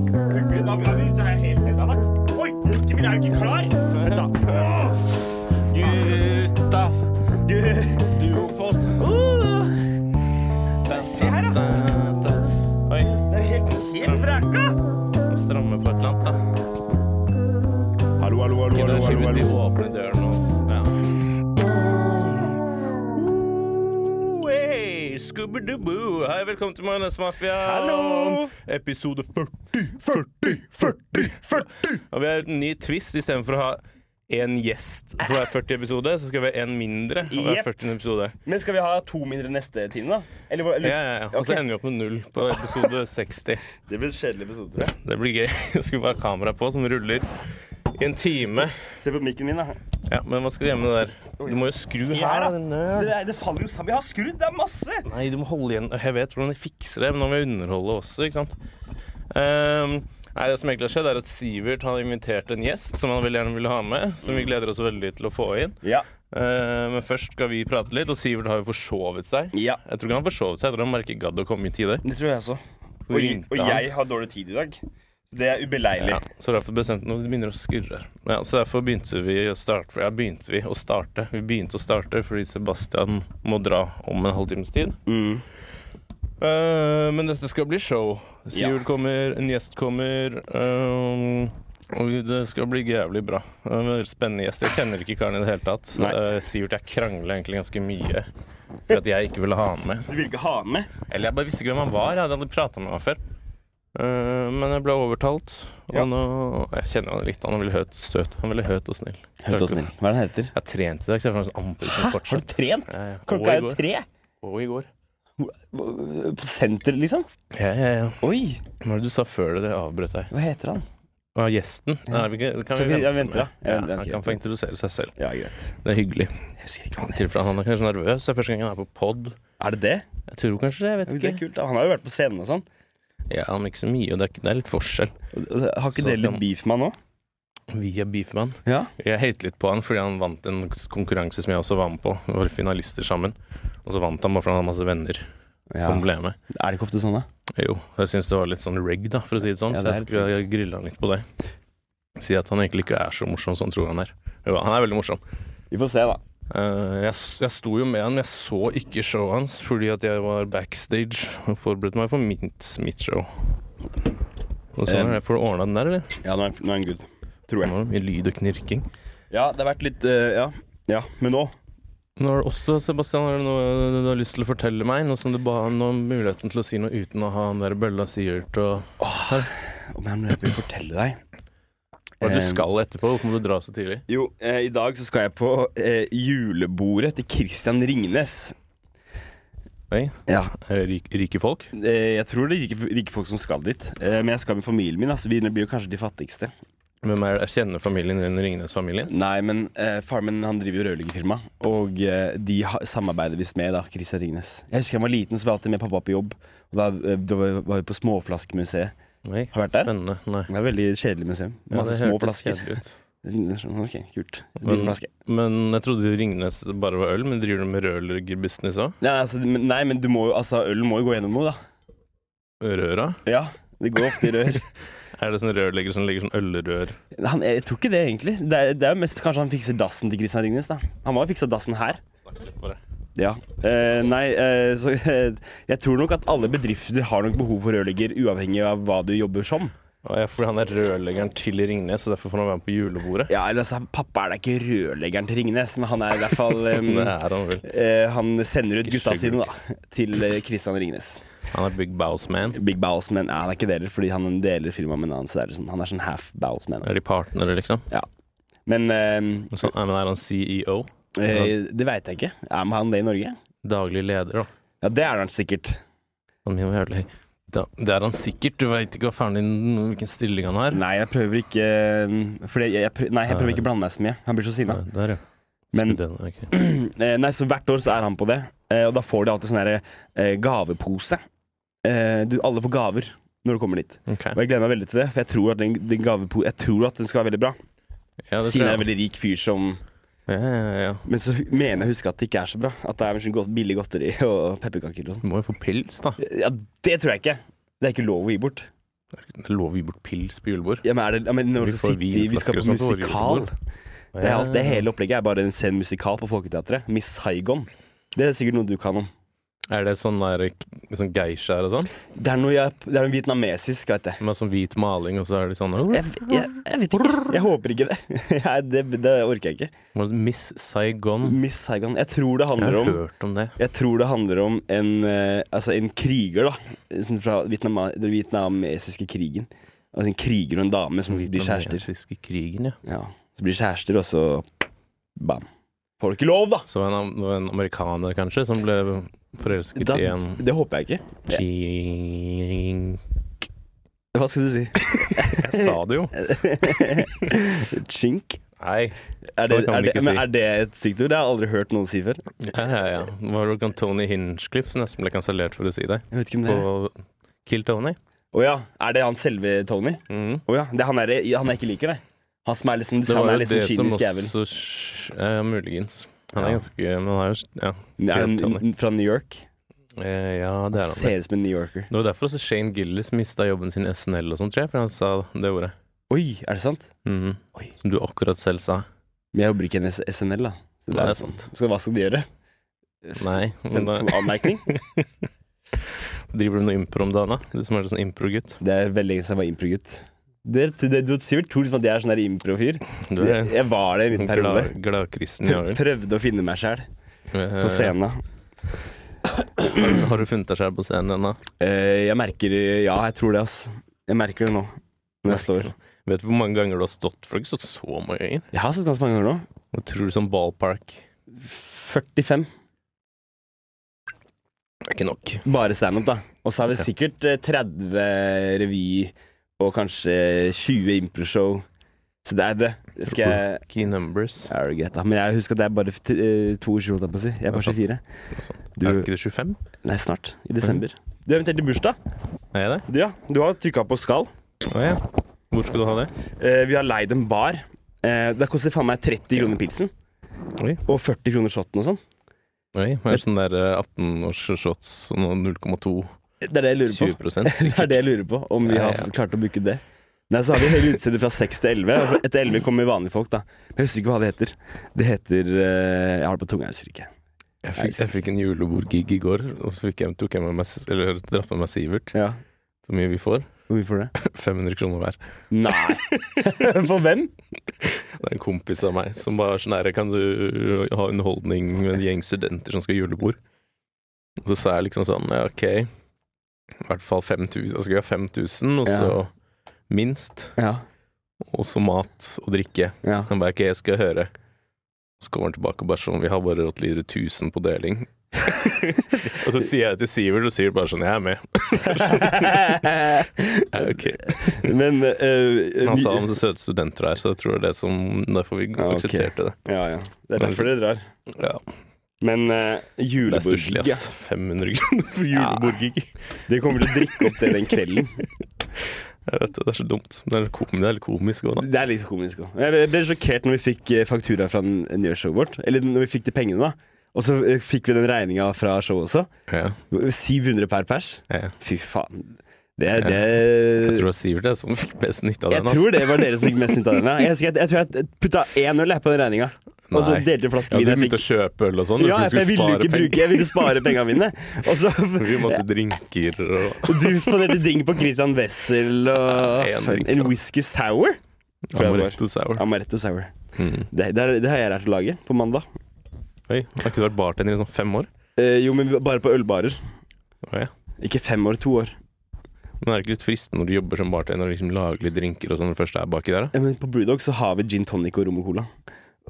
da er vi da er jeg helt selvavlagt. Oi, pulken min er jo ikke klar! Da. Åh, Gutta, Du, duopod. Da, Se her, da. da, Uh! da. Oi, det er helt, helt vraka! må stramme på et eller annet, da. Hallo, hallo, hallo, Ikke det hallo, er kjipt hallo, hvis de hallo. åpner døren og ja. Oh, hey, Scooby-Doo! Hei, velkommen til Majones Mafia! Hallo! Episode 40. 40, 40, 40! Og vi har en ny twist. Istedenfor å ha én gjest på hver 40 episode, så skal vi ha én mindre på hver Jepp. 40 episode. Men skal vi ha to mindre neste time, da? Eller, hvor- eller Ja, ja, ja. Og så Ok. ender vi opp med null på episode 60. Det blir en kjedelig episode, tror jeg. Det blir gøy. Jeg skulle bare ha kamera på som ruller i en time. Se på mikken min, da. Ja, Men hva skal du gjøre med det der? Du må jo skru Se her. her, da, da. din nerd. Det, er- det faller jo sammen. Jeg har skrudd, det er masse! Nei, du må holde igjen. Jeg vet hvordan de fikser det, men nå må jeg underholde også, ikke sant. Ehm, nei, det som egentlig har skjedd, er at Sivert har invitert en gjest som han veldig gjerne ville ha med, som vi gleder oss veldig til å få inn. Ja. Eh, men først skal vi prate litt, og Sivert har jo forsovet seg. ja. Jeg tror ikke han har forsovet seg, jeg tror han bare ikke gadd å komme i tide. Det tror jeg også. Hvor Og, ringte og han? jeg har dårlig tid i dag. Det er ubeleilig. Ja, så derfor bestemte nå begynner å skurre. Ja, så derfor begynte vi å starte. Ja, begynte vi å starte. Vi begynte å starte fordi Sebastian må dra om en halvtimes tid. Mm. Eh, men dette skal bli show. Sivert kommer, en gjest kommer. eh, og det skal bli jævlig bra. Det er En veldig spennende gjest. Jeg kjenner ikke karen i det hele tatt. Nei. Eh, Sivert jeg krangla egentlig ganske mye for at jeg ikke ville ha han med. Du vil ikke ha den med? Eller jeg bare visste ikke hvem han var. Jeg hadde aldri prata med ham før. Eh, men jeg ble overtalt, og Ja. nå Jeg kjenner han litt. Han er veldig høt, støt. Han er veldig høt og snill. Hva er den heter? Jeg har trent i dag, så jeg får en sånn amper som Har du fortsatt. trent? Ja, ja. Klokka er jo Og i går. tre. Og i går. På senter, liksom? Ja, ja, ja. Oi, Hva var det du sa før det? Det avbrøt deg. hva heter han? Og gjesten? Nei, vi kan, kan Så vi vi- vente jeg venter, med. da. Jeg Ja, venter, han ok. kan få introdusere seg selv. Ja, greit. Det er hyggelig. Jeg husker ikke hva han I tilfelle Han er kanskje nervøs. Det er første gang han er på pod. heter. Er det det? Jeg tror kanskje Jeg vet Det er ikke. kult. da. Han har jo vært på scenen og sånn. Ja, han er ikke så mye, og det er, ikke- det er litt forskjell. Og- og- Har ikke Så dere kan- litt beef med han òg? Vi er beefman. Ja. Jeg hater litt på han fordi han vant en konkurranse som jeg også var med på. Vi var finalister sammen. Og så vant han bare fordi han hadde masse venner som ble med. Er det ikke ofte sånn, da? Jo, jeg syns det var litt sånn rig, da, for å si det sånn. Ja, så det jeg er skulle jeg grille han litt på det. Si at han egentlig ikke er så morsom som han tror han er. Jo, han er veldig morsom. Vi får se, da. Eh, jeg, s- jeg sto jo med han, men jeg så ikke showet hans fordi at jeg var backstage og forberedte meg for mitt, mitt show. Og sånn, Eh, jeg får du ordna den der, eller? Ja, nå er, nå er han good. Tror Nå jeg. var det mye lyd og knirking. Ja, det har vært litt eh, Ja. Ja, men nå Nå er det også, Sebastian, er det noe du har lyst til å fortelle meg? Nå som du ba han om muligheten til å si noe uten å ha han der bølla Sivert og Om jeg nå vil fortelle deg Hva er det Eh, du skal etterpå? Hvorfor må du dra så tidlig? Jo, eh, i dag så skal jeg på eh, julebordet til Christian Ringnes. Oi, Ja. er det rik, rike folk? Eh, jeg tror det er rike, rike folk som skal dit. Eh, men jeg skal med familien min. da, så vi blir jo kanskje de fattigste. Hvem er det? Kjenner familien din Ringnes-familien? Nei, men eh, faren min han driver jo rørleggerfirma, og eh, de ha, samarbeider visst med da, Christian Ringnes. Jeg husker jeg var liten, så var jeg alltid med pappa på jobb. Og da, eh, da var var vi på Småflaskemuseet. Nei, Har du vært der? Spennende. Nei. Det er et veldig kjedelig museum. Ja, Masse det små hørtes flasker. kjedelig ut. Ok, kult. Men- Liten flaske. Men jeg trodde jo Ringnes bare var øl, men driver du med rørleggerbusiness òg? Nei, altså, men- nei, men du må jo, altså, ølen må jo gå gjennom noe, da. Røra? Ja, det går ofte i rør. Er det sånn rørlegger som legger sånn ølrør Han, jeg tror ikke det, egentlig. Det er, det er jo mest kanskje han fikser dassen til Christian Ringnes, da. Han må ha fiksa dassen her. Ja. Eh, nei, eh, så eh, jeg tror nok at alle bedrifter har nok behov for rørlegger, uavhengig av hva du jobber som. Å Ja, fordi han er rørleggeren til Ringnes, og derfor får han være med på julebordet. Ja, eller altså, Pappa er da ikke rørleggeren til Ringnes, men han er i hvert fall em, Det er han vel. eh, Han sender ut gutta sine da til eh, Christian Ringnes. Han er Big Bows Man. Big Bows, men ja, han er ikke deler, fordi han deler firmaet med en annen. Så det er sånn, han er sånn half Bows, men. Er de partnere, liksom? Ja. Men em, Så, nei, men er han E CEO? eh, det veit jeg ikke. Er han det i Norge? Daglig leder, da. Ja, det er han sikkert. Han min var jævlig høy. Da- Det er han sikkert. Du veit ikke hva faren din hvilken stilling han har. Nei, jeg prøver ikke em, Fordi jeg, jeg, prø- nei, jeg prøver ikke å blande meg så mye. Han blir så sinna. Nei, Der, ja. Men- Skulle den- ok. Eh, nei, så hvert år så er han på det, eh, og da får de alltid sånn der, eh, gavepose. Eh, du, alle får gaver når du kommer dit. Ok. Og jeg gleder meg veldig til det, for jeg tror at den, den gavepo jeg tror at den skal være veldig bra. Ja, det tror Siden jeg er en jeg. veldig rik fyr som Ja, ja, ja. Men så mener jeg å huske at det ikke er så bra. At det er sånn godt, billig godteri og pepperkaker og sånn. Du må jo få pils, da. Ja, det tror jeg ikke. Det er ikke lov å gi bort. Lover vi bort pils på julebord? Ja, men er det, ja, men når vi, Vi får sitter, i- vi vinflasker skal og på sånt på våre musikal. julebord. Det, er alt, det hele opplegget er bare en sen musikal på Folketeatret. Miss Saigon. Det er sikkert noe du kan om. Er det sånn, der, sånn geisha og sånn? Det er noe, jeg, det er noe vietnamesisk, vet jeg. Med sånn hvit maling, og så er det sånn Jeg, jeg, jeg vet ikke. Jeg håper ikke det. Jeg, det. Det orker jeg ikke. Miss Saigon. Miss Saigon. Jeg tror det Jeg handler har om hørt om det. Jeg tror det handler om en, eh, altså en kriger, da. Sånn Fra Vietnama, den vietnamesiske krigen. Altså en kriger og en dame som blir kjærester. Vietnamesiske krigen, ja. Ja. Så blir de kjærester, og så bam. Får du ikke lov, da! Så var det en, det var en amerikaner, kanskje, som ble forelsket da i en det håper jeg ikke. Ching. Hva skal du si? Jeg sa det jo. Chink? Nei. Er det, Sånn kan man er, det, ikke men si. er det et sykt ord? Det har jeg aldri hørt noen si før. Ja, ja, ja. Det var vel Tony Hinchcliffe som nesten ble kansellert for å si det. Jeg vet ikke om det er Å På Kill Tony. ja, er det han selve Tony? Mm. Å ja. Det er han, er, han jeg ikke liker, det. Han som er liksom, Det han er var jo liksom det som kynisk jævel. også sk- eh, Muligens. Han er Ja. ganske Men han er jo s- ja. Er han Tony. fra New York? Eh, ja, det er Han han. Det. ser ut som en New Yorker. det var derfor også Shane Gillis mista jobben sin i SNL og sånn, tror jeg, for han sa det ordet. Oi, er det sant? Mhm. Oi. Som du akkurat selv sa. Men jeg jobber ikke i en S- SNL, da. Så det Nei, er sant. Så hva skal de gjøre? Nei. men Sende da- en anmerkning? Driver du med noe impro om dagen, da? Du som er sånn impro-gutt. Det er veldig lenge siden jeg var improgutt. Det, det, du Sivert tror liksom at jeg er sånn der improfyr. Du er Jeg var det en en liten periode. glad- gladkristen i år. Prøvde å finne meg sjæl på Eh, scenen. Har, har du funnet deg selv på scenen ennå? Eh, jeg merker Ja, jeg tror det, ass. Jeg merker det nå. Når jeg står. Vet du hvor mange ganger du har stått? For du har ikke stått så mange ganger. Jeg har stått ganske mange ganger nå. Hva tror du som ballpark? 45. Det er ikke nok. Bare standup, da. Og så er det Ok. sikkert eh, 30 revy og kanskje 20 improshow. Så det er det. Det Skal jeg Key numbers. Jeg er greit, da. Men jeg husker at jeg er bare f- t- eh, 22, holdt jeg på å si. Jeg er Det er bare sant. 24. og sånt. Du- Er ikke det 25? Nei, snart. I desember. Du er invitert til bursdag. Er jeg det? Du, ja. Du har trykka på skall. Å ja. Hvor skal du ha det? Eh, vi har leid en bar. Eh, det koster faen meg 30 kroner pilsen. Oi. Og 40 kroner shotten og sånn. Oi, det er sånn der eh, 18-årsshots og noe 0,2 Det er det jeg lurer på. 20 Det er sikkert. det jeg lurer på, om vi Ja, har ja. klart å booke det. Nei, så har vi hele utstedet fra 6 til 11. og Etter 11 kommer vanlige folk, da. Men jeg husker ikke hva det heter. Det heter eh, Jeg har det på tunga, jeg husker ikke. Jeg fikk, jeg fikk en julebordgig i går, og så fikk jeg, tok jeg med meg, s- eller, dratt med meg Sivert. Ja, Hvor mye vi får? Hvor mye får du det? 500 kroner hver. Nei! For hvem? Det er en kompis av meg som bare er sånn her Kan du ha underholdning med en gjeng studenter som skal ha julebord? Og så sa jeg liksom sånn Ja, ok. I hvert fall 5000. Da skal vi ha 5000, og så minst. Ja. Og så mat og drikke. ja. Han bare Ok, jeg skal høre. Så kommer han tilbake og bare sånn Vi har bare rått lire 1000 på deling. og så sier jeg det til Sivert, og Sivert bare sånn Jeg er med. Ja, ok. Men eh, Han sa om så søte studenter her, så jeg tror det er det som Derfor vi Ja, ok. aksepterte det. Ja, ja. Det er derfor dere drar. Ja, Men uh, det er stusslig, julebordgig ja. ass. 500 kroner for julebordgig. Dere kommer til å drikke opp det den kvelden. Jeg vet det, det er så dumt. Men Det er litt kom- det er litt komisk òg, da. Det er litt komisk òg. Jeg ble sjokkert når vi fikk eh, faktura fra Njør-showet vårt. Eller når vi fikk de pengene, da. Og så eh, fikk vi den regninga fra showet også. Ja, 700 per pers. ja. Fy faen. Det er Ja. det Jeg tror det var Sivert jeg, som fikk best nytte av Jeg den. altså. tror det var dere som fikk mest nytte av den. ja. Jeg, husker at- jeg tror jeg putta én øl jeg, på den regninga, og så Nei. delte jeg en flaske Ja, du vin. jeg begynte fikk. å kjøpe øl og sånn? Ja, for for jeg ville jo ikke bruke Jeg ville spare pengene mine. Og så Det blir masse drinker og Og du spanderte drink på Christian Wessel og Ja, en drink, en da. whisky sour. Tror jeg det var. Amaretto sour. Amaretto sour. Mm. Det, det, er- det har jeg lært å lage på mandag. Oi, har ikke du vært bartender i sånn fem år? Eh, jo, men bare på ølbarer. Å, ja. Ikke fem år, to år. Men er det ikke litt fristende når du jobber som bartender og liksom lager litt drinker og sånn når du først er baki der, da? Ja, Men på Brewdog så har vi gin tonic og rom og cola.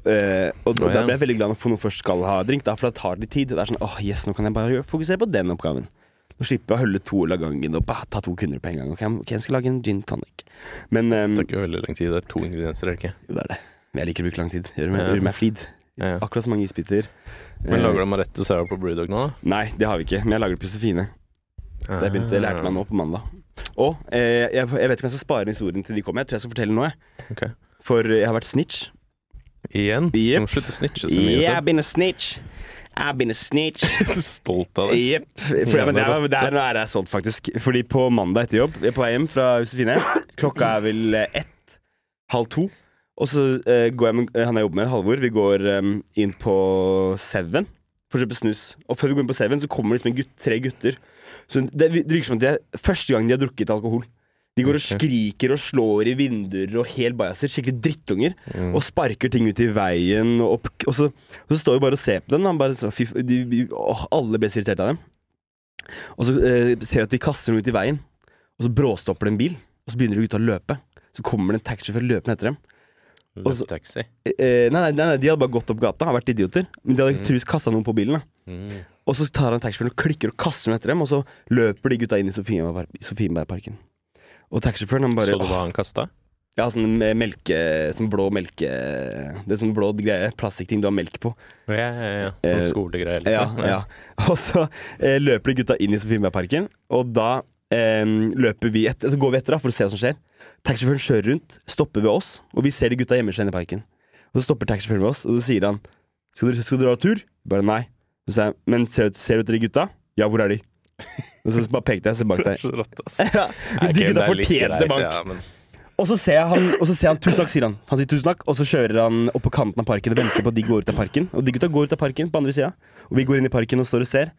Eh, og Å, ja. da blir jeg veldig glad når noen først skal ha drink, da, for da tar det litt tid. Det er sånn åh, yes, nå kan jeg bare gjøre- fokusere på den oppgaven. Nå slipper jeg å hølle to øl av gangen og bah, ta to kunder på en gang. Ok, jeg- ok, jeg skal lage en gin tonic. Men ehm, Det tar ikke veldig lang tid. Det er to ingredienser, er det ikke? jo, det er det. Men jeg liker å bruke lang tid. Gjør meg, Ja. gjør meg flid. Ja, ja. Akkurat så mange isbiter. Men Eh, lager du amaretto sour på Brewdog nå, da? Nei, det har vi ikke, men jeg lager det på Josefine. Det begynte jeg lærte meg nå på mandag. Og eh, jeg, jeg vet ikke om jeg skal spare historien til de kommer. Jeg tror jeg skal fortelle noe. jeg. Ok. For jeg har vært snitch. Igjen? Jep. Du må slutte å snitche så mye. Yeah, Seb. I've been a snitch. I've been a snitch. Så stolt av det. Jepp. For- Men det Jævla er, rotte. det er, nå er jeg solgt, faktisk. Fordi på mandag etter jobb, jeg er på vei hjem fra Josefine, klokka er vel eh, ett, halv to. Og så eh, går jeg med eh, han jeg jobber med, Halvor, vi går eh, inn på Seven for å kjøpe snus. Og før vi går inn på Seven, så kommer liksom en gutt, tre gutter. Så det, det virker som at det er første gang de har drukket alkohol. De går og Ok. skriker og slår i vinduer og helt bajaser. Skikkelig drittunger. Mm. Og sparker ting ut i veien. Og, opp- og, så, og så står vi bare og ser på dem. da. Bare, så, fy, f- de, de, åh, alle ble så irritert av dem. Og så eh, ser jeg at de kaster dem ut i veien. Og så bråstopper det en bil. Og så begynner de gutta å løpe. Så kommer det en taxisjåfør løpende etter dem. og så- Taxi. Eh, eh, nei, nei, nei, nei, de hadde bare gått opp gata, har vært idioter. Men de hadde troligvis kasta noen på bilen. da Mm. og så tar han taxisjåføren og klikker og kaster den etter dem, og så løper de gutta inn i Sofienberg- Sofienbergparken. Og taxisjåføren han bare så du hva han kasta? Ja, sånn med melke Sånn blå melke Det er sånn blå greie, plastikkting du har melk på. Ja, ja, ja. Eh, Noen skolegreier, Ja, liksom. ja. Og så eh, løper de gutta inn i Sofienbergparken, og da eh, løper vi etter, så går vi etter da, for å se hva som skjer. Taxisjåføren kjører rundt, stopper ved oss, og vi ser de gutta gjemmer seg inne i parken. Og så stopper taxisjåføren ved oss, og så sier han Skal dere, skal dere ha tur? Vi Bare nei. Så sier jeg, Men ser du, ser du etter de gutta? Ja, hvor er de? Og så bare pekte jeg, se bak deg. Så rått, ass. Ja, Nei, men de ok, gutta det er litt fortjente greit, bank. Ja, men Og så ser jeg han, og så ser han tusen takk, sier han. Han sier tusen takk, og så kjører han opp på kanten av parken og venter på at de går ut av parken. Og de gutta går ut av parken på andre sida, og vi går inn i parken og står og ser.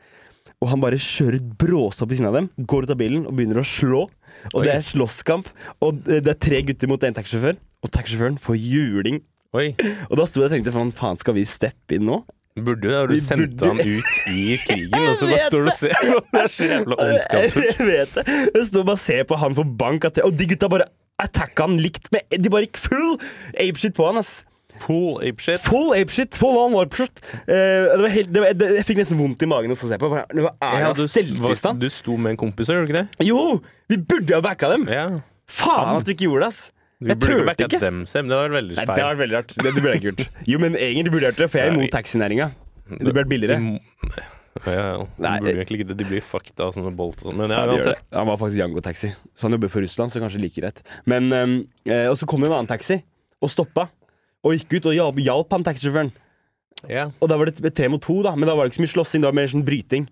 Og han bare kjører bråstopp ved siden av dem, går ut av bilen og begynner å slå. Og det Oi. er slåsskamp, og det er tre gutter mot en taxisjåfør. Og taxisjåføren får juling. Oi. Og da sto jeg og tenkte faen, faen, skal vi steppe inn nå? Burde jo det. Du Vi sendte burde- han ut i krigen, og så Jeg bare står du og ser på. Det er så jævla ondskapsfullt. Jeg vet det. Jeg står bare og ser på han får bank av tre, og de gutta bare attacka han likt med De bare gikk full apeshit på han, ass. Full apeshit. Full apeshit! Full on warpshot! Eh, det var helt, det var, det, jeg fikk nesten vondt i magen av å se på. for Det var Ja, Erna du, stelt i var- stand. du sto med en kompis, gjør du ikke det? Jo! Vi burde jo ha backa dem! Ja. Faen at vi ikke gjorde det, ass! Du Jeg burde ikke turte backa ikke. dem, Sem. Det hadde vært veldig Nei, feil. det var veldig rart. Det, det burde jeg ikke gjort. Jo, men egentlig burde jeg gjort det, for jeg er Nei. imot taxinæringa. Det burde vært billigere. Ja, ja. ja. De Nei, burde jo egentlig ikke det. De blir fucked av sånne bolt og sånn. Men ja, Ja, det gjør uansett. det. Han var faktisk Jango-taxi, så han jobber for Russland, så kanskje like rett. Men, ehm, eh, Og så kom det en annen taxi, og stoppa. Og gikk ut og hjalp, hjalp han taxisjåføren. Ja. Og da var det tre mot to, da, men da var det ikke så mye slåssing, det var mer sånn bryting.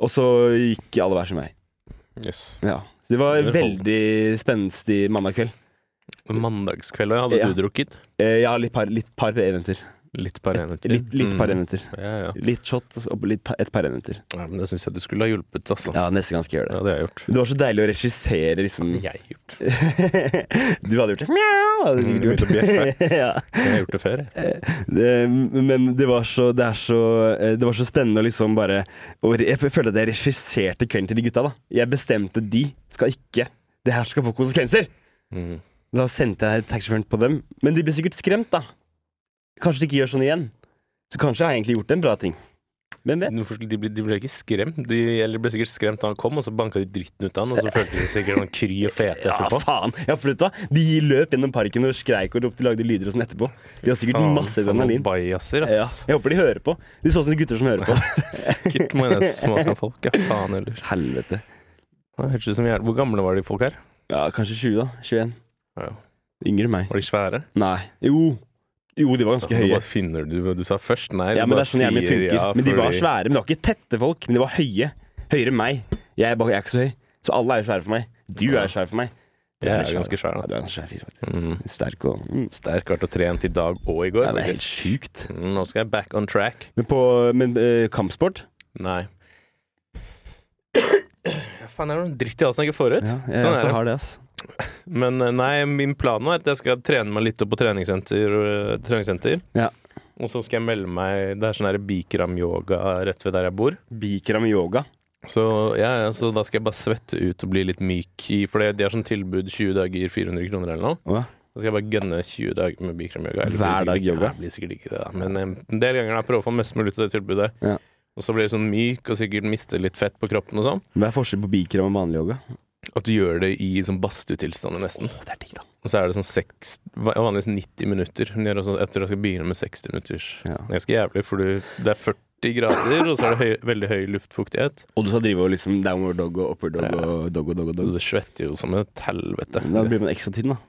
Og så gikk alle hver sin vei. Yes. Ja. Så det var Det er veldig spenstig mandag kveld. Mandagskveld og hadde Ja. du drukket? Eh, ja, litt par, litt par enheter. Litt par enheter. Litt, litt par Mm. enheter. Ja, ja. Litt shot og litt par, et par enheter. ja, men det syns jeg du skulle ha hjulpet, altså. Ja, Ja, neste gang skal jeg gjøre det. det har jeg gjort. Det var så deilig å regissere, liksom. Jeg har gjort. du hadde gjort det. Mjau, hadde du Mm, sikkert begynte gjort. ja. Jeg har gjort det før. jeg. det, men det var, så, det, er så, eh, det var så spennende å liksom bare og Jeg følte at jeg regisserte kvelden til de gutta. da Jeg bestemte de skal ikke Det her skal få konsekvenser! Mm. Da sendte jeg taxisjåføren på dem. Men de ble sikkert skremt, da. Kanskje de ikke gjør sånn igjen. Så kanskje jeg har egentlig gjort en bra ting. Hvem vet? Hvorfor skulle De, ble, de ble ikke skremt. De eller ble sikkert skremt da han kom, og så banka de dritten ut av han, og så følte de sikkert sånn kry og fete Ja, etterpå. faen! Ja, for vet du hva? De løp gjennom parken og skreik og ropte, lagde lyder og sånn etterpå. De har sikkert Faen, masse for noen adrenalin. Bajaser, Ja, ass. jeg håper de hører på. De så ut som gutter som hører på. Sikkert må jeg nesten smake av folk. Ja, faen ellers. Helvete. Det Hørtes ut som jævlig Hvor gamle var de folk her? Ja, kanskje 20, da. 21. Ja. Yngre enn meg. Var de svære? Nei. Jo. Jo, de var ganske Nå høye. bare finner du Du sa først nei. Ja, du men bare det er sånn hjernen min sier funker. ja, men de var fordi- svære. Men det var ikke tette folk, men de var høye. Høyere enn meg. Jeg er, bare, jeg er ikke så høy. Så alle er jo svære for meg. Du er jo svær for meg. Du Jeg er jo ganske svær, liksom. Ja, da. du er ganske svær fyr, faktisk. Mm. Sterk og mm. Sterk vært å trent i dag og i går. Ja, det er helt faktisk. sjukt. Mm, Nå skal jeg back on track. Men på men, eh, kampsport Nei. Ja, Faen, det er noe dritt i halsen jeg ikke får ut. ja, jeg, sånn også er det. har det, ass. Men eh, nei, min plan nå er at jeg skal trene meg litt opp på treningssenter. eh, treningssenter. Ja. Og så skal jeg melde meg Det er sånn her bikram-yoga rett ved der jeg bor. Bikram yoga. Så, ja, ja, så da skal jeg bare svette ut og bli litt myk i For det- de har sånn tilbud 20 dager 400 kroner eller noe. Å, ja. Da skal jeg bare gønne 20 dager med Bikram-yoga. eller Hver blir dag sikkert- yoga? Nei, blir sikkert ikke det, da. Men eh, en del ganger da, prøve å få mest mulig til det tilbudet. Ja. Og så blir du sånn myk og sikkert mister litt fett på kroppen og sånn. Hva er forskjellen på bikram og vanlig yoga? At du gjør det i sånn badstuetilstander nesten. Å, det er digg, da. Og så er det sånn seks Vanligvis 90 minutter. Men jeg, er også, jeg tror jeg skal begynne med 60 minutters. Ja. Det er ganske jævlig, for du, det er 40 grader, og så er det høy, veldig høy luftfuktighet. Og du skal drive og liksom downward dog og upward dog Ja. og dog og dog og Og dog. du svetter jo som et helvete. Da blir man ekstra tynn, da.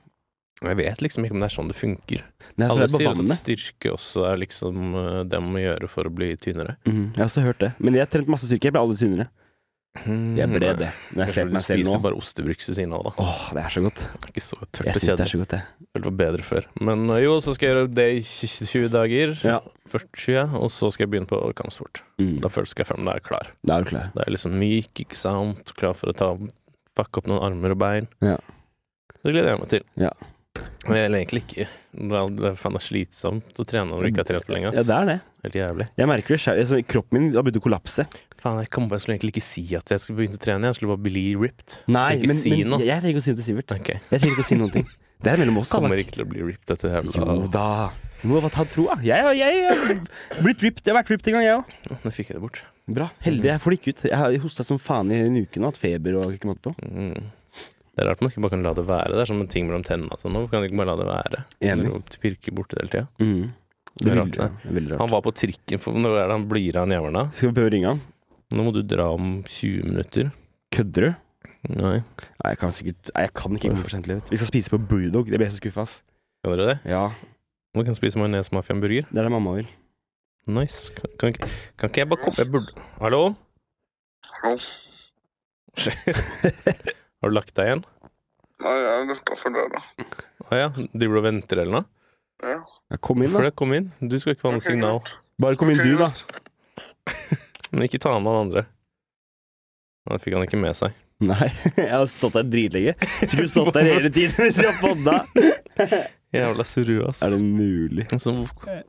Og jeg vet liksom ikke om det er sånn det funker. Nei, for Alle det er på sier også at vannet. styrke også er liksom eh, det man må gjøre for å bli tynnere. Mhm, jeg har også hørt det. Mm. Men jeg har trent masse styrke. Jeg ble aldri tynnere. Jeg ble det. Når jeg ser på meg selv Spiser nå. bare ostebruks ved siden av, da. Åh, det er så godt. Det er Ikke så tørt Jeg og syns det kjedelig. er så godt, det. Følte det var bedre før. Men eh, jo, så skal jeg gjøre det i 20 dager. Ja. Først 20, ja, og så skal jeg begynne på kampsport. Mm. Da føles jeg frem, da er jeg klar. Da er du klar. Da er jeg liksom myk, ikke sant. Klar for å ta pakke opp noen armer og bein. Ja. Det gleder jeg meg til. Ja. Men jeg vil egentlig ikke. Det er, det er faen det er slitsomt å trene når du ikke har trent på lenge. Ja, ass. det er det. Helt jævlig. Jeg merker det selv. Altså, kroppen min har begynt å kollapse. Faen, jeg, kom på, jeg skulle egentlig ikke si at jeg skulle begynne å trene. Jeg skulle bare bli ripped. Nei, så ikke men, si men noe. jeg, jeg trenger ikke å si det til Sivert. Ok. Jeg trenger ikke å si noen ting. Det er mellom oss. da, Kommer Mark. ikke til å bli ripped, dette jævla Jo da. Du må bare ta troa. Jeg, har- jeg, har blitt ripped. Jeg har vært ripped en gang, jeg òg. Nå fikk jeg det bort. Bra. Heldig. Jeg får det ikke ut. Jeg har hosta som faen i en uke nå. Hatt feber og ikke måte på. Mm. Det er rart man ikke bare kan la det være. Det er som en ting mellom tennene. Altså. Man kan ikke bare la det være. Enig. Når du Pirker bort det hele tiden. Mm. Det Det er er rart, veldig, det er veldig rart. Han var på trikken for Når er det han blir av en jævla? Skal vi prøve å ringe han? Nå må du dra om 20 minutter. Kødder du? Nei. Nei, jeg kan sikkert Nei, jeg kan ikke komme for sent til livet. Vi skal spise på Brewdog. Det blir jeg så skuffa, ass. Kan dere det? Ja, Man kan spise majones-mafiaen-burger. det er det mamma vil. Nice. Kan, kan, ikke- kan ikke jeg bare komme Jeg burde Hallo? Hallo. Har du lagt deg igjen? Nei, jeg er utafor døra. Å ja. Driver du og venter eller noe? Ja. Ja, kom inn, For da. det, kom inn. Du skal ikke ha noe Ok, signal. Bare kom inn Ok, du, da. Men ikke ta med han andre. Da fikk han ikke med seg. Nei, jeg har stått der dritlenge. Skulle stått der hele tiden hvis jeg har podda. Jævla surrue, ass. Er det mulig? Altså, Skal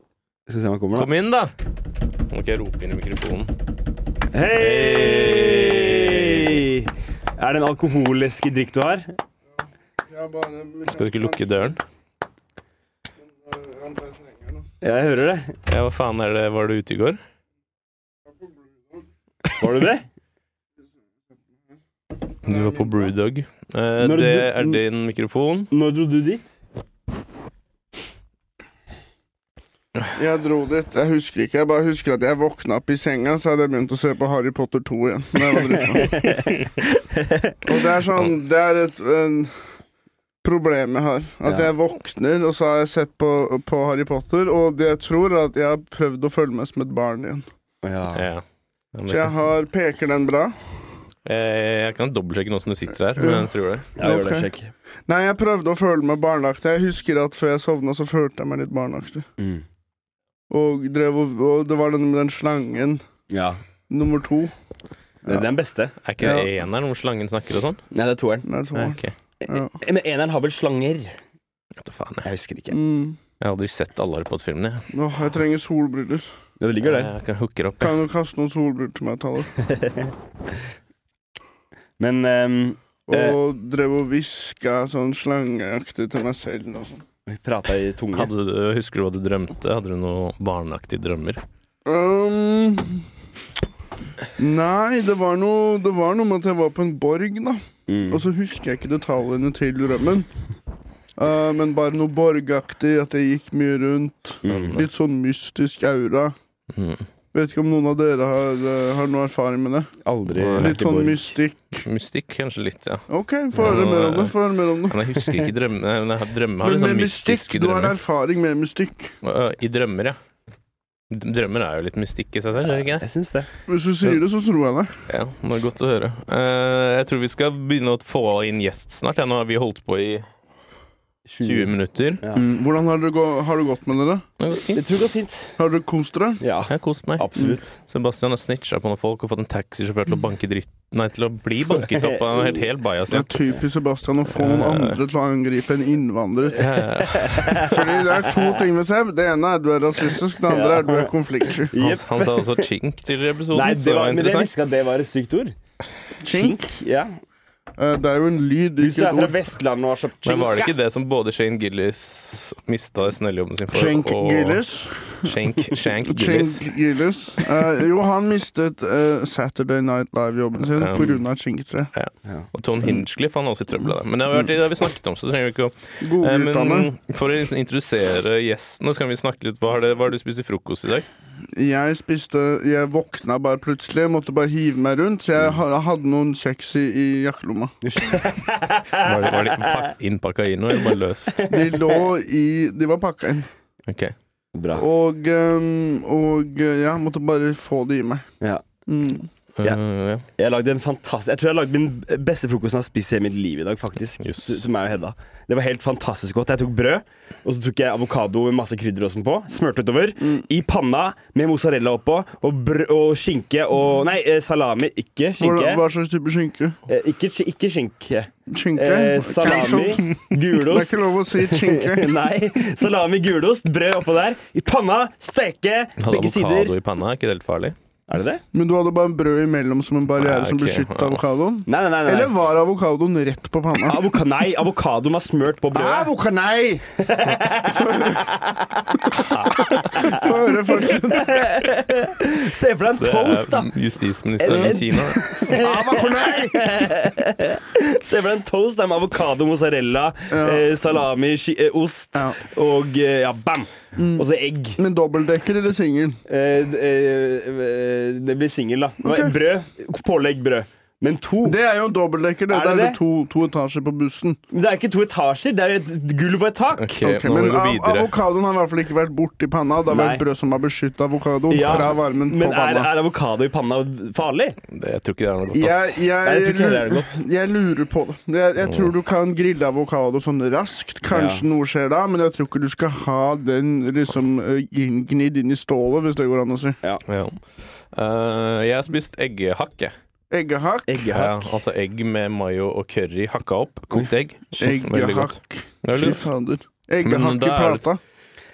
vi se om han kommer, da. Kom inn, da! Må ikke jeg rope inn i mikrofonen. Hei! Er det en alkoholisk drikk du har? Jeg bare, Skal du ikke lukke døren? Jeg hører det. Ja, hva faen er det? Var du ute i går? Var du det? Du var på Brewdog. Eh, Når det du- er din mikrofon. Når dro du dit? Jeg dro dit. Jeg husker ikke. Jeg bare husker at jeg våkna opp i senga, så hadde jeg begynt å se på Harry Potter 2 igjen. Men jeg var drita. og det er sånn Det er et en problem jeg har. At Ja. jeg våkner, og så har jeg sett på, på Harry Potter, og jeg tror at jeg har prøvd å følge med som et barn igjen. Ja. Ja. Ja, men- Så jeg har Peker den bra? Eh, jeg kan dobbeltsjekke nå som du sitter her, men jeg tror det. Jeg gjør det. Ok. Sjekk. Nei, jeg prøvde å føle meg barnaktig. Jeg husker at før jeg sovna, så følte jeg meg litt barnaktig. Mm. Og, drev og, og det var den med den slangen. Ja. Nummer to. Det det er den beste. Er ikke det eneren hvor slangen snakker og sånn? Nei, det er toeren. Eh, Nei, to. Nei, ok. Ja. Men eneren har vel slanger? Vet du faen, jeg. Jeg husker ikke. Mm. jeg har aldri sett alle Harry Potter-filmene. jeg. Eh, Åh, jeg trenger solbriller. Ja, det ligger der. Jeg kan hooke opp. jeg. Kan du kaste noen solbriller til meg, Taller? Men ehm, Og drev og hviska sånn slangeaktig til meg selv. Og sånn. vi prata i tunge. Hadde du, husker du hva du drømte? Hadde du noen barneaktige drømmer? um, nei, det var, noe, det var noe med at jeg var på en borg, da. Mm. Og så husker jeg ikke detaljene til drømmen. Eh, men bare noe borgaktig, at jeg gikk mye rundt. Mm. Litt sånn mystisk aura. Mm. Vet ikke om noen av dere har, eh, har noe erfaring med det. Aldri vært Litt i sånn Borg. mystikk. Mystikk, kanskje litt, ja. Ok, få høre mer om det. Få høre mer om det. Men jeg husker ikke drømmene. Men jeg har- drømmer har Men litt sånn med mystikk, mystiske du har drømmer. erfaring med mystikk. Øh, I drømmer, ja. D- Drømmer er jo litt mystikk i seg selv, er det ikke det? Jeg syns det. Hvis du sier det, så tror jeg det. Ja, det er godt å høre. Eh, jeg tror vi skal begynne å få inn gjest snart. Ja, nå har vi holdt på i 20 minutter. Ja. Mm, hvordan har det, gå, har det gått med dere? Det går fint. Jeg tror det går fint. Har dere kost dere? Ja, Jeg har kost meg. absolutt. Sebastian har snitcha på noen folk og fått en taxisjåfør til å banke dritt Nei, til å bli banket opp av en helt, helt bajas. Det Ja. er typisk Sebastian å få noen andre til å angripe en innvandrer. Eh, Fordi det er to ting med Seb. Det ene er du er rasistisk, det andre er du er konfliktsky. Han, Jepp. han sa også chink til episoden, Nei, det så det var var, men jeg interessant. visste ikke at det var et sykt ord. Chink. Ja. Eh, Det er jo en lyd, Hvis du ikke er et fra ord. Vestlandet og har kjøpt Men var det chink ikke det som både Shane Gillis mista SNL-jobben sin for, Chink og Gillis. Shank, Shank Gillis? Chink Gillis. Eh, jo, han mistet eh, Saturday Night Live-jobben sin Um, pga. chinktre. Og Tom Hinchcliffe han er også i trøbbel av det. Men det har vi, vært, det har vi snakket om, så det trenger vi ikke å Gode Eh, utdannet. Men for å liksom introdusere gjestene, så kan vi snakke litt Hva har det- hva har du spist i frokost i dag? Jeg spiste Jeg våkna bare plutselig. Jeg måtte bare hive meg rundt. Så jeg ha- hadde noen kjeks i, i jakkelomma. Var det, var det pak- innpakka i noe, eller bare løst? De lå i De var pakka inn. Ok. Eh, Bra. Og, ehm, og eh, ja, måtte bare få det i meg. Ja. Mm. Ja. Uh, ja. Jeg lagde en fantastisk Jeg tror jeg lagde min beste frokost jeg har spist i hele mitt liv i dag, faktisk. Yes. Til til meg og Hedda. Det var helt fantastisk godt. Jeg tok brød, og så tok jeg avokado med masse krydder og sånn på. Smurte utover. Mm. I panna med mozzarella oppå, og, brød, og skinke Mm. og Nei, eh, salami. Ikke skinke. Hvordan, hva slags type skinke? Eh, Ikke, sk- ikke skinke. Skinke? Eh, salami, Det er gulost ikke lov å si skinke. Nei. Salami, gulost, brød oppå der. I panna, steke, Hadde begge sider. avokado i panna, er ikke det helt farlig? Er det det? Men du hadde bare brød imellom som en barriere Nei, som ok, beskyttet ja. avokadoen? Nei, nei, nei. nei. Eller var avokadoen rett på panna? Avoka nei, avokadoen var smurt på brødet. Avoka, nei! Få høre fortsatt. Se for deg en Det toast, da! er justisministeren i Kina. Avoka, nei! Se for deg en toast der med avokado, mozzarella, eh, salami, ski, eh, ost Ja. Mm. og eh, ja, bam! Og så egg. Men dobbeltdekker eller singel? Eh, d- eh, eh, det blir singel, da. Og Ok. Brød. Pålegg brød. Men to det, Det er jo en dobbeltdekker. Det, Er det det er det? jo to, to etasjer på bussen. det er ikke to etasjer, det er jo et gulv og et tak. Ok, Ok, nå må men vi gå av- videre. avokadoen har i hvert fall ikke vært borti panna. Det har Nei. vært brød som har beskytta avokadoen fra varmen men på er, panna. er avokado i panna farlig? Det, jeg tror ikke det er noe godt, Jeg, ass. Nei, jeg jeg, tror ikke det er lurer, godt. jeg lurer på det. Jeg, jeg tror du kan grille avokado sånn raskt. Kanskje Ja. noe skjer da, men jeg tror ikke du skal ha den liksom eh, inngnidd inn i stålet, hvis det går an å si. Ja. Eh, jeg har spist eggehakk, jeg. Eggehakk. Ja, Eggehakk. altså egg med mayo og curry hakka opp. Kokt egg. Veldig godt. Eggehakk. Det er Fy litt- Mm, fader. Eggehakk i da er det- plata.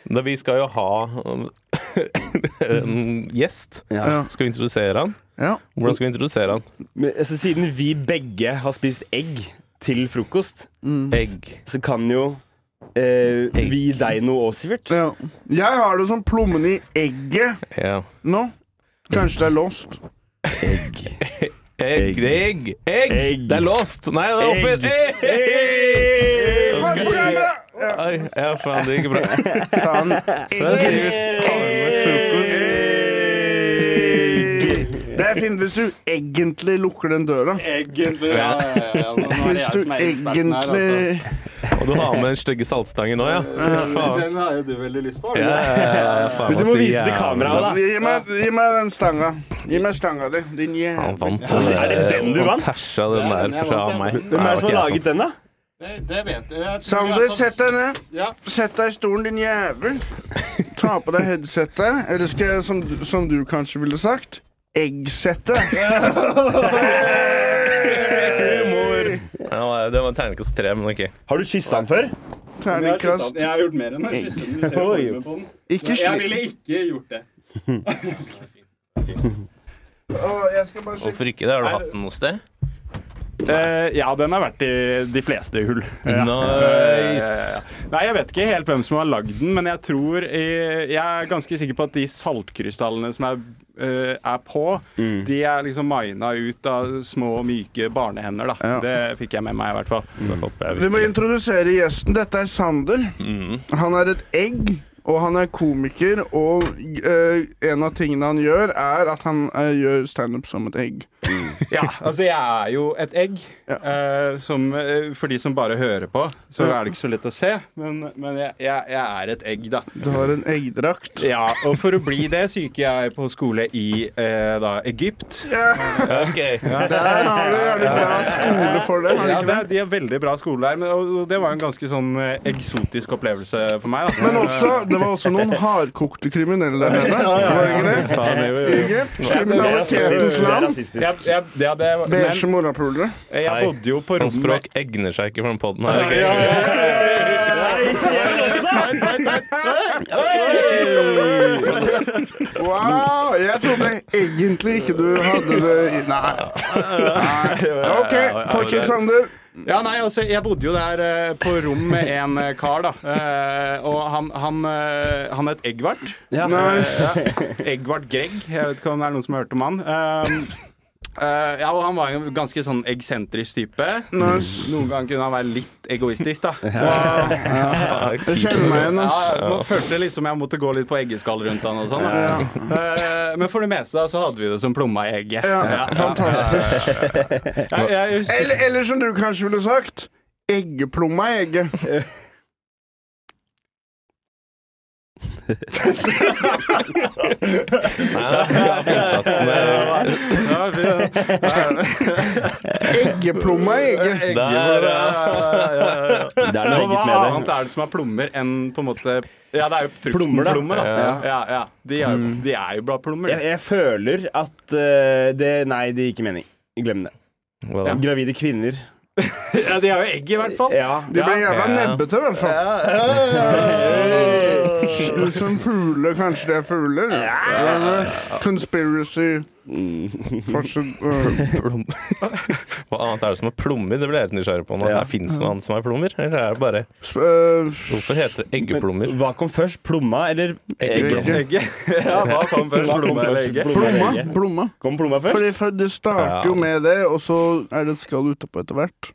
Da vi skal jo ha um, en gjest. Ja. Ja. Skal vi introdusere han? Ja. Hvordan skal vi introdusere han? Men, altså, siden vi begge har spist egg til frokost, Egg. så kan jo eh, vi gi deg noe òg, Sivert. ja. Jeg har det som plommen i egget Ja. nå. Kanskje det er lost. Egg, det er egg, egg! Egg. Det er låst! Nei, det er åpent! Egg. Egg! Hva skulle jeg Ai, ja, faen, det gikk bra. Faen. Så jeg sier faen med frokost. Egg. Det er fint hvis du egentlig lukker den døra. Egentlig, ja, ja, ja. Nå er det Hvis jeg du som er eksperten her, altså. egentlig Og du har med den stygge saltstangen nå, ja? Fy Faen. Den har jo du veldig lyst på. Ja, Ja. ja, ja, ja, faen, Men du altså, må vise til jævla- kameraet, da. Gi meg, gi meg den stanga. Gi meg stanga di. Din Han jævla vant. Er det den du Han vant? tæsja Det den er den der jeg fra vant, meg. jeg. Hvem er det som har Nei, ok, altså. laget den, da? Det, det vet jeg. jeg. tror Sander, i hvert fall- sett deg ned. Ja. Sett deg i stolen, din jævel. Ta på deg headsetet. Eller skal jeg, som, du- som du kanskje ville sagt, eggsette. Humor. sant. Ja, nei, Det var terningkast tre, men ok. Har du kyssa han før? Jeg har, kysset den. Terningkast jeg har gjort mer enn å kysse den. Du ser jo Oi. formen på den. Ikke Jeg slik. ville ikke gjort det. Å, Jeg skal bare sjekke. Hvorfor ikke det? Har du hatt den noe sted? Eh, ja, den har vært i de fleste hull. Mm. Ja. Nice! Nei, Jeg vet ikke helt hvem som har lagd den, men jeg tror eh, Jeg er ganske sikker på at de saltkrystallene som er, eh, er på, Mm. de er liksom mina ut av små, myke barnehender. da. Ja. Det fikk jeg med meg, i hvert fall. Det håper jeg Vi må virkelig. introdusere gjesten. Dette er Sander. Han er et egg, og han er komiker. Og eh, en av tingene han gjør, er at han eh, gjør standup som et egg. Ja, altså jeg er jo et egg. eh, som, eh, for de som bare hører på, så er det ikke så lett å se. Men, men jeg, jeg, jeg er et egg, da. Du har en eggdrakt. Ja, Og for å bli det, så gikk jeg på skole i eh, da, Egypt. Ok. Der har du jævlig bra skole for det. Har du Ja, ikke det, det? de har veldig bra skole der, men, og, og det var en ganske sånn eh, eksotisk opplevelse for meg. da. eh, Men også, det var også noen hardkokte kriminelle der nede. Var det ikke det? Faen, jo, jo, jo. Egypt, Det er rasistisk. kriminalitetens Det er land. Jeg, rasistisk. jeg, ja, det, men Beige morapulere. jeg bodde jo på Sånn rommet språk egner seg ikke for den podden her. ok? Wow, jeg trodde egentlig ikke du hadde det i- Nei. Nei. OK, fortsett, Sander. Ja, nei, altså, Jeg bodde jo der eh, på rom med en eh, kar, da. Eh, og han, han, eh, han het Eggvart. Eh, Ja. Nei. Eggvart Gregg. Jeg vet ikke om det er noen som har hørt om han. Um, Eh, ja, og han var jo en ganske sånn eksentrisk type. Nice. Noen ganger kunne han være litt egoistisk, da. Jeg kjenner meg igjen, Ja, ass. ja, man følte liksom jeg måtte gå litt på eggeskall rundt han og sånn. da. Eh, Men for det meste da, så hadde vi det som plomma i egget. Ja, fantastisk. Jeg, jeg husker Eller, eller som du kanskje ville sagt, eggeplomma i egget. Innsatsen er Ja, vi- Eggeplomma i egget. egget Der, vårt, ja, ja, ja, ja. Det er noe Og hva eget med annet det. er det som er plommer enn på en måte Ja, det er jo Plommer, da. fruktplommer, da. Ja. Ja, ja. De er, jo- de er jo bra plommer. Jeg, jeg føler at eh, det Nei, det gir ikke mening. Glem det. Hva da? Gravide kvinner. Ja, de har jo egg, i hvert fall. Ja. De ble Ja. jævla Ja. nebbete, i hvert fall. Du som fugler, kanskje de er fugler? Eller Conspiracy Fortsatt øh, Plom- Hva annet er det som er plommer? Det ble jeg helt nysgjerrig på nå. Ja. Ja. Fins det noe annet som er plommer? Eller er det bare sp- øh, Hvorfor heter det eggeplommer? Hva kom først? Plomma eller Eggeplommer. Egget. Ja, hva kom først? Hva kom Plomma eller først? egget? Plomma eller Plomma. egget? Plomma. Kom plomma først? Fordi for det starter jo Ja. med det, og så er det et skall utapå etter hvert.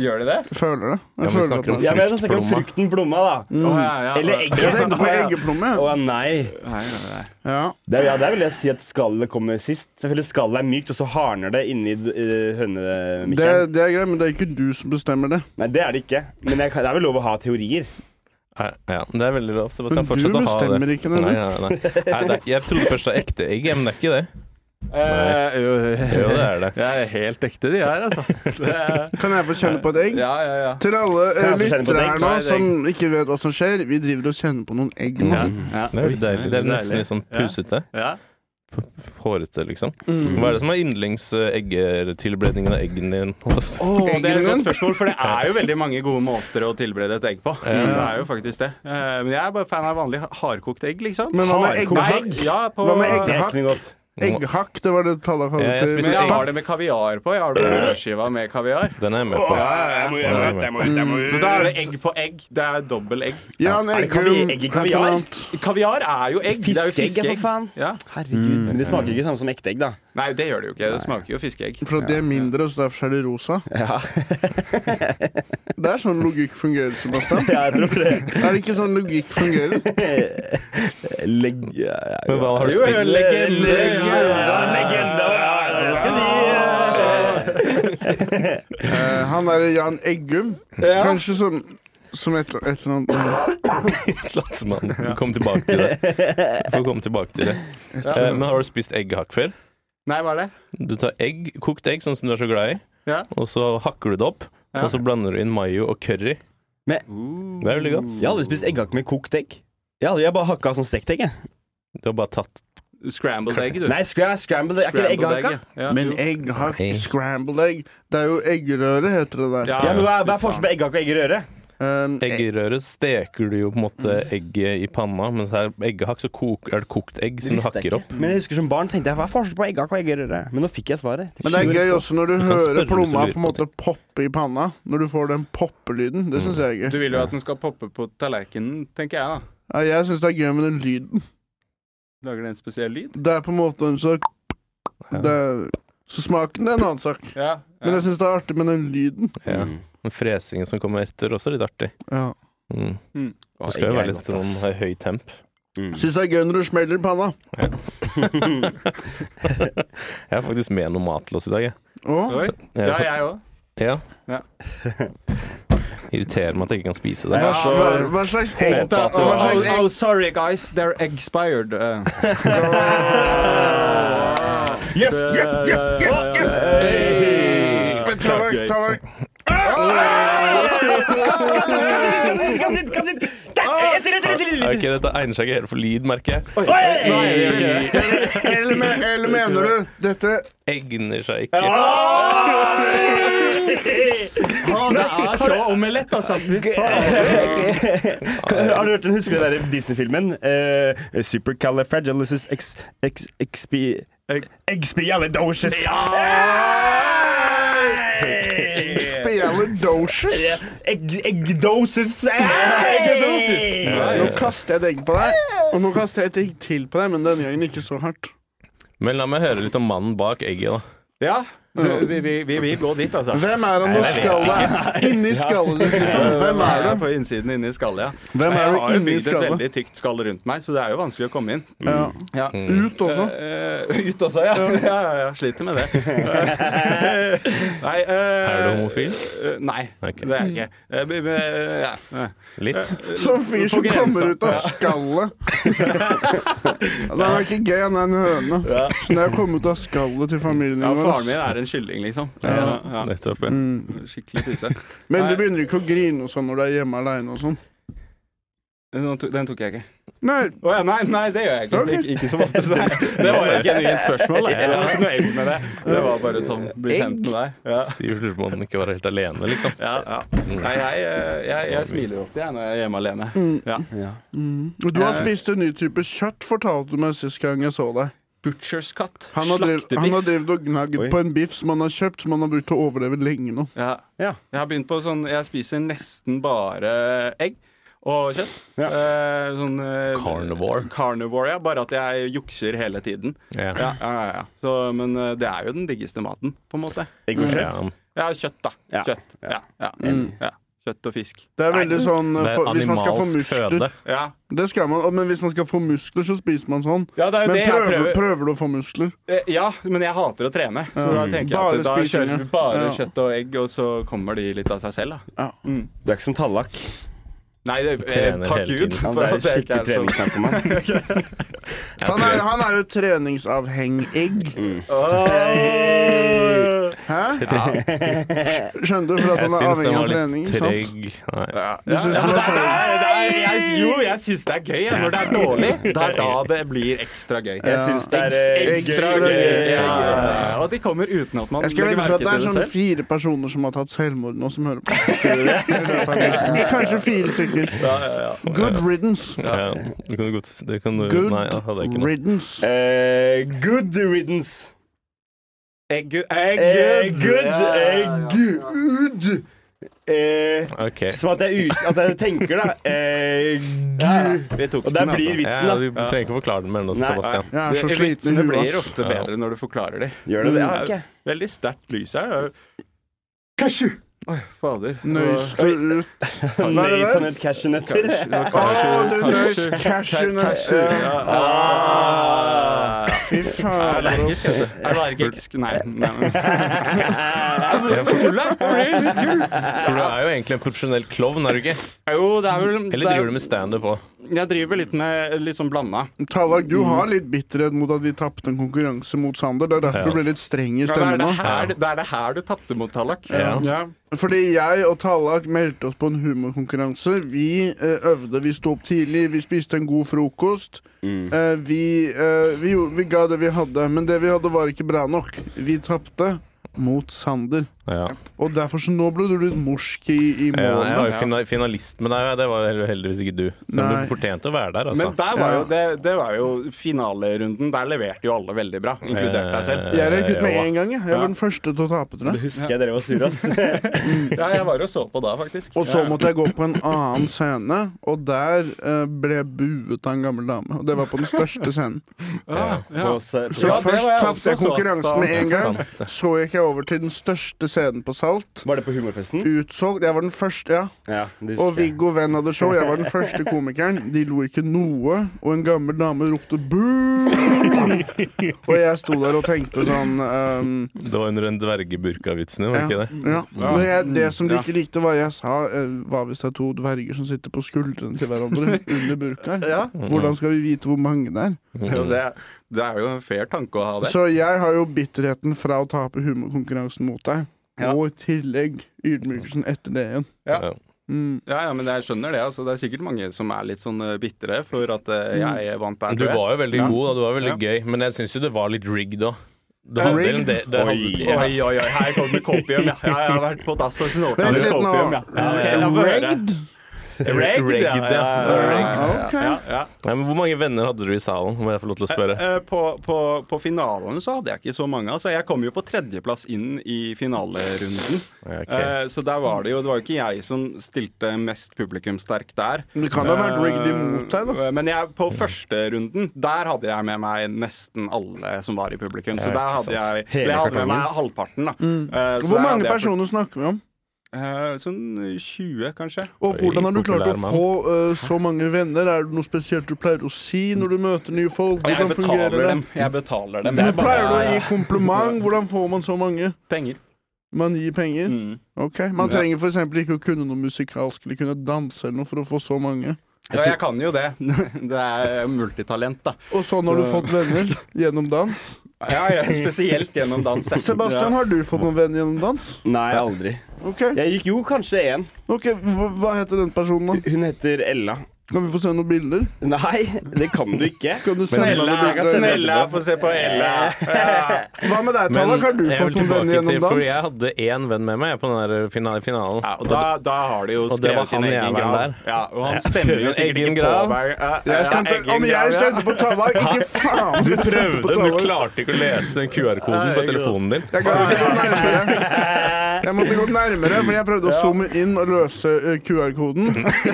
Gjør de det? Jeg føler det. Ja, Jeg men vi føler at snakker om- det. Ja, men jeg snakker om Fruktplomma. frukten plomma, da. Å, ja, ja. Mm. Eller egget. Jeg tenkte på eggeplomme. Å nei. Nei, nei, nei. Ja. Det, er- ja, der vil jeg si at skallet kommer sist. Jeg føler skallet er mykt, og så harner det inni uh, Det, hønemikkelen. det er greit, men det er ikke du som bestemmer det. Nei, det er det ikke. Men jeg, kan- det er vel lov å ha teorier. Nei, Ja, det er veldig lov. Sebastian, Men du fortsett å ha det. bestemmer ikke det, Nei, du. nei, nei. Nei, det er, ikke- jeg trodde først det var ekte egg, men det er ikke det. Eh, jo, Jo, det er det. Det er helt ekte, de her, altså. Det er, Kan jeg få kjenne på et egg? ja, ja, ja. Til alle eh, jeg også kjenne på et lyttere egg? her nå Nei, det er som ikke vet hva som skjer, vi driver og kjenner på noen egg nå. Det er jo deilig. Det er nesten litt sånn pusete. Ja. Hårete, liksom. Hva er det som er yndlings-eggetilberedningen av eggen din? Å, det er et godt Eggen. spørsmål, for det er jo veldig mange gode måter å tilberede et egg på. Det er jo faktisk det. Eh, Men jeg er bare fan av vanlig hardkokt egg, liksom. Men hva med Hardkokt Nei, egghakk? ja, på, Hva med Det er egg? ikke noe godt. Egghakk, det var det tallet Ja, jeg jeg kalte spiste Men til. jeg har det med kaviar på. Jeg har det på brødskiva med kaviar. Den er jeg med på. Så da er det egg på egg. Det er dobbel egg. Jan Er det Eggum. kavi- egg i er ikke noe kaviar? annet. Kaviar er jo egg. Mm. Det er jo Fiskeegg, ja, for fiskeegg. faen. Ja. Herregud. Men det smaker ikke samme som ekte egg, da. Nei, det gjør det jo ikke. Det smaker jo fiskeegg. For at de er mindre, så derfor er de rosa. det er sånn logikk fungerer, Sebastian. Jeg tror det. Er det ikke sånn logikk fungerer? Legg... Ja, ja, Men hva har du Jo, jo, spist? legende. Legende. Ja, Legende. Ja, det skal jeg si. Eh, han er Jan Eggum. Kanskje som, som et, et eller annet Slagsmann. Kom tilbake til det. Du får komme tilbake til det. Eh, Men har du spist egghakk før? Nei, hva er det? Du tar egg, kokt egg, sånn som du er så glad i, Ja. og så hakker du det opp. Ja. Og så blander du inn mayo og curry. Det er veldig godt. Jeg har aldri spist egghakk med kokt egg. Jeg har aldri- jeg har bare hakka sånn stekt egg. jeg. Du har bare tatt Scrambled egg, du. Nei, scra- scrambled Er ikke det Scrambled egghakka? egg, ja. Men egghakk, scrambled egg Det er jo eggerøre, heter det der. Ja, men Hva er, hva er forskjellen på egghakk og egg i røre? Um, egg. eggerøre, steker du jo på en måte egget i panna, mens her eggehakk så kok, er det kokt egg som du hakker opp. Men jeg husker Som barn tenkte jeg hva er forskjellen på egghakk og egg i røre? Men nå fikk jeg svaret. Men det er gøy også når du kan hører spørre hvis du plomma lurer på en på Mm. måte poppe i panna. Når du får den poppelyden. Det syns jeg er Du gøy. vil jo at den skal poppe på tallerkenen, tenker jeg, da. Ja, jeg syns det er gøy med den lyden. Lager det en spesiell lyd? Det er på en måte en sak det er, Så smaken det er en annen sak. Ja. Men ja. jeg syns det er artig med den lyden. Ja. Men fresingen som kommer etter, også er litt artig. Ja. Mm. Mm. Det skal jo være litt sånn høy- høy temp. Syns det er gøy når du smeller i panna. Jeg har faktisk med noe mat til oss i dag, jeg. Å, Oi. jeg Ja, har jeg òg. fått- ja. Ja. Irriterer meg at jeg ikke kan spise det. hva, Ja, hva, hva slags egg? Oh, Hva slags egg? oh, sorry, guys. They're expired. Uh. Yes, yes, yes, yes, yes! Hey! Men tallerk, tallerk. Kast inn, kast inn! Etter, etter, etter, etter! Ok, dette egner seg ikke helt for lyd, merker jeg. Oi! Eller, men- eller mener du dette Egner seg ikke. det er så omelett, altså. Har du hørt den, husker du den der Disney-filmen? Uh, Supercalifragilisticexpialidocious Expialidocious spiller doshers? Eggdosis Nå kaster jeg et egg på deg, og nå kaster jeg et egg til på deg, men denne gangen ikke så hardt. Men la meg høre litt om mannen bak egget, da. Ja, du, vi, vi, vi vil gå dit, altså. Hvem er han Nei, og jeg vet skallet? Inni skallet, liksom. Hvem er det? På innsiden inni skallet, ja. Hvem er jeg det har jo inni bygd et skallet? veldig tykt skall rundt meg, så det er jo vanskelig å komme inn. Ja. Ja. Ut også. Eh, ut også, ja. ja, ja, ja. Sliter med det. nei, eh, Er du homofil? eh, nei, Ok. det er jeg ikke. Eh, men, eh, ja, eh. Litt. Så en Sånn fyr På som grensa. kommer ut av skallet. Ja, Den er ikke gay, han er en høne. Så når jeg kom ut av skallet til familien ja, din faren min vår er en kylling, liksom. Ja, ja. Nettopp, Mm. ja. Skikkelig pyse. Men du Nei. begynner ikke å grine og sånn når du er hjemme aleine og sånn? Den tok, den tok jeg ikke. Nei, Å ja, nei, nei, det gjør jeg ikke. Ok. Ikke, ikke så ofte. Så det, det var et genuint spørsmål. da. Det var ikke noe egg med det. Det var bare sånn bli kjent med deg. Ja. Sier lurer på om han ikke var helt alene, liksom. Ja, ja. Nei, jeg, eh, jeg, jeg smiler ofte jeg, når jeg er hjemme alene. Mm. Ja. Du har Eh. spist en ny type kjøtt, fortalte du meg sist gang jeg så deg. Butchers cut. Han har, drevet, han har Slaktebiff. drevet og gnagd Oi. på en biff som han har kjøpt, som han har brukt til å overleve lenge nå. Ja. Ja. Jeg har begynt på sånn Jeg spiser nesten bare egg og kjøtt. Ja. Eh, sånn eh, Carnivore. Carnivore, ja. Bare at jeg jukser hele tiden. Ja. Ja, ja, ja, ja. Så, men eh, det er jo den diggeste maten, på en måte. Egg og kjøtt. Ja. Ja, kjøtt, da. Ja. Kjøtt. Ja, ja. Mm. ja. Kjøtt og fisk. Det er veldig sånn Det eh, er for, Hvis man skal få animalsk muskler føde. Ja, Det skal man, og- Men hvis man skal få muskler, så spiser man sånn. Ja, det er jo Men det jeg prøver, prøver. prøver du å få muskler? Eh, Ja, men jeg hater å trene. Så da tenker jeg Bare at da spising, kjører vi ja. bare Ja. kjøtt og egg, og så kommer de litt av seg selv, da. Du er ikke som tallak. Nei, det, eh, Trener hele takk Gud. tiden. Ja, det for er at jeg ikke skikkelig er sånn. treningsnarkoman. Han er, han er jo treningsavhengig. Mm. sånn. Åh! Hæ? Skjønner du? For at Jeg han er syns avhengig den var av trening. litt ikke sant? treg. Nei. Du Ja, ja, syns ja, den det var er- treg? det er- jeg- Jo, jeg syns det er gøy ja, når det er dårlig. Det er da det blir ekstra gøy. Jeg Ja. syns det er eh, Egg- ekstra egg- gøy. Ja, Ja. ja, ja. Og de kommer uten at man Jeg skal legger legge for merke at det er til sånn det selv. fire personer som har tatt selvmord nå, som hører på. Kanskje fire stykker. Ja, ja, ja. Good riddance. Ja. Det kan du godt det kan du, Good Nei, da hadde jeg ikke noe. riddance. Eh, good riddance. Egg, egg, Eh, good. Ja, ja, Eh, ja. good. Eh, OK. som at jeg, us at jeg tenker, da. Eh, gu- Vi tok Og der den, blir altså. vitsen, da. Ja, du trenger ikke å forklare den mer nå, Nei. Sebastian. Jeg er så Det- sliten i Vitsene huet. blir ass. ofte bedre når du forklarer dem. Gjør det det? Ja, Ja, ok. Veldig sterkt lys her. Cashew! Oi, fader. Nøyste ut. Hva er det Nøys der? og nøtt sånn cashewnøtter. Å, du nøys Cashew. cashewnøtt. Ah. Fy faen. Allergisk, vet du. Allergisk. Nei. nei, men- Ja, for, Tull, da. Det blir litt tull. for du er jo egentlig en profesjonell klovn, er du ikke? Jo, det er vel det Eller er- driver du med standup òg? Jeg driver litt med litt sånn blanda. Tallak, du har litt bitterhet mot at vi tapte en konkurranse mot Sander. Det er derfor du ble litt streng i Mm. Ja, det, er stemmen det, nå. her, det er det her du tapte mot Tallak. Ja. Fordi jeg og Tallak meldte oss på en humorkonkurranse. Vi eh, øvde, vi sto opp tidlig, vi spiste en god frokost. Mm. Eh, vi, eh, vi, gjorde- vi ga det vi hadde, men det vi hadde, var ikke bra nok. Vi tapte mot Sander. Ja. Og derfor så nå ble du litt morsk i, i Ja, jeg var målene. jo fina- finalist med deg, og det var hel- heldigvis ikke du. Så Nei. du fortjente å være der, altså. Men der var jo, det, det var jo finalerunden. Der leverte jo alle veldig bra, inkludert deg Eh. selv. Jeg røyk ut med Ja. én gang. Jeg Jeg var den første til å tape, tror jeg. Husker jeg dere var sure, ass. Ja, jeg var og så på da, faktisk. Og så måtte jeg gå på en annen scene, og der eh, ble jeg buet av en gammel dame. Og det var på den største scenen. Ja, ja. På s- Så Ja, det var jeg først også tapte jeg så da. konkurransen med en gang. Sant det. Så gikk jeg over til den største scenen på Salt. Var det på humorfesten? Utsolgt. Jeg var den første, ja. Ja, det Og husker jeg. Viggo Venn hadde show. Jeg var den første komikeren. De lo ikke noe, og en gammel dame ropte 'boo'! Og jeg sto der og tenkte sånn ehm, Det var under den dvergeburkavitsen, var det ja, ikke det? ja. Det, jeg, det som de ikke likte, var jeg sa eh, Hva hvis det er to dverger som sitter på skuldrene til hverandre under burkaer? Hvordan skal vi vite hvor mange det er? Mm. Jo, det, det er jo en fair tanke å ha det. Så jeg har jo bitterheten fra å tape humorkonkurransen mot deg. Ja. Og i tillegg ydmykelsen etter det igjen. Ja. Ja. Mm. Ja, ja, men jeg skjønner det. Altså, det er sikkert mange som er litt sånn eh, bitre for at eh, jeg vant der. Mm. Du tror jeg. var jo veldig Ja. god, da. Du var veldig gøy. Men jeg syns jo det var litt rigged òg. Det handler Rigged? om det, det handler, ja. Oi, oi, oi, her kommer kopium. Ja, Ja, jeg har vært på dass og snorta Vent litt nå. kopium. Ja. Ja, ok, la meg høre. Rigged? Ragged, Ragged, ja. ja. ja, ja, ja, Ok. ja, ja. Nei, men hvor mange venner hadde du i salen, om jeg får lov til å spørre? Eh, eh, På, på, på finalen så hadde jeg ikke så mange. Altså, jeg kom jo på tredjeplass inn i finalerunden. Ja, ok. Eh, Så der var det jo Det var jo ikke jeg som stilte mest publikumssterk der. Men det kan da ha vært rigged Eh, imot deg, da. Men jeg, på første runden, der hadde jeg med meg nesten alle som var i publikum. Ja, Så der ikke hadde sant. jeg, Hele jeg hadde kartongen. med meg halvparten, da. Eh, så Mm. Hvor der mange hadde jeg- personer snakker vi om? Eh, Sånn 20, kanskje. Og hvordan har du klart å populær mann. få eh, så mange venner? Er det noe spesielt du pleier å si når du møter nye folk? Og jeg Hvordan fungerer betaler det? dem. Jeg betaler dem. Men Jeg bare- pleier du å gi kompliment? Hvordan får man så mange? penger. Man gir penger. Mm. Ok, Man Ja. trenger f.eks. ikke å kunne noe musikalsk eller kunne danse eller noe for å få så mange. Ja, jeg kan jo det. Det er multitalent, da. Og sånn har du Så- fått venner gjennom dans. Ja, ja, spesielt gjennom dans. jeg. Sebastian, har du fått noen venner gjennom dans? Nei, aldri. Ok, Jeg gikk jo kanskje én. ok, Hva, hva heter den personen, da? Hun heter Ella. Kan vi få se noen bilder? Nei, det kan du ikke. Kan du sende meg Ella, noen bilder? Ella, få se på Ella. Ja. Hva med deg, Tallak? Har du jeg vil fått noen venner tilbake til- gjennom For dans? jeg hadde én venn med meg på den der fina- finalen. Ja, og da, da har de jo Og det var skrevet sin han egen jævelen grav. der. Ja, og han Ja, stemmer jo skrevet sikkert egen ikke grav. på meg. Ja, ja, Jeg ja, stemte, egen om jeg grav, stemte på Tallak, ikke faen! Du jeg stemte prøvde, på men du Tallak. klarte ikke å lese den QR-koden på telefonen din. Jeg kan ikke gå nærmere. Jeg måtte gå nærmere, for jeg prøvde å zoome inn og løse eh, QR-koden.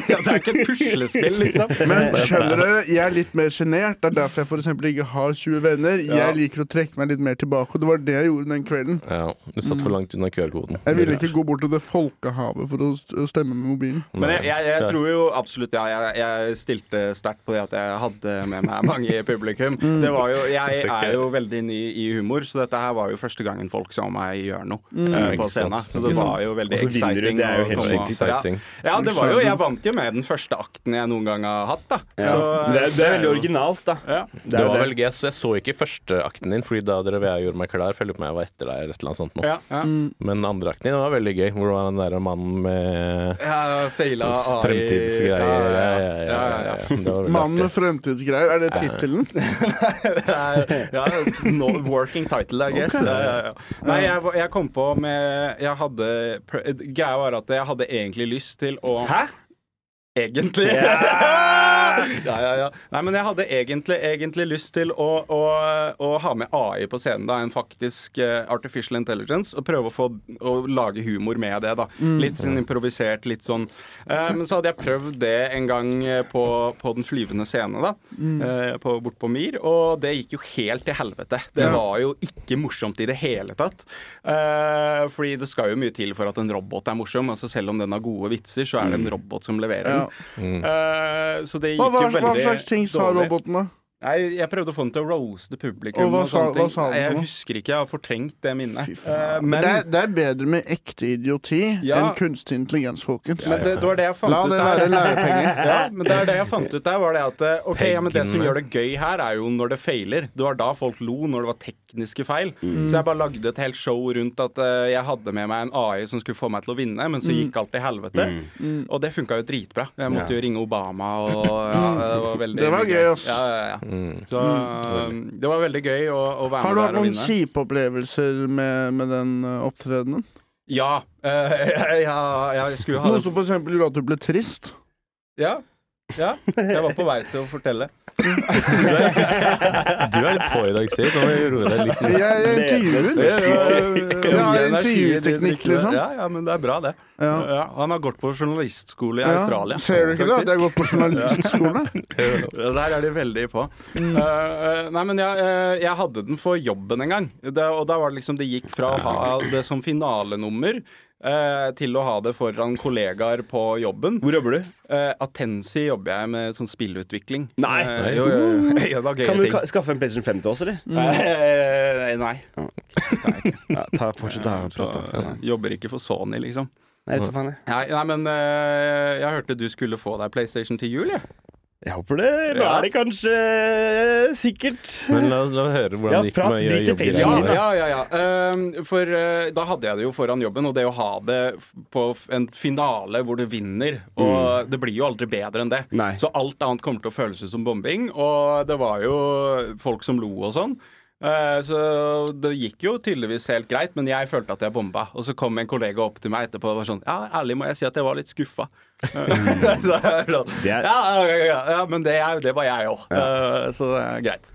ja. Det er ikke et puslespill, liksom. Men skjønner dere, jeg er litt mer sjenert. Det er derfor jeg for eksempel ikke har 20 venner. Ja. Jeg liker å trekke meg litt mer tilbake, og det var det jeg gjorde den kvelden. Ja, du satt for langt unna QR-koden. Jeg ville ikke gå bort til det folkehavet for å s- å stemme med mobilen. Men jeg, jeg, jeg tror jo absolutt ja, jeg, jeg stilte sterkt på det at jeg hadde med meg mange i publikum. Det var jo, jeg er jo veldig ny i humor, så dette her var jo første gangen folk så meg gjøre noe eh, Ikke på sant. scenen. Så Ikke det sant. var jo veldig Og så vinner du, exciting. det er jo å helt komme- sykt exciting. Ja. ja, det var jo Jeg vant jo med den første akten jeg noen gang har hatt, da. Ja. Så, Det, er- det er veldig originalt, da. ja. Det er jo var vel gøy, så Jeg så ikke første akten din, Fordi da drev jeg og gjorde meg klar. For jeg lurer på om jeg var etter deg eller et eller annet sånt nå. Ja, ja. Men andre akten din var veldig gøy. Hvor det var den derre mannen med Jeg feila AI. fremtidsgreier. Ja, ja, ja. ja, ja, ja. Det var veldig Mannen med artig. fremtidsgreier, er det tittelen? Det er- ja, no working title, I guess. Ja, ja, ja. Nei, jeg, var- jeg kom på med Jeg hadde pr- Greia var at jeg hadde egentlig lyst til å Hæ? Egentlig! ja, ja, ja. Nei, men jeg hadde egentlig, egentlig lyst til å, å, å ha med AI på scenen, da. En faktisk eh, artificial intelligence. Og prøve å, få, å lage humor med det, da. Litt sånn improvisert, litt sånn. Eh, men så hadde jeg prøvd det en gang eh, på, på Den flyvende scene, da. eh, på, bort på Myr. Og det gikk jo helt til helvete. Det var jo ikke morsomt i det hele tatt. Eh, fordi det skal jo mye til for at en robot er morsom. Altså Selv om den har gode vitser, så er det en robot som leverer Ja. den. Eh, så det gikk Hva, hva, jo veldig hva slags ting sa dårlig. roboten, da? Nei, jeg prøvde å få den til å roaste publikum. Og hva sa- sånne ting. hva sa den Nei, da? Jeg husker ikke, jeg har fortrengt det minnet. Men, Eh, det, men er, det er bedre med ekte idioti Ja. enn kunstig intelligens, folkens. men det, det var det jeg fant La ut det der. være lærepenger. Ja, men det er det jeg fant ut der, var det at eh, ok, ja, men det som gjør det gøy her, er jo når det feiler. Det var da folk lo, når det var tekniske feil. Mm. Så jeg bare lagde et helt show rundt at eh, jeg hadde med meg en AI som skulle få meg til å vinne, men så Mm. gikk alt til helvete. Og det funka jo dritbra. Jeg måtte jo ringe Obama og ja, det var veldig Mm. Det var gøy, ass. Mm. Ja, ja, ja. Så eh, det var veldig gøy å, å være Har du med hatt der og noen vinne. kjipe opplevelser med, med den eh, opptredenen? Ja. eh, ja, ja, jeg skulle ha Noe det som for eksempel gjorde at du ble trist? Ja. Ja, jeg var på vei til å fortelle. Du er litt på i dag, Siv. Nå må jeg roe deg litt ned. Jeg, jeg Det er intervjuer. det Jeg har intervjuteknikk, liksom. Ja, ja, men det er bra, det. Ja. Ja, han har gått på journalistskole i Ja. Australia. Ser du ikke det? faktisk. at jeg har gått på journalistskole. Der er de veldig på. Mm. Eh, eh, nei, men jeg, eh, jeg hadde den for jobben en gang. Det, og da var det liksom Det gikk fra å ha det som finalenummer eh, til å ha det foran kollegaer på jobben. Hvor jobber du? Uh, Atensi jobber jeg med sånn spillutvikling. Nei. Eh, jo, jo, jo. Ja, da, gøye Kan du ting. ka skaffe en PlayStation 5 til oss, eller? Eh, nei. Ja, ta, fortsett å prate. Så, eh, Jobber ikke for Sony, liksom. Nei, vet du faen, jeg. Nei, nei men eh, jeg hørte du skulle få deg PlayStation til jul, jeg. Jeg håper det. Nå Ja. er det kanskje eh, sikkert. Men la oss la oss høre Ja, hvordan det gikk prat med dritt i pels. jobbgreiene. Ja, Ja. ja, ja. ja. Ehm, for eh, da hadde jeg det jo foran jobben, og det å ha det f- på f- en finale hvor du vinner Og det blir jo aldri bedre enn det. Nei. Så alt annet kommer til å føles ut som bombing, og det var jo folk som lo og sånn. Eh, Så det gikk jo tydeligvis helt greit, men jeg følte at jeg bomba. Og så kom en kollega opp til meg etterpå og var sånn Ja, ærlig må jeg si at jeg var litt skuffa. Mm. så jeg var sånn, Det ja, er- ja, ja, ja, ja, men det, er, det var jeg òg. Så det er greit.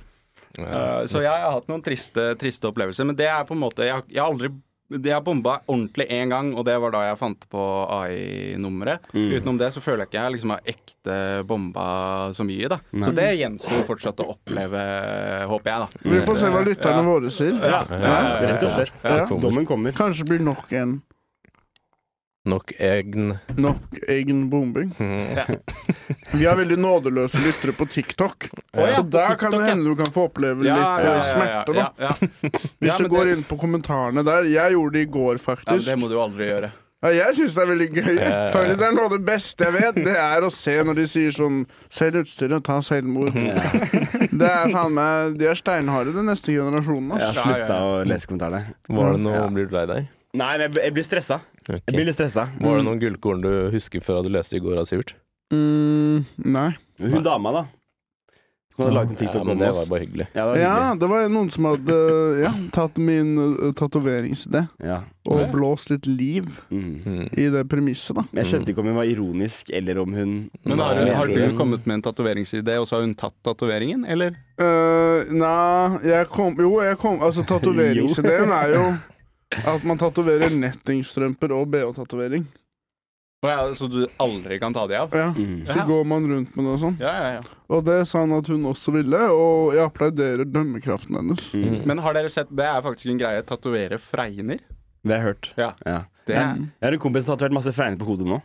Eh, Så jeg har hatt noen triste, triste opplevelser, men det er på en måte Jeg, har- jeg har aldri det har bomba ordentlig én gang, og det var da jeg fant på AI-nummeret. Mm. Utenom det så føler jeg ikke jeg liksom har ekte bomba så mye, da. Så det gjenstår fortsatt å oppleve, håper jeg, da. Eh, Vi får se hva lytterne våre sier. Rett og slett. Ja. Dommen kommer. Kanskje blir nok en Nok egen nok egen bombing. Mm. Vi er veldig nådeløse lyttere på TikTok, ja, så på der kan TikTok, det ja. hende du kan få oppleve Ja, litt eh, ja, ja, ja, smerte, da. ja, ja. Hvis Ja, du men går det- inn på kommentarene der. Jeg gjorde det i går, Ja, men faktisk. det må du aldri gjøre. Ja, jeg syns det er veldig gøy. Faktisk, det er noe av det beste jeg vet. Det er å se når de sier sånn Selg utstyret, ta selvmord. Det er faen meg De er steinharde, den neste generasjonen. Jeg ass. har slutta å lese kommentarene. Var det noe Blir du lei deg? Nei, men jeg jeg blir stressa. Ok. Mm, Jeg blir mm. litt stressa. Var det noen gullkorn du husker fra du leste i går av Sivert? Mm, nei. Hun dama, da. Som hadde laget en Ja, TikTok men om det oss. var bare hyggelig. Ja, det var Ja, hyggelig. det var noen som hadde eh, ja, tatt min uh, tatoveringsidé Ja. og blåst litt liv Mm. i det premisset, da. Men Jeg skjønte ikke om hun var ironisk, eller om hun Men har, Nei, du- jeg har tror du det. kommet med en tatoveringsidé, og så har hun tatt tatoveringen, eller? Eh, nei, jeg kom Jo, jeg kom Altså, tatoveringsideen er jo at man tatoverer nettingstrømper og bh-tatovering. Å ja, Så du aldri kan ta de av? Ja. mm. Så går man rundt med det og sånn. Ja, ja, ja. Og det sa han at hun også ville, og jeg applauderer dømmekraften hennes. Mm. Men har dere sett Det er faktisk en greie. Tatovere fregner. Det har jeg hørt. Ja. Ja. Det er Jeg har en kompis som har tatovert masse fregner på hodet nå.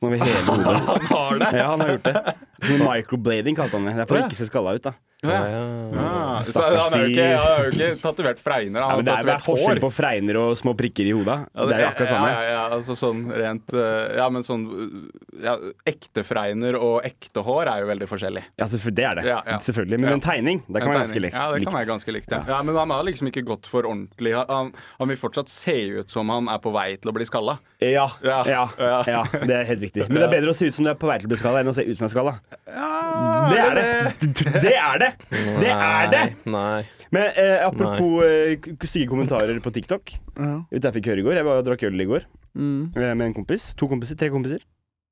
Sånn over hele hodet. Han har det! Ja, han har gjort det. Sånn microblading kalte han det. Det er for Ja. å ikke se skalla ut, da. Ja, ja. Ah, så han er jo ikke, han er jo ikke tatovert fregner, Ja, han men det har er, det er tatovert forskjell hår. på fregner og små prikker i hodet. Det er jo akkurat samme. Ja, ja, ja, altså sånn rent eh, Ja, men sånn eh, ja, Ekte fregner og ekte hår er jo veldig forskjellig. Ja, selvfø- det er det. Ja, ja. Selvfølgelig. Men Ja. en tegning, det kan En være ganske tegning. likt. Ja, det kan likt. være ganske likt. Ja. Ja. men han har liksom ikke gått for ordentlig. Han, han vil fortsatt se ut som han er på vei til å bli skalla. Ja, ja, Ja. ja, Ja. det er helt riktig. Men det er bedre å se ut som du er på vei til å bli skalla, enn å se ut som en skalla. Det er det! Det er det! Det er det! Nei. Men eh, apropos eh, k- stygge kommentarer på TikTok. Vet du hva jeg fikk høre i går? Jeg var og drakk øl i går Mm. eh, med en kompis. To kompiser. Tre kompiser.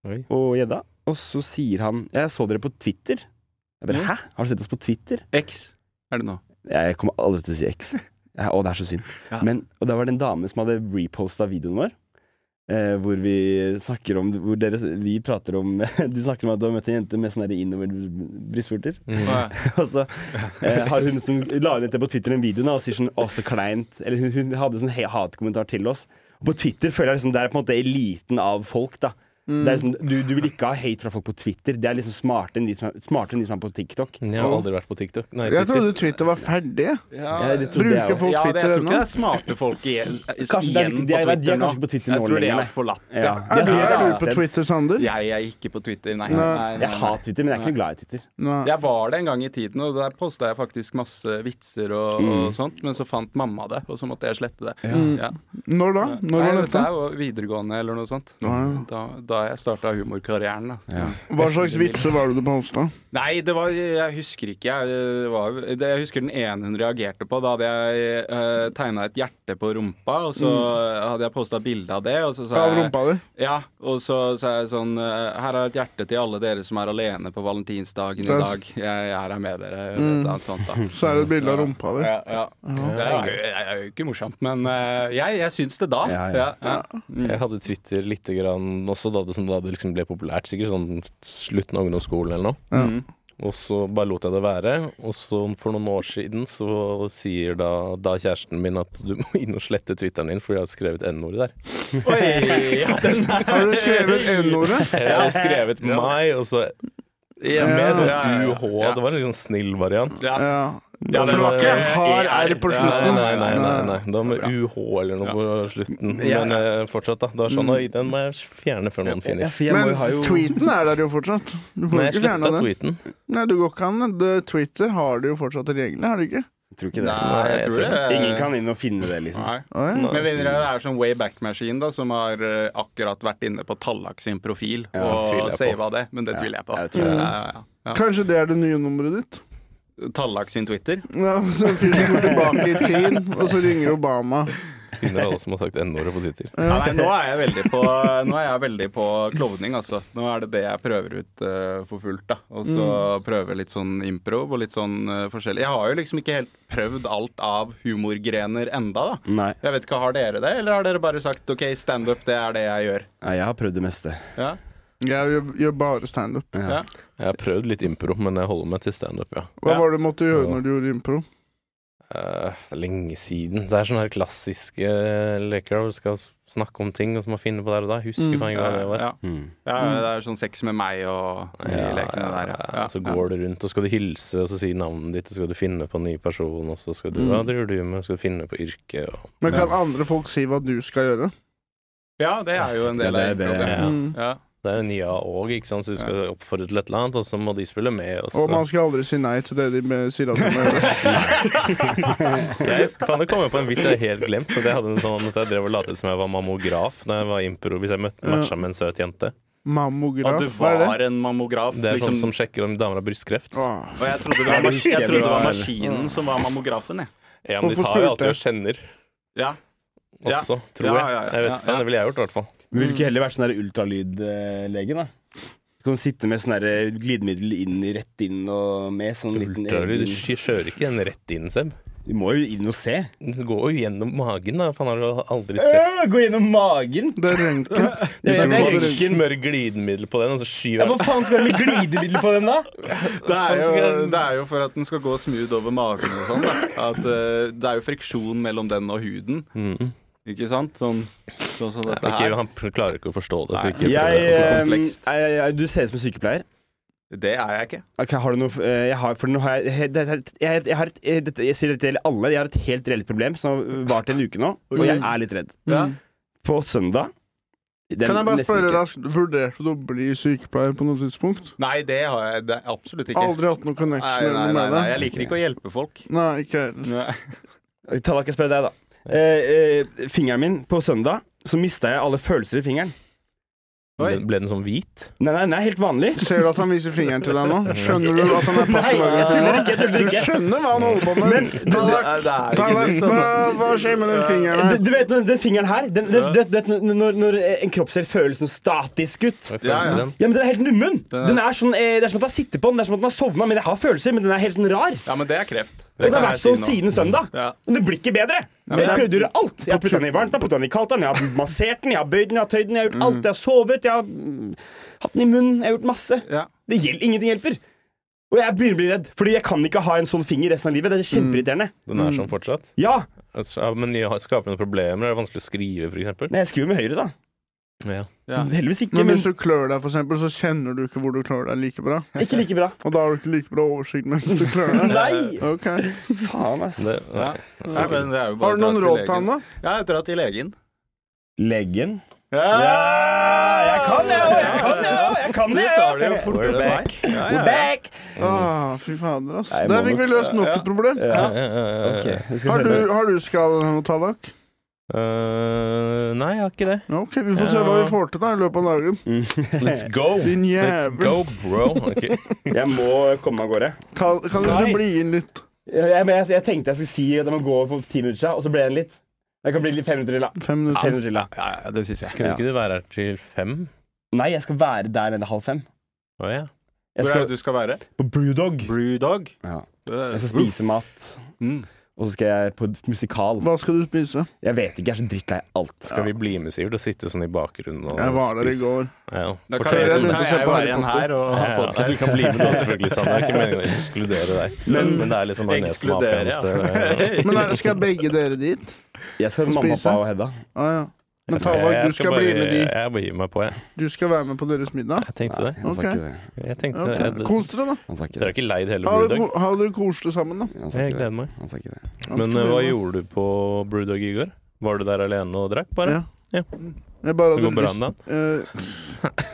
Oi. Og gjedda. Og så sier han Jeg så dere på Twitter. Jeg Mm. bare, Hæ? Har du sett oss på Twitter? X er det nå. Jeg kommer aldri til å si X. Ja, og det er så synd. Ja. Men, og da var det en dame som hadde reposta videoen vår. Eh, hvor vi snakker om Hvor dere, vi prater om Du snakker om at du har møtt en jente med sånn der innover brystvorter. Å, ja. Og så eh, har hun som la ut dette på Twitter en video da, og sier sånn Å, så kleint. Eller hun, hun hadde sånn he- hatkommentar til oss. Og på Twitter føler jeg liksom det er på en måte eliten av folk, da. Det er liksom, du, du vil ikke ha hate fra folk på Twitter. Det er liksom smartere enn de som er, smartere enn de som er på TikTok. Jeg har aldri vært på TikTok. Nei, Jeg Twitter. trodde Twitter var ferdig. Jeg, sånn, det trodde jeg Bruker også. folk Ja, det, jeg Twitter tror ikke ennå? det er smarte folk i, i, Kanskje det er- igjen de er- på de er Twitter nå. kanskje på Twitter nå Jeg tror de lenger, er forlatt. det. Ja. Er du, Jeg, er du på jeg, Twitter, Sander? Jeg er ikke på Twitter, nei. Nei. nei, nei, nei. jeg hater Twitter, men jeg er ikke noe glad i Twitter. Nei. Jeg var det en gang i tiden, og der posta jeg faktisk masse vitser og, Mm. og sånt, men så fant mamma det, og så måtte jeg slette det. Ja. Når da? Når Nei, var dette dette? er jo videregående eller noe sånt. Da, da jeg starta humorkarrieren, da. Hva slags vitser var det du posta? Nei, det var Jeg husker ikke. Jeg, det var, det, jeg husker den ene hun reagerte på. Da hadde jeg uh, tegna et hjerte på rumpa, og så hadde jeg posta bilde av det. Og så sa Av jeg rumpa di? Ja, og så sa jeg sånn eh, Her er et hjerte til alle dere som er alene på valentinsdagen i Det er s- dag. Jeg, jeg er her med dere. eller et eller annet sånt, da. Så er det et bilde av rumpa di. Ja, ja. Det er jo- det er jo ikke morsomt, men eh, jeg, jeg syns det da. Ja, ja. Jeg hadde Twitter lite grann også da det, som da det liksom ble populært, sikkert sånn slutten av ungdomsskolen eller noe. Og så bare lot jeg det være. Og så for noen år siden så sier da, da kjæresten min at du må inn og slette Twitteren din fordi jeg har skrevet N-ordet der. Oi! Ja, den er Har du skrevet N-ordet? Jeg hadde skrevet meg, og så med sånn UH. Det var en litt sånn snill variant. ja. Ja. Ja, For det du har var- ikke hard R på Ja, Nei, slutten? nei, nei. nei, nei. Da med UH eller noe på slutten. Men eh, fortsatt, da. Det var sånn Oi, den må jeg fjerne før noen Ja, finner. for jeg må Men jo ha jo tweeten er der jo fortsatt. Du får Men jeg ikke fjerna sletta den. tweeten. Nei, du går ikke an. Det- Twitter har det jo fortsatt reglene, har det ikke? Tror ikke det. Nei, jeg tror det. Ingen kan inn og finne det, liksom. Nei. Å, ja. Men mindre det er sånn Wayback-maskin, da, som har eh, akkurat vært inne på Tallak sin profil tviler og jeg på. sava det. Men det tviler jeg på. jeg tror det. Ja, ja, ja. Kanskje det er det nye nummeret ditt? Tallak sin Twitter. Ja, så fyren går tilbake i tid, og så ringer Obama. Finner alle som har sagt N-ordet på Twitter. Ja, nei, nå er jeg veldig på, nå er jeg veldig på klovning, altså. Nå er det det jeg prøver ut eh, for fullt, da. Og så prøve litt sånn improv og litt sånn eh, forskjellig. Jeg har jo liksom ikke helt prøvd alt av humorgrener enda, da. Nei. Jeg vet ikke, Har dere det, eller har dere bare sagt OK, standup, det er det jeg gjør? Nei, jeg har prøvd det meste. Ja? Jeg gjør, gjør bare standup. Ja. Jeg har prøvd litt impro, men jeg holder meg til standup, ja. Hva Ja. var det du måtte gjøre når du gjorde impro? Eh, lenge siden. Det er sånne her klassiske eh, leker der hvor du skal snakke om ting og så må finne på der og da. Husker Mm. faen ikke hva det var. Ja. Mm. Ja, det er sånn sex med meg og de lekene der. Ja. Ja. Så går du rundt, og skal du hilse, og så si navnet ditt, og så skal du finne på en ny person, og så skal du Mm. Hva driver du med? Skal du finne på yrke og Men kan andre folk si hva du skal gjøre? ja, det er jo en del Ja, av det er det, improv, Ja. Mm. Ja. Det er en ja òg, ikke sant, så du skal oppfordre til et eller annet, og så må de spille med, og så Og man skal aldri si nei til det de be- sier at de må gjøre. Jeg husker, faen, det kom jeg på en vits jeg helt glemt. At jeg hadde en sånn at jeg drev og lot som jeg var mammograf da jeg var impro, hvis jeg møtte, matcha med en søt jente. Og Mammograf, du hva er det? Ah, var en mammograf? Det er liksom- sånn som sjekker om damer har brystkreft. Åh. Og jeg trodde det var, mas jeg trodde det var maskinen som var mammografen, jeg. Ja, men de Hvorfor tar jo spurte alltid og kjenner Ja. Ja. også, tror Ja, jeg. ja, ja, Jeg vet ja, ikke, faen, ja. det ville jeg gjort i hvert fall. Vil ikke heller være sånn der ultralydlege, da? Du kan sitte med sånn der glidemiddel inn, rett inn og med sånn liten Ultralyd egen- de kjører ikke den rett inn, Seb. Du må jo inn og se. Den går jo gjennom magen, da. Faen, har du Eh, aldri sett Øh, gå gjennom magen! Det er røntgen. Det, Jeg det, tror det man er bare røntgen. smører glidemiddel på den, og så Ja, skyver hva den. faen skal du med glidemiddel på den, da? Det er, jo, det er jo for at den skal gå smooth over magen og sånn, da. At eh, det er jo friksjon mellom den og huden, Mm. ikke sant? Sånn sånn som dette Ikke, her. han pr- klarer ikke å forstå det. Så Nei. ikke Jeg, prøver å forklare. for ehm, komplekst. jeg, jeg, du ser ut som en sykepleier. Det er jeg ikke. Ok, har du noe f- eh, jeg har, For nå har jeg he- det- det- Jeg, jeg, har et, eh, dette, jeg sier dette til alle. Jeg har et helt reelt problem som har vart en uke nå, og jeg Mm. er litt redd. Ja. På søndag den Kan jeg bare neste spørre uke- raskt, vurderte du å bli sykepleier på noe tidspunkt? Nei, det har jeg det er absolutt ikke. Aldri hatt noe Nei, connection nei, eller noe nei, nei, med det? jeg liker ikke å hjelpe folk. Nei, ikke jeg heller. Nei. Tallak, jeg spør deg, da. Eh, eh, fingeren min på søndag, så mista jeg alle følelser i fingeren. Oi. Ble- Ble den sånn hvit? Nei, nei, den er helt vanlig. Ser du at han viser fingeren til deg nå? Skjønner du at han er passiv Nei, jeg tuller ikke, jeg tuller aggressiv nå? Du ikke. skjønner hva han holder på med? Tallak, Det er jo ikke Tallak, nytt, altså. hva- hva skjer med den fingeren Du, her? du vet, den, den fingeren her den, den, du, vet- du vet, når, når eh, en kropp ser følelsen statisk ut Hva er Ja, ja. følelsen i den? Ja, men Den er helt nummen! Den er- Den er sånn, eh, det er som at den har sittet på den, det er som at den har sovna, men den har følelser. Men den er helt sånn rar. Ja, men det er kreft. Og det har kan vært jeg sånn si nå. siden søndag. Ja. Men det blir ikke bedre. Jeg prøvde å gjøre alt. Jeg har putta den i varmt, jeg har putta den i kaldt, den, jeg har massert den, jeg har bøyd den, jeg har tøyd den, jeg Mm. har gjort alt. Jeg har sovet, jeg har mm, hatt den i munnen, jeg har gjort masse. Ja. Det gjel, Ingenting hjelper. Og jeg begynner å bli redd, fordi jeg kan ikke ha en sånn finger resten av livet. Det er Mm. kjempeirriterende. Den er sånn fortsatt? Ja, Altså, ja, men jeg har- skaper noen problemer? Er det vanskelig å skrive, for eksempel? men jeg skriver med høyre, da. Ja. Ja. Heldigvis ikke, Men men hvis du klør deg, for eksempel, så kjenner du ikke hvor du klør deg like bra. ikke like bra. Og da har du ikke like bra oversikt mens du klør deg. Nei! Ok. Faen, ass. Det, nei. Ja. Nei, men det er jo bare Har du å dra noen til råd til legen. han, da? Ja, jeg drar til legen. Leggen. Ja, Jeg kan det, og jeg kan det, og jeg kan Du det! tar det jo fortere enn meg. We're Ja, ja, ja. back! Ah, fy fader, ass. Nei, jeg må Der fikk vi nok- løst nok ja. et problem. Ja. Ja, ja, ja, ja. Ok, vi skal Har du, følge med. har du skade nå, Tallak? Eh, nei, jeg har ikke det. Ja, ok, vi får se hva vi får til da i løpet av dagen. Let's go! Din Let's jævel. go, bro. Ok. Jeg må komme meg av gårde. Kan, kan ikke Nei. du bli inn litt? Jeg, jeg, men jeg, jeg tenkte jeg skulle si at jeg må gå for ti minutter siden, og så ble den litt. Jeg kan bli litt fem minutter til, da. Fem Fem minutter. minutter til, da. Ja, ja, det syns jeg. Kunne ikke du være her til fem? Nei, jeg skal være der nede halv fem. Å ja. Jeg Hvor er skal det du skal være? på Brewdog. Brewdog. Ja. Det- Jeg skal spise mat, Mm. og så skal jeg på musikal. Hva skal du spise? Jeg vet ikke, jeg er så drittlei alt. Skal vi bli med, Sivert, og sitte sånn i bakgrunnen? Og Jeg var der i spise? går. Ja, ja. Da kan Fortell jeg, jeg om det. begynte å se jeg på være Harry igjen her og Ja, ha ja, ja, du podcast. kan bli med nå, selvfølgelig, Sander. Det er ikke meningen å ekskludere deg. Men, det er liksom Ekskludere, majonesmafiaen. ja. Men er, skal begge dere dit? Jeg skal være Og mamma, spise? pappa og Hedda. Ah, ja. Men Tallak, du skal bli med de. Jeg bare gir meg på, jeg. Du skal være med på deres middag. Jeg tenkte det. Han sa Ok. ikke det. Jeg tenkte Ok, jeg- Kos dere, da. Han sa ikke Dere det. har ikke leid hele Ha det, Brewdog? ko- ha det koselig sammen, da. Han sa ikke Jeg det. gleder meg. Han sa ikke det. Han Men skal eh, bli hva med. gjorde du på Brewdog i går? Var du der alene og drakk, bare? Ja. Ja. Jeg bare Det hadde går bra lyst- med deg? Eh,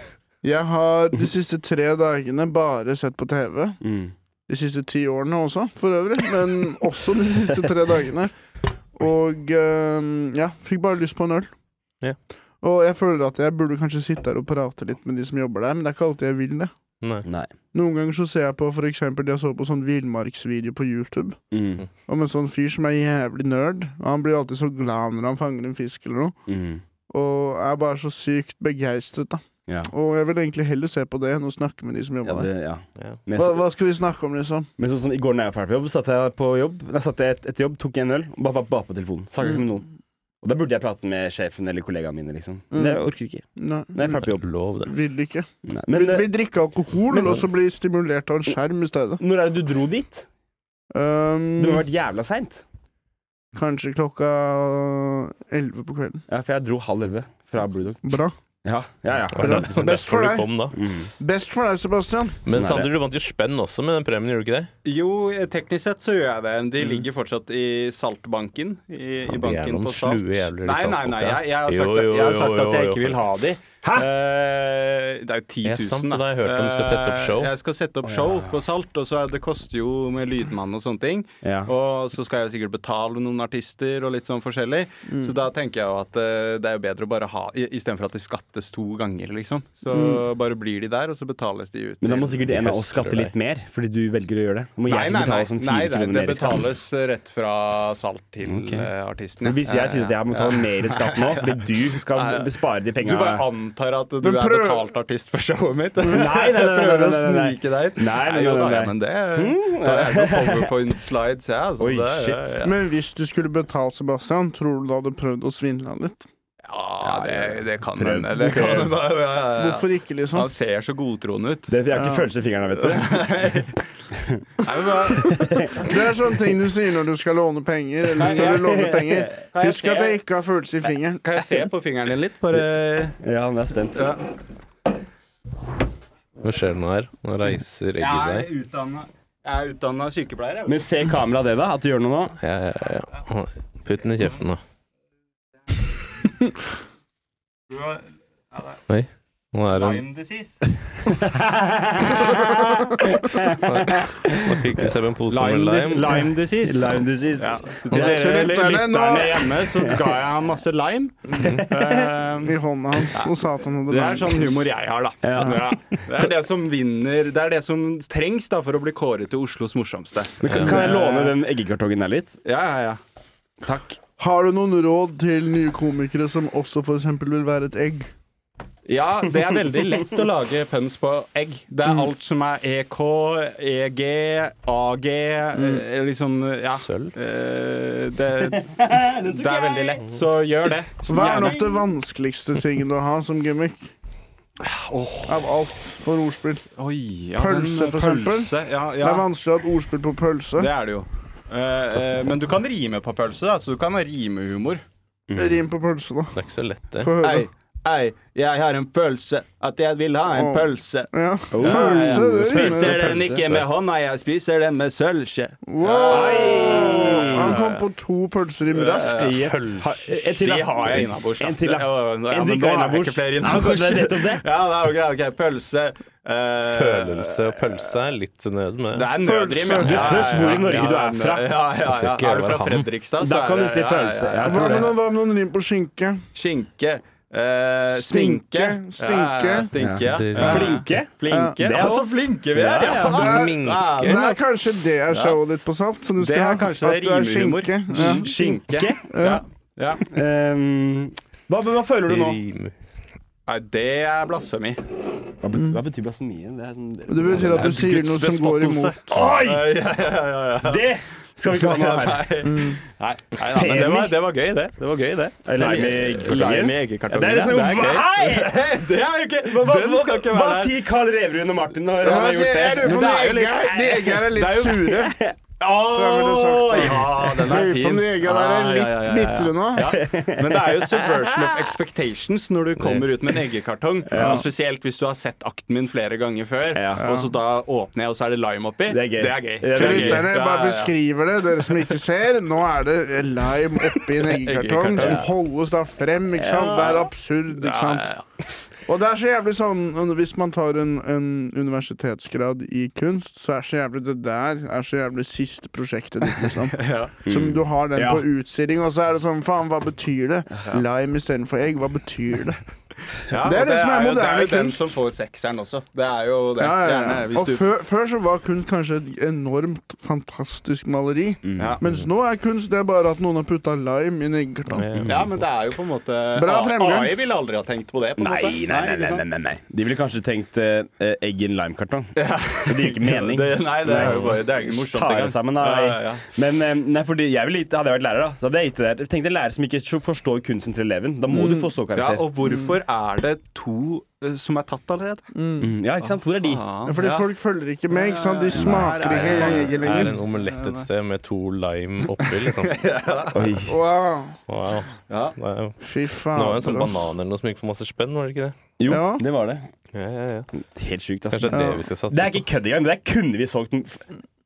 Jeg har de siste tre dagene bare sett på TV. Mm. De siste ti årene også, for øvrig. Men også de siste tre dagene. Og eh, ja, fikk bare lyst på en øl. Ja. Og jeg føler at jeg burde kanskje sitte her og prate litt med de som jobber der, men det er ikke alltid jeg vil det. Nei. Nei. Noen ganger så ser jeg på for eksempel Jeg så på sånn villmarksvideo på YouTube Mm. om en sånn fyr som er jævlig nerd. Og han blir alltid så glad når han fanger en fisk eller noe. Mm. Og er bare så sykt begeistret, da. Ja. Og jeg vil egentlig heller se på det enn å snakke med de som Ja, jobber det, ja. Ja. Men der. Hva, så- hva skal vi snakke om, liksom? Men sånn som i går når jeg var ferdig på jobb, satt jeg på jobb Nei, satt jeg et, etter jobb, tok en øl, og bare, bare, bare på telefonen. Snakka Mm. ikke med noen. Og da burde jeg prate med sjefen eller kollegaene mine, liksom. Men jeg orker ikke. Nei, Når jeg er ferdig på jobb. Lov, det. vil ikke. Nei. Vil, Men eh, vil drikke alkohol, men- og så bli stimulert av en skjerm i stedet. når er det du dro dit? Det må ha Um, vært jævla seint. kanskje klokka elleve på kvelden. Ja, for jeg dro halv elleve fra Blue Dog. Bra. Ja, ja, ja. Det var derfor- Best derfor for du deg. kom da. Mm. Best for deg, Sebastian. Sånn er Men det. Sander, du vant jo spenn også med den premien, gjorde du ikke det? Jo, eh, teknisk sett så gjør jeg det. De ligger fortsatt i saltbanken. I, i Faen, de er banken noen på salt. slue jævler, de nei, nei, saltfolka. nei, jeg, jeg har Jo, sagt, at, jo, jeg, har jo, sagt jo, at jeg jo. ikke vil ha de. Hæ? Eh, det er jo 10 000, Ja, sant, det har jeg hørt om. Du skal sette opp show. Eh, Jeg skal sette opp show på Salt, og så er det koster jo med lydmann og sånne ting. Ja. Og så skal jeg jo sikkert betale noen artister og litt sånn forskjellig. Mm. Så da tenker jeg jo at eh, det er jo bedre å bare ha i- Istedenfor at de skattes to ganger, liksom. Så bare blir de der, og så betales de ut. Mm. Men da til- må sikkert en av oss skatte litt mer, fordi du velger å gjøre det. Må jeg Nei, som nei, nei, betale sånn nei, fire nei, kroner det mer i skatt? betales rett fra salt til Ok. eh, artisten. ja. Men hvis jeg finner at jeg må betale mer i skatt nå, fordi du skal Nei, nei. spare de Du bare penga antar at du Men er prøv- betalt artist for showet mitt? Nei, nei, nei, nei, Prøver nei, å nei, nei. snike deg inn? Nei, nei, jo nei, da, nei. ja, men det Da er det noen powerpoint-slides, jeg. altså. Oi, det, shit. Ja, ja. Men hvis du skulle betalt Sebastian, tror du du hadde prøvd å svindle han litt? ja det, det kan Prøv. hende. Det kan hende, ja, ja, ja. Hvorfor ikke, liksom? altså. Han ser så godtroende ut. Det- Jeg har ikke følelser i fingrene, vet du. Nei, men hva- Det er sånne ting du sier når du skal låne penger, eller når du låner penger. Kan jeg Husk at se? jeg ikke har følelse i fingeren. Kan jeg se på fingeren din litt? Bare Ja, nå er jeg spent. ja. Hva skjer nå her? Nå reiser egget Jeg seg. er utdanna- jeg er utdanna sykepleier, jeg. Men ser kameraet det, da? At du gjør noe nå? Ja, ja, ja. Putt den i kjeften, da. Oi. Nå er den Nå fikk de seg en pose med lime. Lime disease. Lime disease. Ja. Til dere lytterne lytterne nå. hjemme, så ga jeg ham masse lime. Eh, I hånda hans og sa at han hadde Det er lånt. sånn humor jeg har, da. Ja. Det er det som vinner Det er det som trengs da for å bli kåret til Oslos morsomste. Men kan, kan jeg låne den eggekartongen der litt? Ja, ja, ja. Takk. Har du noen råd til nye komikere som også for eksempel vil være et egg? Ja, det er veldig lett å lage pønsk på egg. Det er alt som er E EK, EG, AG eh, Liksom, ja. Sølv? Eh, Det, det er veldig lett, så gjør det. Hva er nok det vanskeligste tingen du har som gimmick? Av alt for ordspill. Oi, ja, Pølse, den- for eksempel? pølse, Ja, Det er ja. vanskelig å ha et ordspill på pølse. Det er det jo. Eh, eh, men du kan rime på pølse, da, så du kan ha rimehumor. Rim på pølse, da. Det er ikke så lett, det. Få høre. Ei, ei, jeg har en pølse, at jeg vil ha en Åh. pølse. Ja. ja. Pølse, det rimer. Spiser den ikke med hånda, jeg spiser den med sølvskje. Wow. Han kom på to pølserim raskt. Ha- En til, De da. har jeg innabords. da. En til, da. Ja, ja, En til men nå ikke har jeg innabords. ikke flere Ja, men det er nettopp innabords. det. Ja, det er jo greit. Ok, pølse. eh, Følelse og pølse er litt nød med. Det er nødrim. ja. Det spørs hvor i Norge du er fra. Ja, ja, ja. skal ikke Er du fra være han. Fredrikstad, Da er kan du det- si ja, ja, følelse. ja. Ja, jeg Hva tror med det. noen, hva med noen rim på skinke? Skinke. eh, Stinke, sminke. stinke. Ja, ja, stinke. Ja. Ja. Flinke. Flinke. Det er Ja, så oss. flinke vi er! Ja, Ja. Sånn altså, Det Sminke. er kanskje det er showet ditt på Salt. Som du Det skal er ha. kanskje Mm. det At du er rimehumor. skinke. Ja. Skin- Skinke. Ja. Ja. Ehm, hva, hva føler du nå? Rim. Nei, det er blasfemi. Hva betyr, hva betyr blasfemien? Det, er sånn- Det betyr at du sier noe som går imot. Oi! Ja, ja, ja, ja, ja. Det skal vi ikke ha noe her. Nei, Mm. nei, nei da, men det var, det var gøy, det. Det var gøy, det. Er lime i eggekartongen? Lime i Ja, eggekartongen, det er liksom ja. Det er gøy. Hei! Hei, Det er jo ikke Hva, Den skal ikke hva være der. sier Karl Reverud og Martin når han Ja, har jeg gjort lurer det? på om Men det er jo de egga- de egga er litt sure. Åh, ja, den er Lurer på om fin. de egga der er Ja, ja, ja, ja, litt ja. bitre nå. Ja, men det er jo subversion of expectations når du kommer ut med en eggekartong. Og Spesielt hvis du har sett akten min flere ganger før, Ja. og så da åpner jeg, og så er det lime oppi. Det er gøy. Det er gøy. Det er Det Til er gøy. lytterne, Ja, bare ja, ja. beskriver det. Dere som ikke ser, nå er det lime oppi en eggekartong Eggekartong, som ja. holdes da frem. ikke sant? Det er absurd, ikke sant? Ja, ja, ja. Og det er så jævlig sånn Hvis man tar en, en universitetsgrad i kunst, så er så jævlig det der er så jævlig siste prosjektet ditt, liksom. Som du har den Ja. på utstilling, og så er det sånn Faen, hva betyr det? Lime istedenfor egg, hva betyr det? Ja, Det er og det som er jo- moderne Det er jo den kunst. som får sekseren også. Det er jo det. Ja, ja, Gjerne, ja. hvis Og du- før, før så var kunst kanskje et enormt fantastisk maleri. ja. Mens nå er kunst det er bare at noen har putta lime i negler. da. ja, men det er jo på en måte Bra fremgang. AI ville aldri ha tenkt på det. på en Nei, måte. nei, nei, ikke sant? nei, nei, nei. De ville kanskje tenkt eh, eh, egg i en limekartong. Det gir ikke mening. Det, nei, det er jo bare Det er ikke morsomt Ta engang. det sammen, da. Ja, ja, ja. Men eh, nei, fordi jeg ville gitt, hadde jeg vært lærer, da, så hadde jeg gitt det der. Tenk deg en lærer som ikke forstår kunsten til eleven. Da må du få Mm. Ja, ståkarakter. og hvorfor er det to eh, som er tatt allerede? Mm, ja, ikke sant? Hvor er de? Ah, Ja, fordi ja. folk følger ikke med. ikke sant? De smaker Nei, ikke nei, nei. egget Er lenger. en omelett et sted med to lime oppi, liksom. Oi. Wow. Wow. Ja. Det er jo Fy faen. Det var jo en sånn bra. banan eller noe som gikk for masse spenn, var det ikke det? Jo, Ja. det var det. Ja, ja, ja. Helt sjukt, ass. Kanskje det er det vi skal satse Det er ikke kødd engang. Det der kunne vi solgt den f-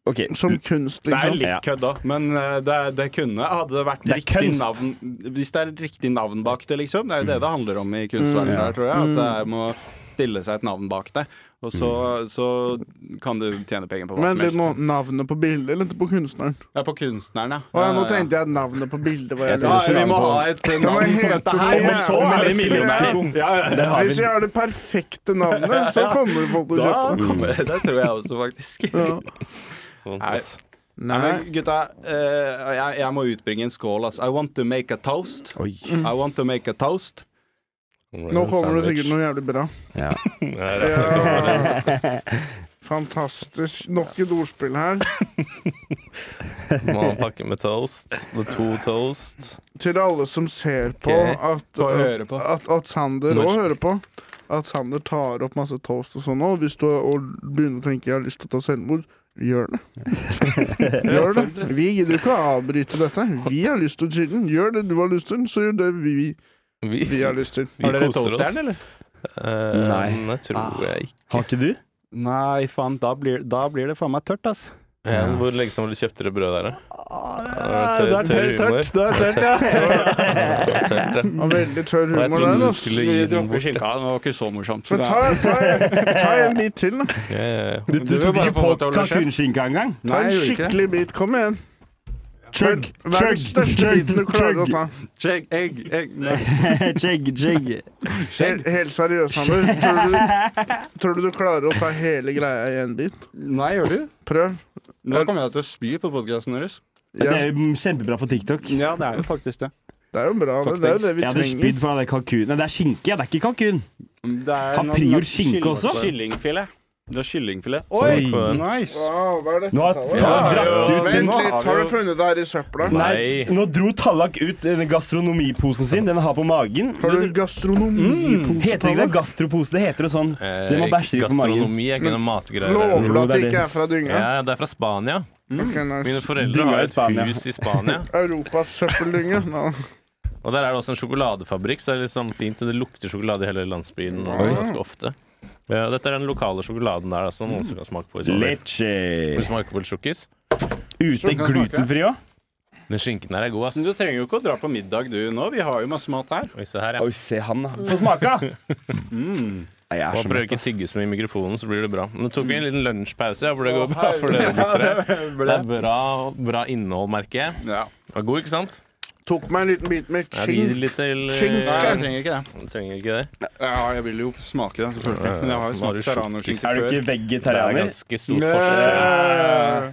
OK. Som kunst, Det er liksom. litt kødd òg, men eh, det, det kunne Hadde det vært Det er riktig kunst. navn Hvis det er riktig navn bak det, liksom. Det er jo det det handler om i kunstverden, Mm. her, tror jeg. At det er- må stille seg et navn bak det. Og så, så kan du tjene penger på hva Men som litt helst. nå, navnet på bildet eller på kunstneren? Ja, på kunstneren, ja. Å ja, nå Ja, ja. tenkte jeg at navnet på bildet var Jeg jeg ja, tenkte vi må ha et eh, Hva navn på heter dette det? her. Og så Ja, er men det det er millionserum. Ja, ja, ja. Der har vi Hvis den. jeg har det perfekte navnet, så Ja. kommer folk til å Da kjøpe det. kommer det. Det tror jeg også, faktisk. Ja. Sånn, Nei. ass. Nei, Nei. men gutta, eh, jeg, jeg må utbringe en skål, altså. I want to make a toast. Oi. I want to make a toast. Nå kommer det sikkert noe jævlig bra. Ja. Nei, det er ikke noe. Ja. Fantastisk. Nok et ordspill her. Må ha en pakke med toast. Det er to toast. Til alle som ser på Ok. at, Og at, høre på. at, at Sander Når- og hører på at Sander tar opp masse toast og sånn nå, og hvis du og begynner å tenke 'jeg har lyst til å ta selvmord', gjør det. Gjør det. Vi gidder ikke å avbryte dette. Vi har lyst til å chille. Gjør det du har lyst til, så gjør det vi, Vi, vi har lyst til. vi Har dere koser oss. toastjern, eller? Eh, Nei. Nei, tror jeg ikke. Har ikke du? Nei, faen, da blir, da blir det faen meg tørt, altså. Ja, hvor lenge siden var det du kjøpte det brødet der, da? Ah, det er tørr, tørt. Det er tørt, ja. Det var tørt, ja. Og veldig tørr Og jeg humor trodde der. du Altså. skulle gi den bort. skinka, det var ikke så morsomt. Men ta, ta, ta en bit til, da. Ja, ja, ja. Du, Du vil bare få lov til å holde kjeft. kalkunskinka engang? Ta Nei, en jeg gjorde ikke det. skikkelig bit. Kom igjen. Chug, Vær chug, den største biten du klarer å ta. Skjegg, egg, egg. Nei. chug, chug. Helt, helt seriøst, Sander. Tror du, tror du du klarer å ta hele greia i en bit? Nei, gjør du? Prøv. Nå kommer jeg til å spy på podkasten deres. Det Ja, er jo kjempebra for TikTok. Ja, det er jo faktisk det. det er jo bra, det. Det er jo det vi Jeg hadde trenger. spydd for det er kalkun. Nei, det er skinke, ja. Det er ikke kalkun. Mm, det er Har noen- prior skinke kylling- også? Kyllingfilet. Det er kyllingfilet. Oi! nice! Wow, hva er dette? Nå har tallet? Tallak Ja, dratt ja, ut Mm. men- sin Vent nå litt, har har vi du jo- funnet det her i søpla? Nei, nå dro Tallak ut eh, gastronomiposen sin. Den han har på magen. Har du en Mm. gastronomipose? Heter ikke det gastropose? Det heter det sånn. Eh, Det må bæsje litt på magen. Gastronomi er ikke noe matgreier. Lover du at det det er ikke det. er fra dynga? Ja, det er fra Spania. Ok, Mine nice. Du foreldre er har i et Spania. hus i Spania. Europas søppeldynge? Nå. Og der er det også en sjokoladefabrikk, så det er litt sånn fint. Det lukter sjokolade i hele landsbyen og ganske ofte. Ja, dette er den lokale sjokoladen der, altså, noen som kan smake på. i sommer. Vil Leche. du smake på litt sjokkis? Ute kan smake. glutenfri òg? Den skinken her er god, ass. Men Du trenger jo ikke å dra på middag du nå, vi har jo masse mat her. Oi, se her, ja. Oi, se han, da. Få smake, da. Nei, Jeg er Man så prøver mett, ikke å ass. tygge så mye i mikrofonen, så blir det bra. Nå tok vi en liten lunsjpause, ja, hvor det går bra for dere gutter. Det er bra, bra innhold, merker jeg. Ja. Det var god, ikke sant? Tok meg en liten bit med Jeg gir skinn. litt til eh, Skinke. Nei, jeg trenger ikke det. Du trenger ikke det. Ja, jeg vil jo smake den, selvfølgelig. Men jeg har jo Var du smakt serranoskinke Er du før. ikke Det er vegetarianer? ganske stor forskjell.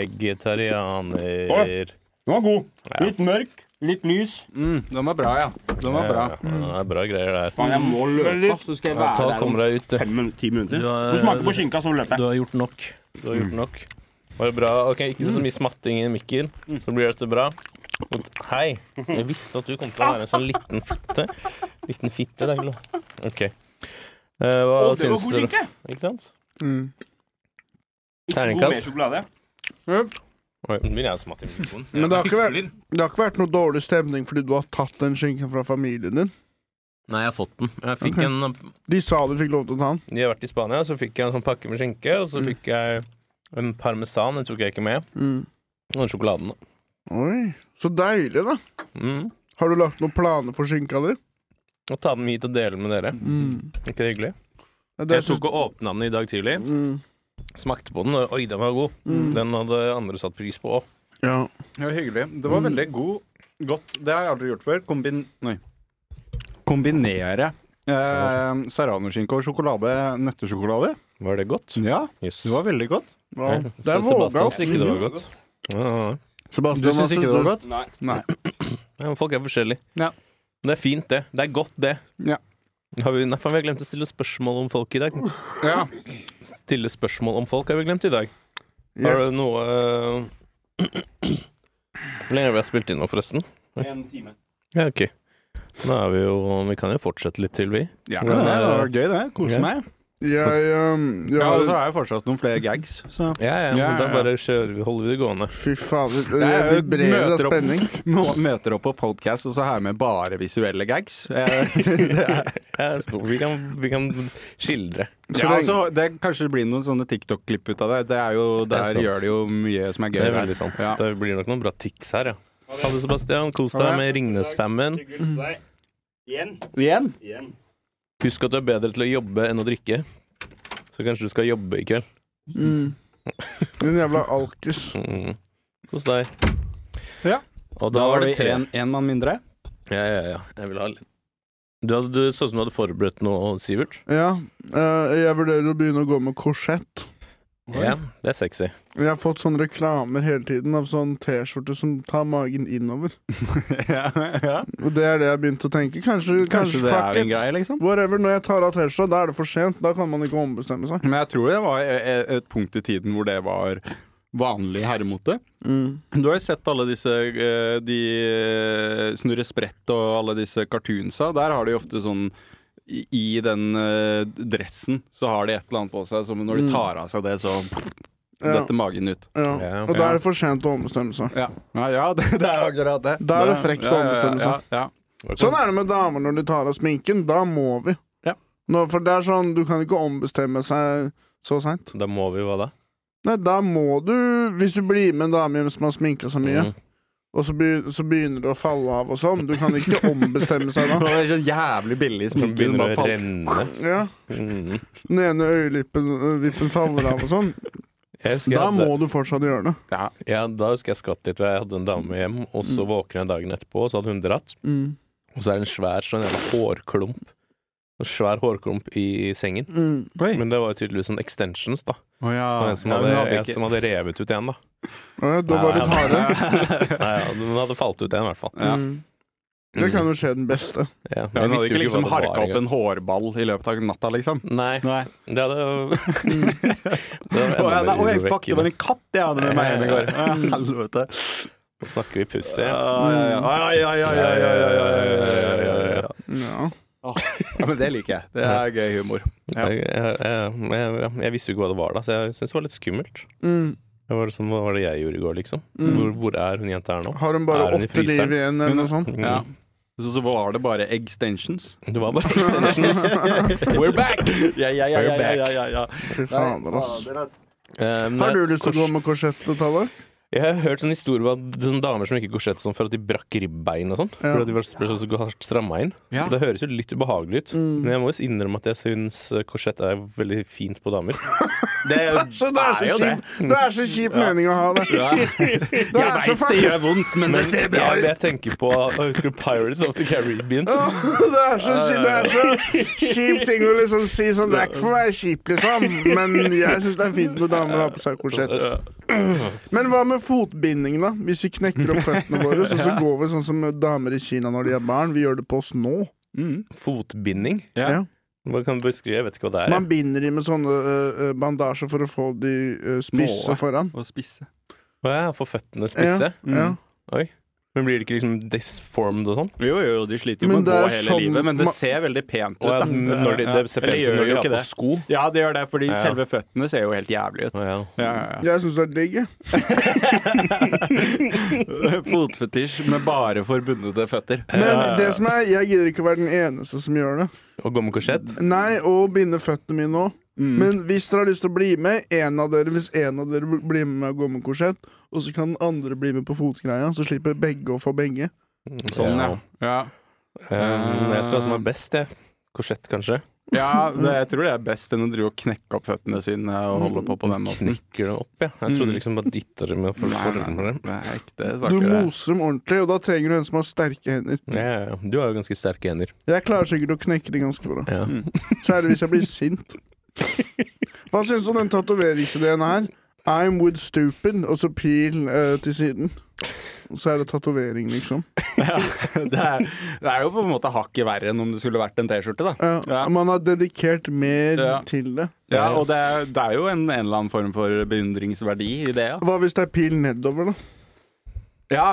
Vegetarianer. Den var god. Ja. Litt mørk, litt lys. Mm, den var bra, ja. Den var bra. Ja, det er bra greier, det her. Faen, jeg Mm. må løpe, ass. Så skal jeg Ja, være ta, der kom om deg ut, du. fem min- ti minutter. Du er- Du smaker på skinka, så løper Du jeg. har gjort nok. Du har Mm. gjort nok. Var det bra? Ok, Ikke så mye smatting i mikken, Mm. så blir dette bra. Og- Hei! Jeg visste at du kom til å være en sånn liten fitte. Liten fitte, det er ikke lov. OK. Eh, hva Å, det var syns god dere? skinke. Ikke sant? Mm. Ikke god Terningkast. med sjokolade. Oi, Nå begynner jeg å smatte i mikrofonen. Men det har ikke vært- Hyggelig. Det har ikke vært noe dårlig stemning fordi du har tatt den skinken fra familien din? Nei, jeg har fått den. Jeg fikk Ok. en, De sa du fikk lov til å ta den. de har vært i Spania, så fikk jeg en sånn pakke med skinke, og så fikk jeg en parmesan, den tok jeg ikke med, Mm. og den sjokoladen, da. Oi, så deilig, da. Mm. Har du lagt noen planer for skinka di? Og ta den hit og dele den med dere. Mm. Er ikke det hyggelig? Ja, det Jeg syns- tok og åpna den i dag tidlig. Mm. Smakte på den, og oi, den var god. Den hadde andre satt pris på òg. Ja. Det var hyggelig. Det var veldig god, godt Det har jeg aldri gjort før. Kombin... Nei. Kombinere Eh, Serranoskinke og sjokolade. Nøttesjokolade. Var det godt? Ja, Yes. det var veldig godt. Wow. Så Det er Sebastian våga. synes ikke det var godt. Ja, ja, ja. Du Sebastian, hva syns ikke Altså, det var syns du? godt? Nei. Ja, men folk er forskjellige. Ja. Men det er fint, det. Det er godt, det. Ja. Har vi, nei, faen, vi har glemt å stille spørsmål om folk i dag. Ja. Stille spørsmål om folk har vi glemt i dag. Ja. Har du noe eh, Hvor lenge har vi spilt inn nå, forresten? En time. Ja, OK. Nå er vi jo Vi kan jo fortsette litt til, vi. ja, det var gøy, det. Kose Ja. meg. Jeg, um, jeg Ja, altså, og så har, har jeg fortsatt noen flere gags. Så. Ja, ja, men Ja, da ja, ja. bare kjører vi, holder vi det gående. fy fader, jeg er jo vibrerer av møter opp. spenning. Nå Møter opp på podcast, og så har jeg med bare visuelle gags. Eh, Ja, så Vi kan, vi kan skildre. Ja, lenge- altså, det Kanskje det blir noen sånne TikTok-klipp ut av det. Det er jo, Det er Der sant. gjør det jo mye som er gøy. Det er der. veldig sant. Ja. Det blir nok noen bra tics her, ja. Ha det, Sebastian. Kos Ha deg det. med Ringnes-fammen. Hyggelig å hilse på deg. Igjen. Igjen? Igjen. Husk at du er bedre til å jobbe enn å drikke. Så kanskje du skal jobbe i kveld. Mm. Din jævla alkis. Mm. Kos deg. Ja. Og Da da var var det det tre. en, en mann mindre. Ja, ja, ja. Jeg vil ha litt Du hadde, du så ut som du hadde forberedt noe, Sivert. Ja, eh, jeg vurderer å begynne å gå med korsett. Ja, det er sexy. Jeg har fått sånne reklamer hele tiden av sånn T-skjorte som tar magen innover. ja, ja. Og det er det jeg begynte å tenke. Kanskje, Kanskje, kanskje, det fuck er en it. greie, liksom. Whatever, når jeg tar av T-skjorta, da er det for sent. Da kan man ikke ombestemme seg. Men jeg tror det var e- e- et punkt i tiden hvor det var vanlig herremote. Mm. Du har jo sett alle disse eh, de eh, Snurre Sprett og alle disse cartoonsa. Der har de ofte sånn i i den eh, dressen så har de et eller annet på seg, som når de Mm. tar av seg det, så Ja, detter magen ut. ja. Ja. Og da er det for sent å ombestemme seg. Ja, ja, ja det, det er akkurat det. Da er det frekt å Ja, ja, ja, ombestemme seg. Ja, ja. Sånn er det med damer når de tar av sminken. Da må vi. Ja. Nå, for det er sånn, du kan ikke ombestemme seg så seint. Da må vi hva da? Nei, da må du, hvis du blir med en dame hjem som har sminka seg mye, Mm. og så, begy- så begynner det å falle av og sånn, du kan ikke ombestemme seg da. Det er så jævlig billig Som sminke. begynner Bare å falt. renne. Ja. Mm. Den ene øyelippen ø, vippen faller av og sånn. Jeg husker jeg Da hadde- må du fortsatt gjøre det. Ja. Ja, da husker jeg skvatt litt. og Jeg hadde en dame hjem, og Mm. så våkner jeg dagen etterpå, og så hadde hun dratt. Mm. Og så er det en svær sånn jævla hårklump. En svær hårklump i sengen. Mm. Oi. Men det var jo tydeligvis sånn extensions, da. Å ja. Og en som Ja, hadde, hun hadde en ikke- som hadde revet ut en, da. Ja, da var Nei, det harde. Nei, ja, den hadde falt ut en, i hvert fall. Ja. Mm. Det kan jo skje den beste. Ja, men Ja, hun jeg hadde visste ikke jo liksom hva det var harka opp engang. en hårball i løpet av natta, liksom. Nei, Nei. det hadde Det Å ja, nei, oi, fuck, det urovekkende. var en katt jeg hadde med meg hjem i går. Å, Helvete. Nå snakker vi pussig. Ja, ja, ja. Ai, ai, ai, ai, ai, ai, ai, ai, ai, ai. Ja. Ja, men det liker jeg. Det er gøy humor. Ja. Jeg, jeg, jeg, jeg, jeg visste jo ikke hva det var, da, så jeg syntes det var litt skummelt. Mm. Det var sånn, hva var det jeg gjorde i går, liksom? Mm. Hvor, hvor er hun jenta her nå? Har hun Er bare hun i åtte liv fryseren? igjen, eller noe sånt? Mm. Ja. Så, så var det bare extensions. Det var bare extensions. We're back! Ja, ja, ja, ja, ja, ja, ja. Fy fader, ass. Um, Har du lyst til å gå med korsettet, Tallak? Jeg har hørt sånne historier om at sånne damer som gikk i korsett sånn for at de brakk ribbein og sånn. Ja. Fordi de var ble så hardt stramma inn. Ja. Mm. Det høres jo litt ubehagelig ut, men jeg må jo innrømme at jeg syns eh, korsett er veldig fint på damer. Det er Så det er så kjip, det er så kjip mening å ha det. Det er så Jeg veit det gjør vondt, men det ser bra jeg, ut. jeg tenker på jeg husker Pirates of the Caribbean. faen Det er så, kjip- det er så kjip ting å liksom si sånn. Det er ikke for å være kjip, liksom, men jeg syns det er fint når damer har på seg korsett. Sånn, eh, Men hva med fotbinding, da? Hvis vi knekker opp føttene våre, så, så går vi sånn som damer i Kina når de er barn. Vi gjør det på oss nå. Mm. Fotbinding. Ja. Ja. Hva kan du beskrive? Jeg vet ikke hva det er. Man binder de med sånne øh, øh, bandasjer for å få de øh, spisse Små. foran. Og spisse. Å ja, for føttene spisse. Mm. Ja. Men blir det ikke liksom disformed og sånn? Jo, jo, jo, de sliter jo Men med å det gå er hele sånn livet, men det ma- ser veldig pent ut. Å ja, da. men når de, det ser pent Eller ut gjør når de jo har ikke på det. sko. Ja, det gjør det, fordi Ja. selve føttene ser jo helt jævlig ut. Å ja. Ja, Jeg syns det er digg, jeg. ja. Fotfetisj med bare forbundede føtter. Eh, Men det som er, jeg gidder ikke å være den eneste som gjør det. Og gå med korsett? Nei, og binde føttene mine òg. Mm. Men hvis dere har lyst til å bli med, en av dere, hvis en av dere bl- blir med meg og går med korsett, og så kan den andre bli med på fotgreia, så slipper begge å få begge. Sånn, ja. ja. Um, jeg skal ha som er best, jeg. Korsett, kanskje. Ja, det, jeg tror det er best enn å drive og knekke opp føttene sine og holde på på den måten. Knekker det opp, ja. Jeg trodde liksom bare dytta dem og former dem. Det er ekte Du saker, det. moser dem ordentlig, og da trenger du en som har sterke hender. Ja, ja, ja. Du har jo ganske sterke hender. Jeg klarer sikkert å knekke de ganske bra. Ja. Mm. Særlig hvis jeg blir sint. Hva syns du om den tatoveringsideen her? I'm with stupid, og så pil eh, til siden. Og så er det tatovering, liksom. Det er, det er jo på en måte hakket verre enn om det skulle vært en T-skjorte, da. Ja, Ja. Eh, Man har dedikert mer Ja. til det. Ja, Og det er, det er jo en, en eller annen form for beundringsverdi i det, ja. Hva hvis det er pil nedover, da? Ja,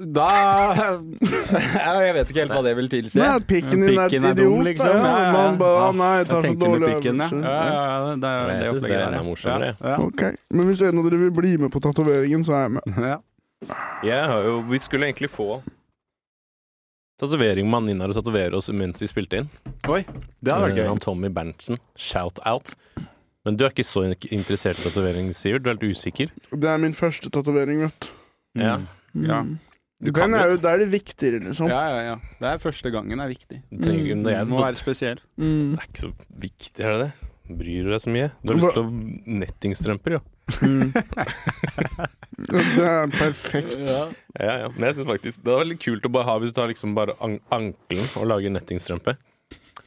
da Ja, Jeg vet ikke helt hva det vil tilsi. Nei, at pikken din er et Pikken er idiot. dum, liksom. da. Ja, ja, ja. Man bare, ah, nei, jeg tar så tenker med dårlig pikken, ja. øvelse. Ja, ja, ja, det er- Jeg synes det det opplegget er der, ja. morsommere, Ja, Ok, Men hvis en av dere vil bli med på tatoveringen, så er jeg med. ja, ja. Jeg har jo Vi skulle egentlig få tatovering med Nina og tatovere oss mens vi spilte inn. Oi, det hadde vært Eh, gøy. Han Tommy Berntsen. Shout out. Men du er ikke så in- interessert i tatovering, Sivert. Du er litt usikker. Det er min første tatovering, vet du. Ja. Mm. Ja. Du kan Den er jo- jo, da er det viktigere, liksom. Ja, ja, ja. Det er første gangen er viktig. Du trenger, Mm, det, er, må være spesiell. Mm. det er ikke så viktig, er det det? Bryr du deg så mye? Du har lyst til å nettingstrømper, jo. Det er perfekt. Ja, ja. Men jeg synes faktisk det var litt kult å bare ha hvis du tar liksom bare an ankelen og lager nettingstrømpe.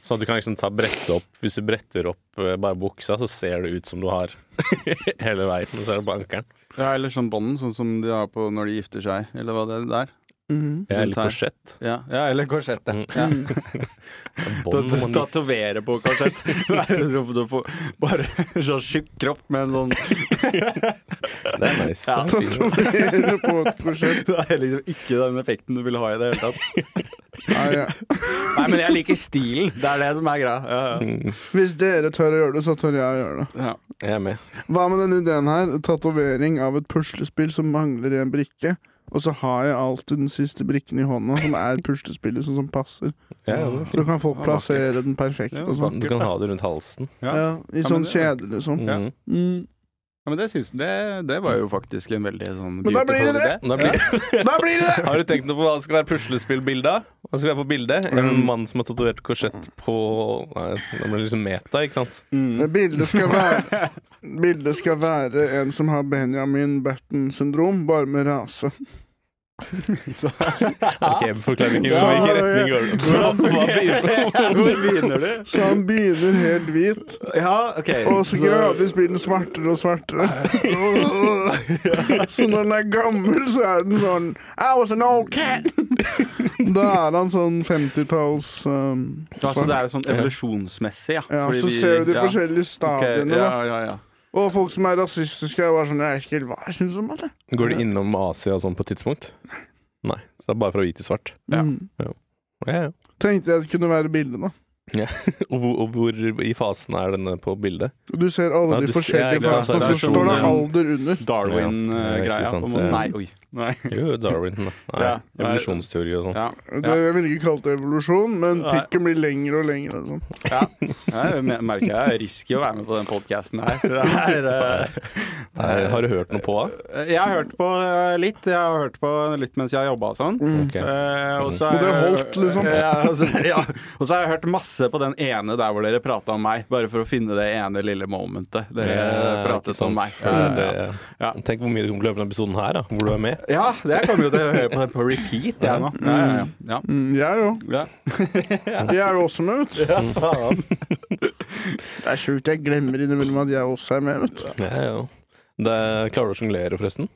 Sånn at du kan liksom ta brette opp Hvis du bretter opp eh, bare buksa, så ser det ut som du har hele veien. Men så er det på ankelen. Ja, Eller sånn bånd, sånn som de har på når de gifter seg, eller hva det er. Mm. Jeg er Rundt litt her. korsett. Ja, ja eller korsett. Ja. Mm. Ja. Bånd må man Tatovere på korsett. Være så- du får Bare så tjukk kropp med en sånn Det er nice. Ja. Det er fint. Tatovere på et korsett. Det er liksom ikke den effekten du vil ha i det hele tatt. Nei, ja. Nei, men jeg liker stilen. Det er det som er greia. Ja, ja. Hvis dere tør å gjøre det, så tør jeg å gjøre det. Ja. Jeg er med. Hva med denne ideen her? Tatovering av et puslespill som mangler i en brikke. Og så har jeg alltid den siste brikken i hånda, som er puslespillet sånn som passer. Jeg er med. Så kan folk Ja, plassere den perfekt. Ja, Og sånn. Du kan ha det rundt halsen. Ja, I Ja, men sånn det- kjede, liksom. Ja. Mm. Mm. Ja, men det, syns, det, det var jo faktisk en veldig sånn Men da blir beautiful det det. idé. Da blir, Da blir det det! har du tenkt noe på hva det skal være puslespillbilde av? Hva skal være på bildet? En Mm. mann som har tatovert korsett på Nei, det blir liksom meta, ikke sant? Bildet skal være Bildet skal være en som har Benjamin Berten-syndrom, bare med rase. Ok, Forklar ikke hvilken retning går det. Hva, hva begynner Hvor begynner du? Så han begynner helt hvit, Ja, ok. og så gradvis blir den svartere og svartere. Så når den er gammel, så er den sånn I was an old cat. Da er han sånn 50-talls um, Ja, så det svart. er jo sånn evolusjonsmessig, ja. Ja, Fordi så vi- ser du de ja. forskjellige Ok, stadiene, ja, da. ja, ja. Og folk som er rasistiske, er bare sånn Jeg vet ikke helt hva jeg syns om det. Går det innom Asia og sånn på et tidspunkt? Nei. Så det er bare fra hvit til svart. Ja. Mm. Ja, ja. Tenkte jeg det kunne være bildet, da. Og hvor, og hvor i fasen er denne på bildet? Du ser alle Ja, de du ser- forskjellige ikke sant, fasene, det og er så står det sånn- alder under. Ja, ikke Darwin-greia. sant, eh, på en ja. eh. måte. Nei, oi. Nei. Jo, Darwin. da. Nei, Ja. Evolusjonsteori og sånn. Ja. Det, jeg ville ikke kalt det evolusjon, men Nei. pikken blir lengre og lengre. og sånn. ja. Jeg mer- merker jeg risky å være med på den podkasten her. Det er, Her- Har du hørt noe på det? eh, jeg har hørt på eh, litt. Jeg har hørt på litt mens jeg har jobba og sånn. Ok. Eh, og så Så det har jeg- holdt, liksom? Ja, og så- ja. Og så har jeg hørt masse på den ene der hvor dere prata om meg, bare for å finne det ene lille momentet dere Ja, ikke pratet sant, om meg. for Ja, det- ja, ja. Ja. Tenk hvor mye du kommer til å løpe denne episoden her, da, hvor du er med. ja, jeg kommer jo til å høre på det på repeat, jeg nå. Ja, ja, ja. Mm, jeg òg. ja. Jeg er jo også med, vet du. Det er sjukt. Jeg glemmer innimellom at jeg også er med, vet du. Ja, ja. Det, klarer du å sjonglere, forresten?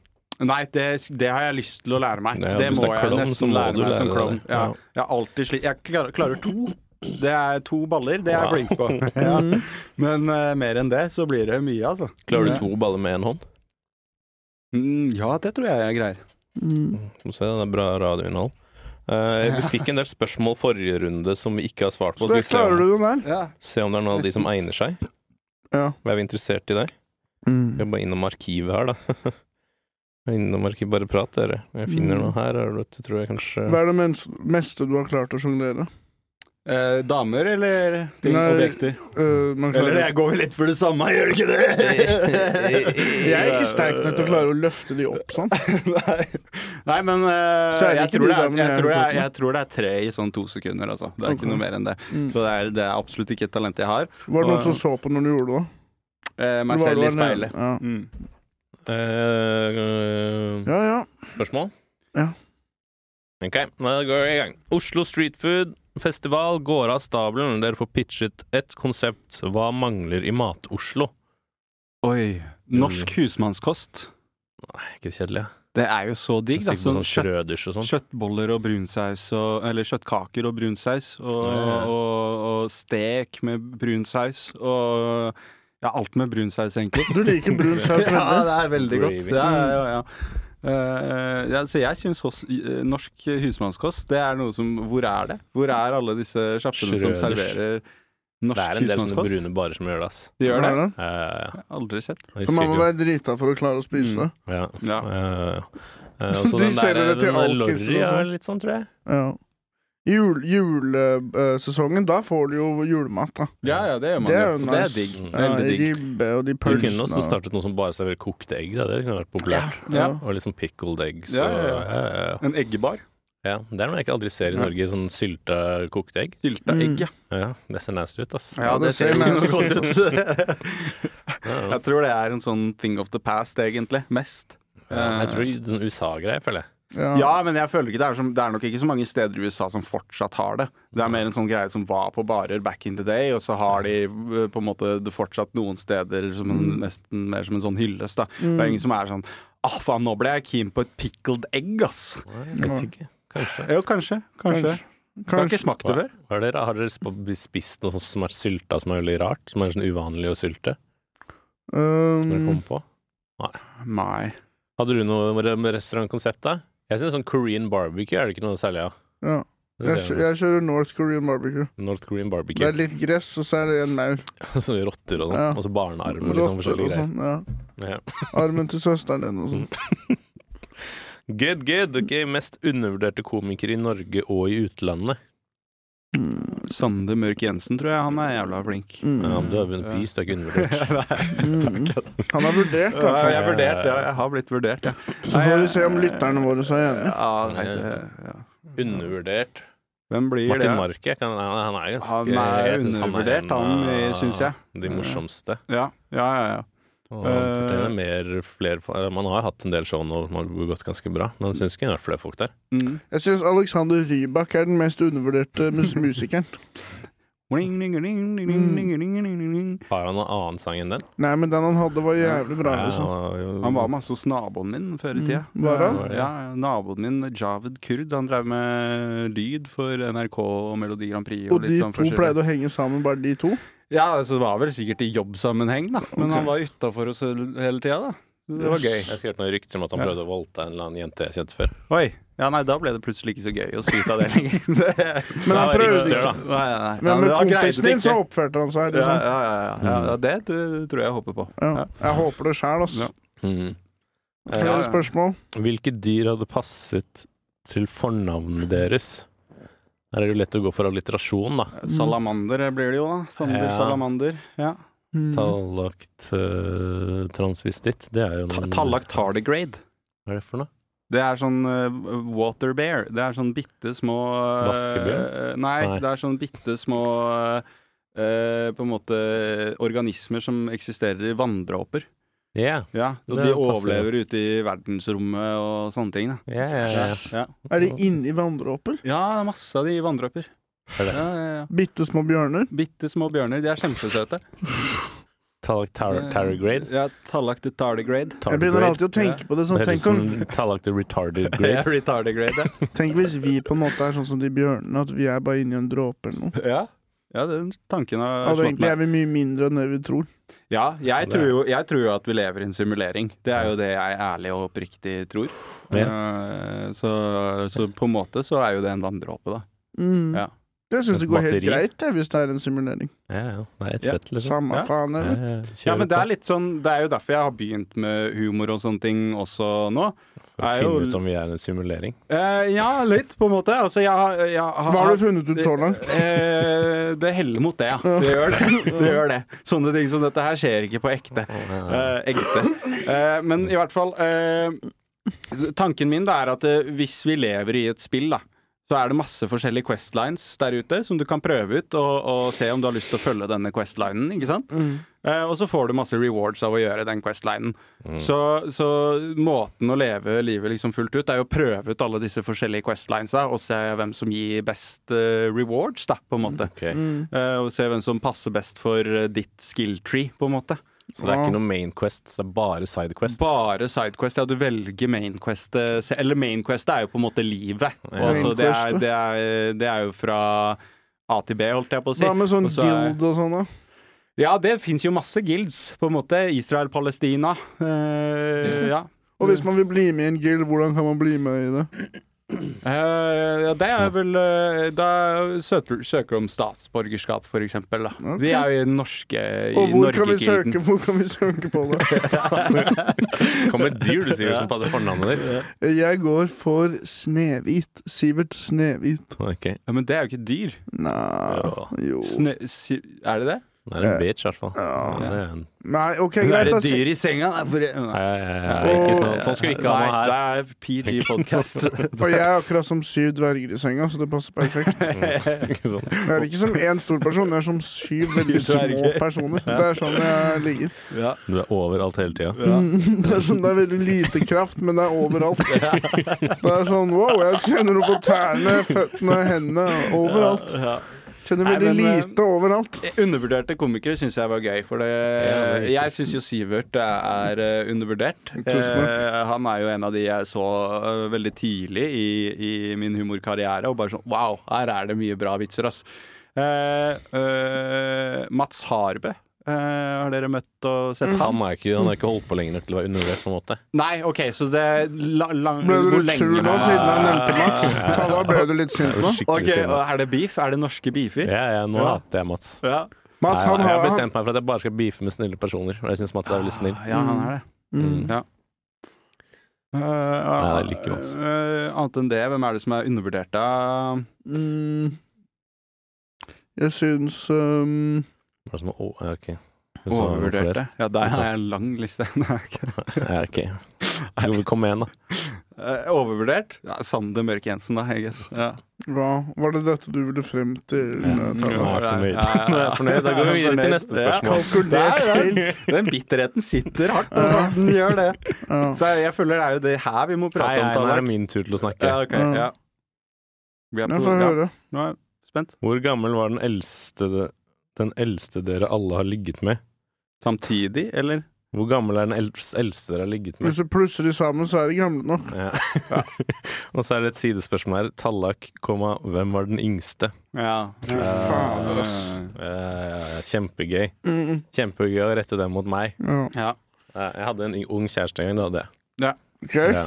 Nei, det, det har jeg lyst til å lære meg. Nei, det hvis må det er jeg klovn, så nesten må lære du meg som lære klovn. det. Ja. Ja. Jeg, har alltid sli- jeg klarer, klarer to. Det er to baller, det er jeg flink på. Ja. Mm. Men eh, mer enn det så blir det mye, altså. Klarer Ja. du to baller med én hånd? Mm, ja, det tror jeg jeg greier. Mm. Må se, det er bra radioinnhold. Eh, vi fikk en del spørsmål forrige runde som vi ikke har svart på. Så Skal det vi se, klarer om, du den der. Ja. se om det er noen av de som egner seg? Ja. Er vi interessert i det? Vi er bare innom arkivet her, da. Jeg er innom arkivet, Bare prat, dere. Jeg finner Mm. noe her. er det- tror jeg kanskje Hva er det mens- meste du har klart å sjonglere? Eh, damer eller ting, Nei, objekter? øh, man klarer- Eller jeg går vel litt for det samme, gjør det ikke det? Jeg er ikke sterk nok til å klare å løfte de opp sånn. Nei. Nei, men eh, Så er det jeg, ikke tror de det er, damene jeg, jeg tror det har er, jeg tror det er tre i sånn to sekunder, altså. Det er Ok. ikke noe mer enn det. Så det er, det er absolutt ikke et talent jeg har. Mm. Var det Og, noen som så på når du gjorde det? da? eh, Var meg det selv i en- speilet. Ja. Mm. Eh, ja, ja. Spørsmål? Ja. Ok, da går vi i gang. Oslo Street Food Festival går av stabelen. Dere får pitchet et konsept. Hva mangler i Mat-Oslo? Oi. Norsk husmannskost. Nei, ikke kjedelig. jeg. Det er jo så digg, Jeg er da. sikker på Sånn sånn kjøtt, Schrøders og sånn. kjøttboller og brunsaus og Eller kjøttkaker og brunsaus. Og, Ja. og, og stek med brunsaus. Og ja, alt med brunsaus, egentlig. Du liker brun saus ja, veldig. det er Mm. veldig godt. Gravy. Ja, ja, ja. Eh, ja, så jeg syns hos- eh, norsk husmannskost Det er noe som Hvor er det? Hvor er alle disse sjappene som Schrøders. serverer norsk Det er en del sånne husmannskost? brune barer som gjør det, ass. De gjør det? Er Ja, ja, ja. Jeg Mm. har Aldri sett. Jeg Så man husker må ikke. være drita for å klare å spise det. Ja. Ja. Eh, eh, og så De den der, selger det til den der alkiser og Lorry er sånn. litt sånn, tror jeg. Ja. Jul, julesesongen, da får du jo julemat, da. ja, ja, det gjør man Det er jo. jo Og Det er nice. digg. Mm. Ja, Veldig digg. ribbe og de Du kunne også pølsene. startet noe som bare serverer kokte egg. Da. Det kunne vært populært. Ja. Og liksom pickled eggs. Ja, og- ja, ja. ja, ja, ja. En eggebar. Ja, Det er noe jeg ikke aldri ser i Ja. Norge. Sånn sylta kokte egg. Sylta Mm. egg, ja. Ja, Det ser nasty ut, ass. Ja, det ser jo nasty godt ut. Ja, ja. Jeg tror det er en sånn thing of the past, egentlig. Mest. Ja, Jeg tror den USA-greia, føler jeg. Ja. Ja, men jeg føler ikke det er, som, det er nok ikke så mange steder i USA som fortsatt har det. Det er mer en sånn greie som var på barer back in the day, og så har de eh, på en måte det fortsatt noen steder som en, nesten mer som en sånn hyllest. Da. Mm. Det er ingen som er sånn Ah, faen, nå ble jeg keen på et pickled egg, ass. Jeg vet ikke. Kanskje. Jo, kanskje. Kanskje. Har ikke Kanskje. smakt det Hva, før. hva er det, da? har dere sp- spist noe sånt som er sylta som er veldig rart? Som er sånn uvanlig å sylte? Som dere Um, kom på? Nei. Hadde du noe med- med restaurantkonsept, da? Jeg synes sånn Korean barbecue er det ikke noe særlig av. ja. Det jeg, ser kjø- jeg jeg kjører North Korean barbecue. mest. North Korean Det barbecue. er litt gress, og så er det en maur. Sånne rotter og Ja. sånn. Og så barnearm og litt sånn Rotter og forskjellige greier. sånn. Ja. Ja. Armen til søsteren din og sånn. Good, good. Ok, mest undervurderte komiker i Norge og i utlandet. Mm. Sander Mørk Jensen tror jeg han er jævla flink. Mm. Ja, men du har vunnet pris, du er ikke undervurdert. Mm. Han har vurdert, i Ja, hvert fall. jeg har vurdert, ja. Jeg har blitt vurdert, ja. Så får vi se om lytterne våre er enige. Ja, nei, det- ja. Undervurdert. Hvem blir Martin det? Marke, kan, han, han er ganske Han er jeg synes undervurdert, han, en eh, eh, av synes jeg. De morsomste. Ja, ja, ja. ja. Og han Eh. fortjener mer flere fo- eller, Man har hatt en del show nå som har gått ganske bra, men jeg syns ikke det er flere folk der. Mm. Jeg syns Alexander Rybak er den mest undervurderte mus musikeren. Ring, ring, ring, ring, Mm. ring, ring, ring, ring, ring, ring. Har han noen annen sang enn den? Nei, men den han hadde, var jævlig bra, liksom. Han var masse hos naboen min før i Mm, tida. var han? Ja, ja, naboen min, Javed Kurd, han drev med lyd for NRK og Melodi Grand Prix. Og de sånn to pleide å henge sammen, bare de to. Ja, så det var vel sikkert i jobbsammenheng, da. Men han var utafor oss hele tida, da. Så Det var gøy. Jeg skrev noen rykter om at han Ja. prøvde å voldta en eller annen jente jeg kjente før. Oi. Ja, nei, da ble det plutselig ikke så gøy å skryte av det lenger. Det- Men Det han var prøvde rykter, ikke. da. nei, nei, nei. Men med Ja, det- han greide kompisen det din så ikke. oppførte han seg. ja, Liksom. ja, ja, ja, ja, det tror tror jeg jeg håper på. Ja. Jeg håper det sjæl, ass. Ja. Mm. Eh, Flere Ja, ja. spørsmål? Hvilke dyr hadde passet til fornavnet deres? Her er det jo lett å gå for alliterasjon, da. Salamander blir det jo, da. Sander Ja. Salamander. Ja. Mm. Tallakt eh, transvestitt, det er jo Ta- noen Tallak tardigrade. Hva er det for noe? Det er sånn eh, water bear. Det er sånn bitte små eh, Vaskebjørn? Nei, Nei. det er sånn bitte små eh, på en måte organismer som eksisterer i vanndråper. Yeah, Ja, og Det de passer. overlever ute i verdensrommet og sånne ting. Da. yeah, yeah, yeah. Ja. Er de inni vanndråper? ja, det er masse av de vanndråper. Er Ja, det? ja, ja. Bitte små bjørner? Bitte små bjørner. De er kjempesøte. Tallakt tar tardigrade? Ja, Tallak the tardigrade. Jeg begynner Tardigrade? alltid å tenke på det sånn. Det høres Tenk, om, som Tallak the retarded Ja, grade. retardigrade. tenk hvis vi på en måte er sånn som de bjørnene, at vi er bare inni en dråpe eller noe. Ja. ja, den tanken har Altså, slått egentlig meg. er vi mye mindre enn det vi tror. Ja, jeg Det tror, er- jo, jeg tror jo at vi lever i en simulering. Det er jo det jeg ærlig og oppriktig tror. Eh, Så, så på en måte så er jo det en vanndråpe, da. Mm. Ja. Jeg syns Et det går helt batteri. greit jeg, hvis det er en simulering. Ja, ja. Nei, et Ja, fett, liksom. Samme Ja. faen, Ja, eller? ja. Ja, men det er Kjør på. litt sånn Det er jo derfor jeg har begynt med humor og sånne ting også nå. For å Er jo- finne ut om vi er en simulering. Eh, ja, litt, på en måte. Altså, jeg, har- jeg, har- Hva har du funnet ut så langt? Eh, det heller mot det, ja. Det gjør det. det gjør det. Sånne ting som dette her skjer ikke på ekte. Eh, ekte. Eh, men i hvert fall eh, Tanken min da er at eh, hvis vi lever i et spill, da, så er det masse forskjellige questlines der ute som du kan prøve ut og, og se om du har lyst til å følge denne questlinen. ikke sant? Eh, og så får du masse rewards av å gjøre den questlinen. Så, så måten å leve livet liksom fullt ut, er jo å prøve ut alle disse forskjellige questlinesa og se hvem som gir best eh, rewards, da, på en måte. Ok. Eh, og se hvem som passer best for eh, ditt skill tree, på en måte. Så det er ikke noe main quests, det er bare side quests. mm, Bare sidequest. Ja, du velger mainquest. eh, se- Eller mainquest er jo på en måte livet. Og så det, er- Mainquest, det, er- det er jo fra A til B, holdt jeg på å si. Hva med sånn Og så er- guild og sånn, da? Ja, det fins jo masse guilds, på en måte. Israel-Palestina. Eh, ja. Og hvis man vil bli med i en guild, hvordan kan man bli med i det? Eh, ja, det er vel eh, Da søker, søker om statsborgerskap, for eksempel. Da. Vi er jo i den norske i Og hvor kan, vi Norgegilden. søke, hvor kan vi søke på det? Kom med dyr du sier som passer fornavnet ditt. Jeg går for Snehvit. Sivert Snehvit. Ok, Ja, men det er jo ikke dyr. Nja Jo. Snø, si, er det det? det er en bitch i hvert fall. Ja, det er en- Nei, OK, Er greit. det da. dyr i senga? Nei, for, nei. Nei, nei, nei, nei, ikke sånn, sånn skal vi ikke ha det her. Nei, det er PG-podkast. Og jeg er akkurat som syv dverger i senga, så det passer perfekt. Ikke sånn. Jeg er ikke som én stor person, jeg er som syv veldig Syv små dverger. personer. Det er sånn jeg ligger. ja. Du er overalt hele tida. Ja. Det er sånn det er veldig lite kraft, men det er overalt. Det er sånn wow, jeg kjenner det på tærne, føttene, hendene, overalt. Ja. Kjenner Nei, veldig men, eh, lite overalt. Undervurderte komikere syns jeg var gøy. For det, jeg syns jo Sivert er eh, undervurdert. Eh, han er jo en av de jeg så eh, veldig tidlig i, i min humorkarriere, og bare sånn Wow, her er det mye bra vitser, ass. Eh, eh, Mats Harbø. eh, har dere møtt og sett han? Mm. Han har ikke, han er ikke holdt på lenger nok til å være undervurdert, på en måte. Nei, OK, så det la, lang, Ble du hvor litt lenge- sur nå siden jeg nevnte Mats? Ja. Talla, ble du litt Jeg sint er jo nå? skikkelig Ok, og sinna. Er det beef? Er det norske beefer? Ja, ja, nå Ja. hater jeg Mats. Ja. Nei, Mats, han jeg har har han, bestemt meg for at jeg bare skal beefe med snille personer. Og jeg syns Mats er veldig snill. ja, han er det. mm. Ja. Nei, det liker vi, altså. Mm. Eh, annet enn det, hvem er det som er undervurdert, da? mm. Jeg syns um, Hva er det som er- å, ja, ok. Du sa noen flere. Overvurderte? Ja, der har jeg en lang liste. Nei, ok. Ja, ok. Jo, men Kom igjen, da. Eh, Overvurdert? Ja, Sander Mørk Jensen, da, I guess. Ja. Hva var det dette du ville frem til? eh, Ja. Talla? jeg er fornøyd. Ja, ja, ja. Jeg er fornøyd. Da går vi videre til Fornøyd. neste spørsmål. Ja, kalkulert spill. Den bitterheten sitter hardt, altså. Den gjør det. Ja. Så jeg føler det er jo det her vi må prate Nei, nei, om. nå er det Tallak. min tur til å snakke. Mm. Ja, ok, ja. Vi er Jeg på- får ja, høre. Nå er jeg spent. Hvor gammel var den eldste, den eldste dere alle har ligget med? Samtidig, eller? Hvor gammel er den elds- eldste dere har ligget med? Hvis du plusser de sammen, så er de gamle nok. Ja. Og så er det et sidespørsmål her. Tallak, komma, hvem var den yngste? Ja. faen, Eh, kjempegøy. Mm. Kjempegøy å rette den mot meg. Ja. ja. Eh, jeg hadde en y- ung kjæreste en gang, da. Det. Ok, Ja.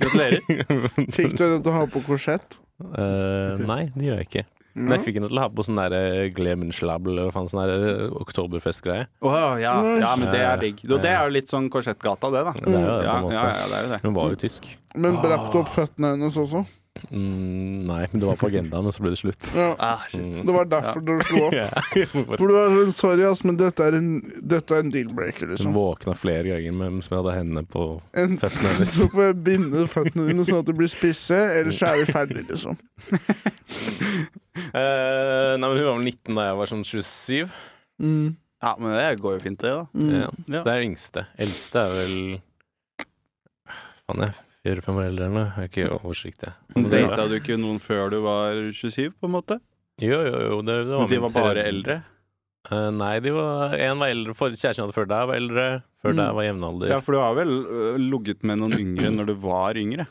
Gratulerer. Fikk du henne til å ha på korsett? Eh, nei, det gjør jeg ikke. Men jeg fikk henne til å ha på sånn der Glemenschlabel eller hva faen sånn der eh, oktoberfestgreie. Åh, ja. ja, men det er digg. Og Det Ja. er jo litt sånn Korsettgata, det, da. Det er jo det, på en Ja, måte. ja, ja, det er jo det. Hun var jo tysk. Men brakk du opp føttene hennes også? Mm, nei, men det var på agendaen, og så ble det slutt. Ja. Ah, shit. Mm. Det var derfor dere slo opp. Ja. For du er sånn, sorry, ass, men dette er en, dette er en deal-breaker, Hun liksom. våkna flere ganger mens vi hadde hendene på En, føttene hennes. så får jeg binde føttene dine sånn at de blir spisse, ellers så er vi ferdige, liksom. Eh, nei, men Hun var vel 19 da jeg var sånn 27. Mm. Ja, men det går jo fint, det, da. Mm. Ja. Ja. Det er det yngste. Eldste er vel Faen, jeg er fire-fem år eldre enn henne. Jeg er ikke oversikt, jeg. Men det- Data du ikke noen før du var 27, på en måte? Jo, jo, jo. Det, det var Men de var min bare tredje- eldre? Eh, nei, de var, en var eldre. For, kjæresten jeg hadde før deg, var eldre. Før Mm. deg var jevnalder. Ja, Ja. for du har vel øh, ligget med noen yngre når du var yngre?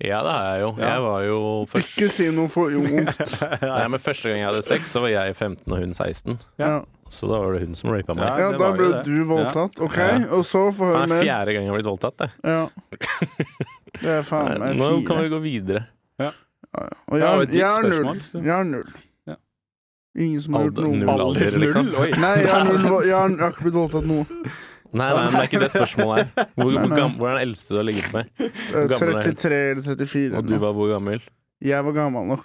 det er jeg jo. Ja. Jeg var jo først, Ikke si noe for ungt. nei, men Første gang jeg hadde sex, så var jeg 15 og hun 16. Ja. Så da var det hun som rapa meg. Ja, det da var jo ble det. du voldtatt, OK? Ja. Og så få Det høre er mer. fjerde gang jeg har blitt voldtatt. Det. Ja. Det er Nei, faen meg nå kan fire. vi gå videre. Og Det var jo jeg, et ditt jeg er null. spørsmål, så. Jeg er null. Ja. Ingen som har gjort Alder, noe. null alder, liksom. Null, oi. Nei, jeg har, null, jeg har, jeg har ikke blitt voldtatt nå. Nei, nei, men det er ikke det spørsmålet her. Hvor, hvor, gam- hvor er den eldste du har ligget med? Eh, Hvor gammel er du? 33 eller 34. Og du var hvor gammel? Jeg var gammel nok.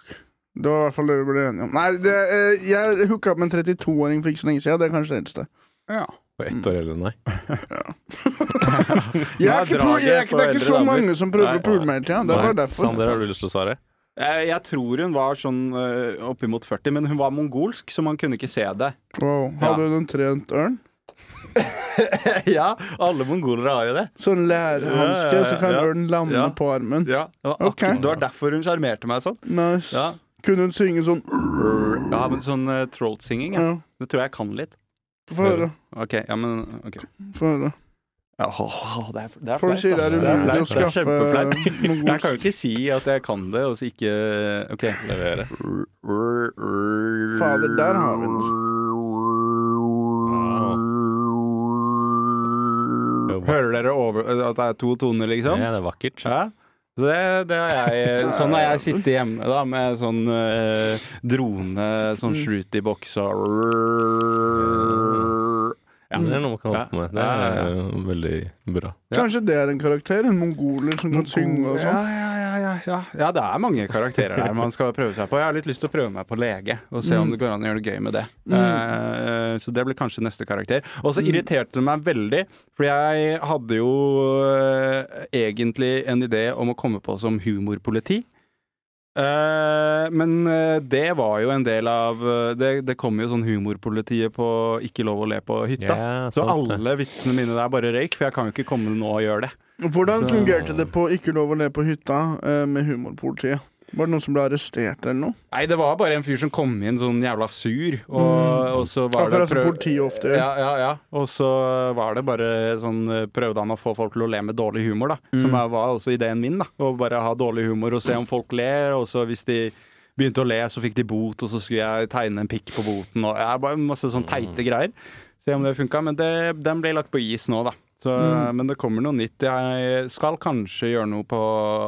Det var i hvert fall det vi ble enige om. Nei, det, eh, jeg hooka opp med en 32-åring for ikke så lenge siden. Det er kanskje det eldste. Ja. Og ett år eldre enn deg? Jeg Nei, er ikke, draget jeg er ikke, det er på ikke eldre så damer. mange som prøvde Nei. å pule meg hele tida. Det Nei. var derfor. Sander, har du lyst til å svare? Eh, Jeg tror hun var sånn eh, oppimot 40, men hun var mongolsk, så man kunne ikke se det. Wow. Hadde Ja. hun en trent ørn? ja, alle mongolere har jo det. Sånn Ja, ja, lærhanske, ja, så kan ja. ørnen lande Ja. på armen. Ja, det, var Ok. akkurat- det var derfor hun sjarmerte meg sånn. Nice. Ja. Kunne hun synge sånn ja, men sånn uh, trollsinging, ja. Ja. det tror jeg jeg kan litt. Få høre. Ok, ja, men ok. Få høre. Ja, åh, det er, det er Folk sier det er ass. umulig å flaut, det er skaffe kjempeflaut. Jeg kan mongolsk jo ikke si at jeg kan det, og så ikke OK. Levere. Fader, der har vi den. Hører dere over, at det er to toner, liksom? Ja, det er vakkert. Ja. Så det, det har jeg, sånn har jeg sittet hjemme da, med sånn eh, drone, sånn shrooty-boks og Ja, det er noe man kan holde på med. Det er Ja, ja, eh, veldig bra. Kanskje det er en karakter? En mongoler som kan synge og ja, sånn? ja, ja, ja, ja. ja, det er mange karakterer der man skal prøve seg på. Jeg har litt lyst til å prøve meg på lege, og se om det går an å gjøre det gøy med det. Eh, så det blir kanskje neste karakter. Og så irriterte det meg veldig, for jeg hadde jo eh, egentlig en idé om å komme på som humorpoliti. Eh, men eh, det var jo en del av eh, Det, det kom jo sånn humorpolitiet på Ikke lov å le på hytta. Ja, så sant det. alle vitsene mine der bare røyk, for jeg kan jo ikke komme nå og gjøre det. Hvordan Så- fungerte det på Ikke lov å le på hytta eh, med humorpolitiet? Var det noen som ble arrestert eller noe? Nei, det var bare en fyr som kom inn sånn jævla sur, og, og så var Mm. Akkurat det som politiet ofte gjør. Ja, ja, ja. Og så var det bare sånn eh, Prøvde han å få folk til å le med dårlig humor, da. Som Mm. er- var også ideen min, da. Å bare ha dårlig humor og se om folk ler, og så hvis de begynte å le, så fikk de bot, og så skulle jeg tegne en pikk på boten, og ja, bare masse sånn Mm. teite greier. Se om det funka. Men det, den ble lagt på is nå, da. Så, Mm. Men det kommer noe nytt. Jeg skal kanskje gjøre noe på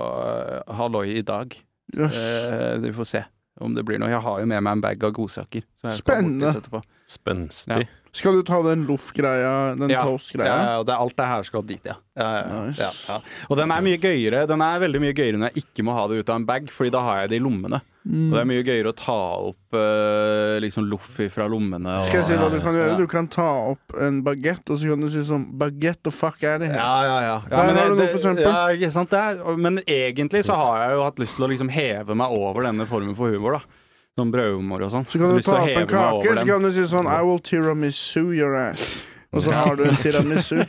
eh, Halloi i dag. Jøss. Eh, vi får se om det blir noe. Jeg har jo med meg en bag av godsaker. så jeg skal Spennende. bort dit etterpå. Spenstig. Skal du ta den loff-greia, den Ja, ja, toast-greia? ja, og det er alt det her skal dit, ja. Ja, ja, ja, Nice. ja, ja. Og den er mye gøyere Den er veldig mye gøyere når jeg ikke må ha det ut av en bag, Fordi da har jeg det i lommene. Mm. Og det er mye gøyere å ta opp eh, liksom Loffi fra lommene. Og, Skal jeg si hva du kan gjøre? Ja. Du kan ta opp en bagett, og så kan du si sånn Bagett, the fuck er det her? Ja, ja, ja. ja Der har jeg- du noe, det- for eksempel. Ja, ikke sant? Det er, og- men egentlig så har jeg jo hatt lyst til å liksom heve meg over denne formen for humor, da. Som brødhumor og sånn. Så kan du Lyst til ta å opp heve en meg over kake, den. så kan du si sånn I will tiramisu your ass. Og så har du en tiramisu.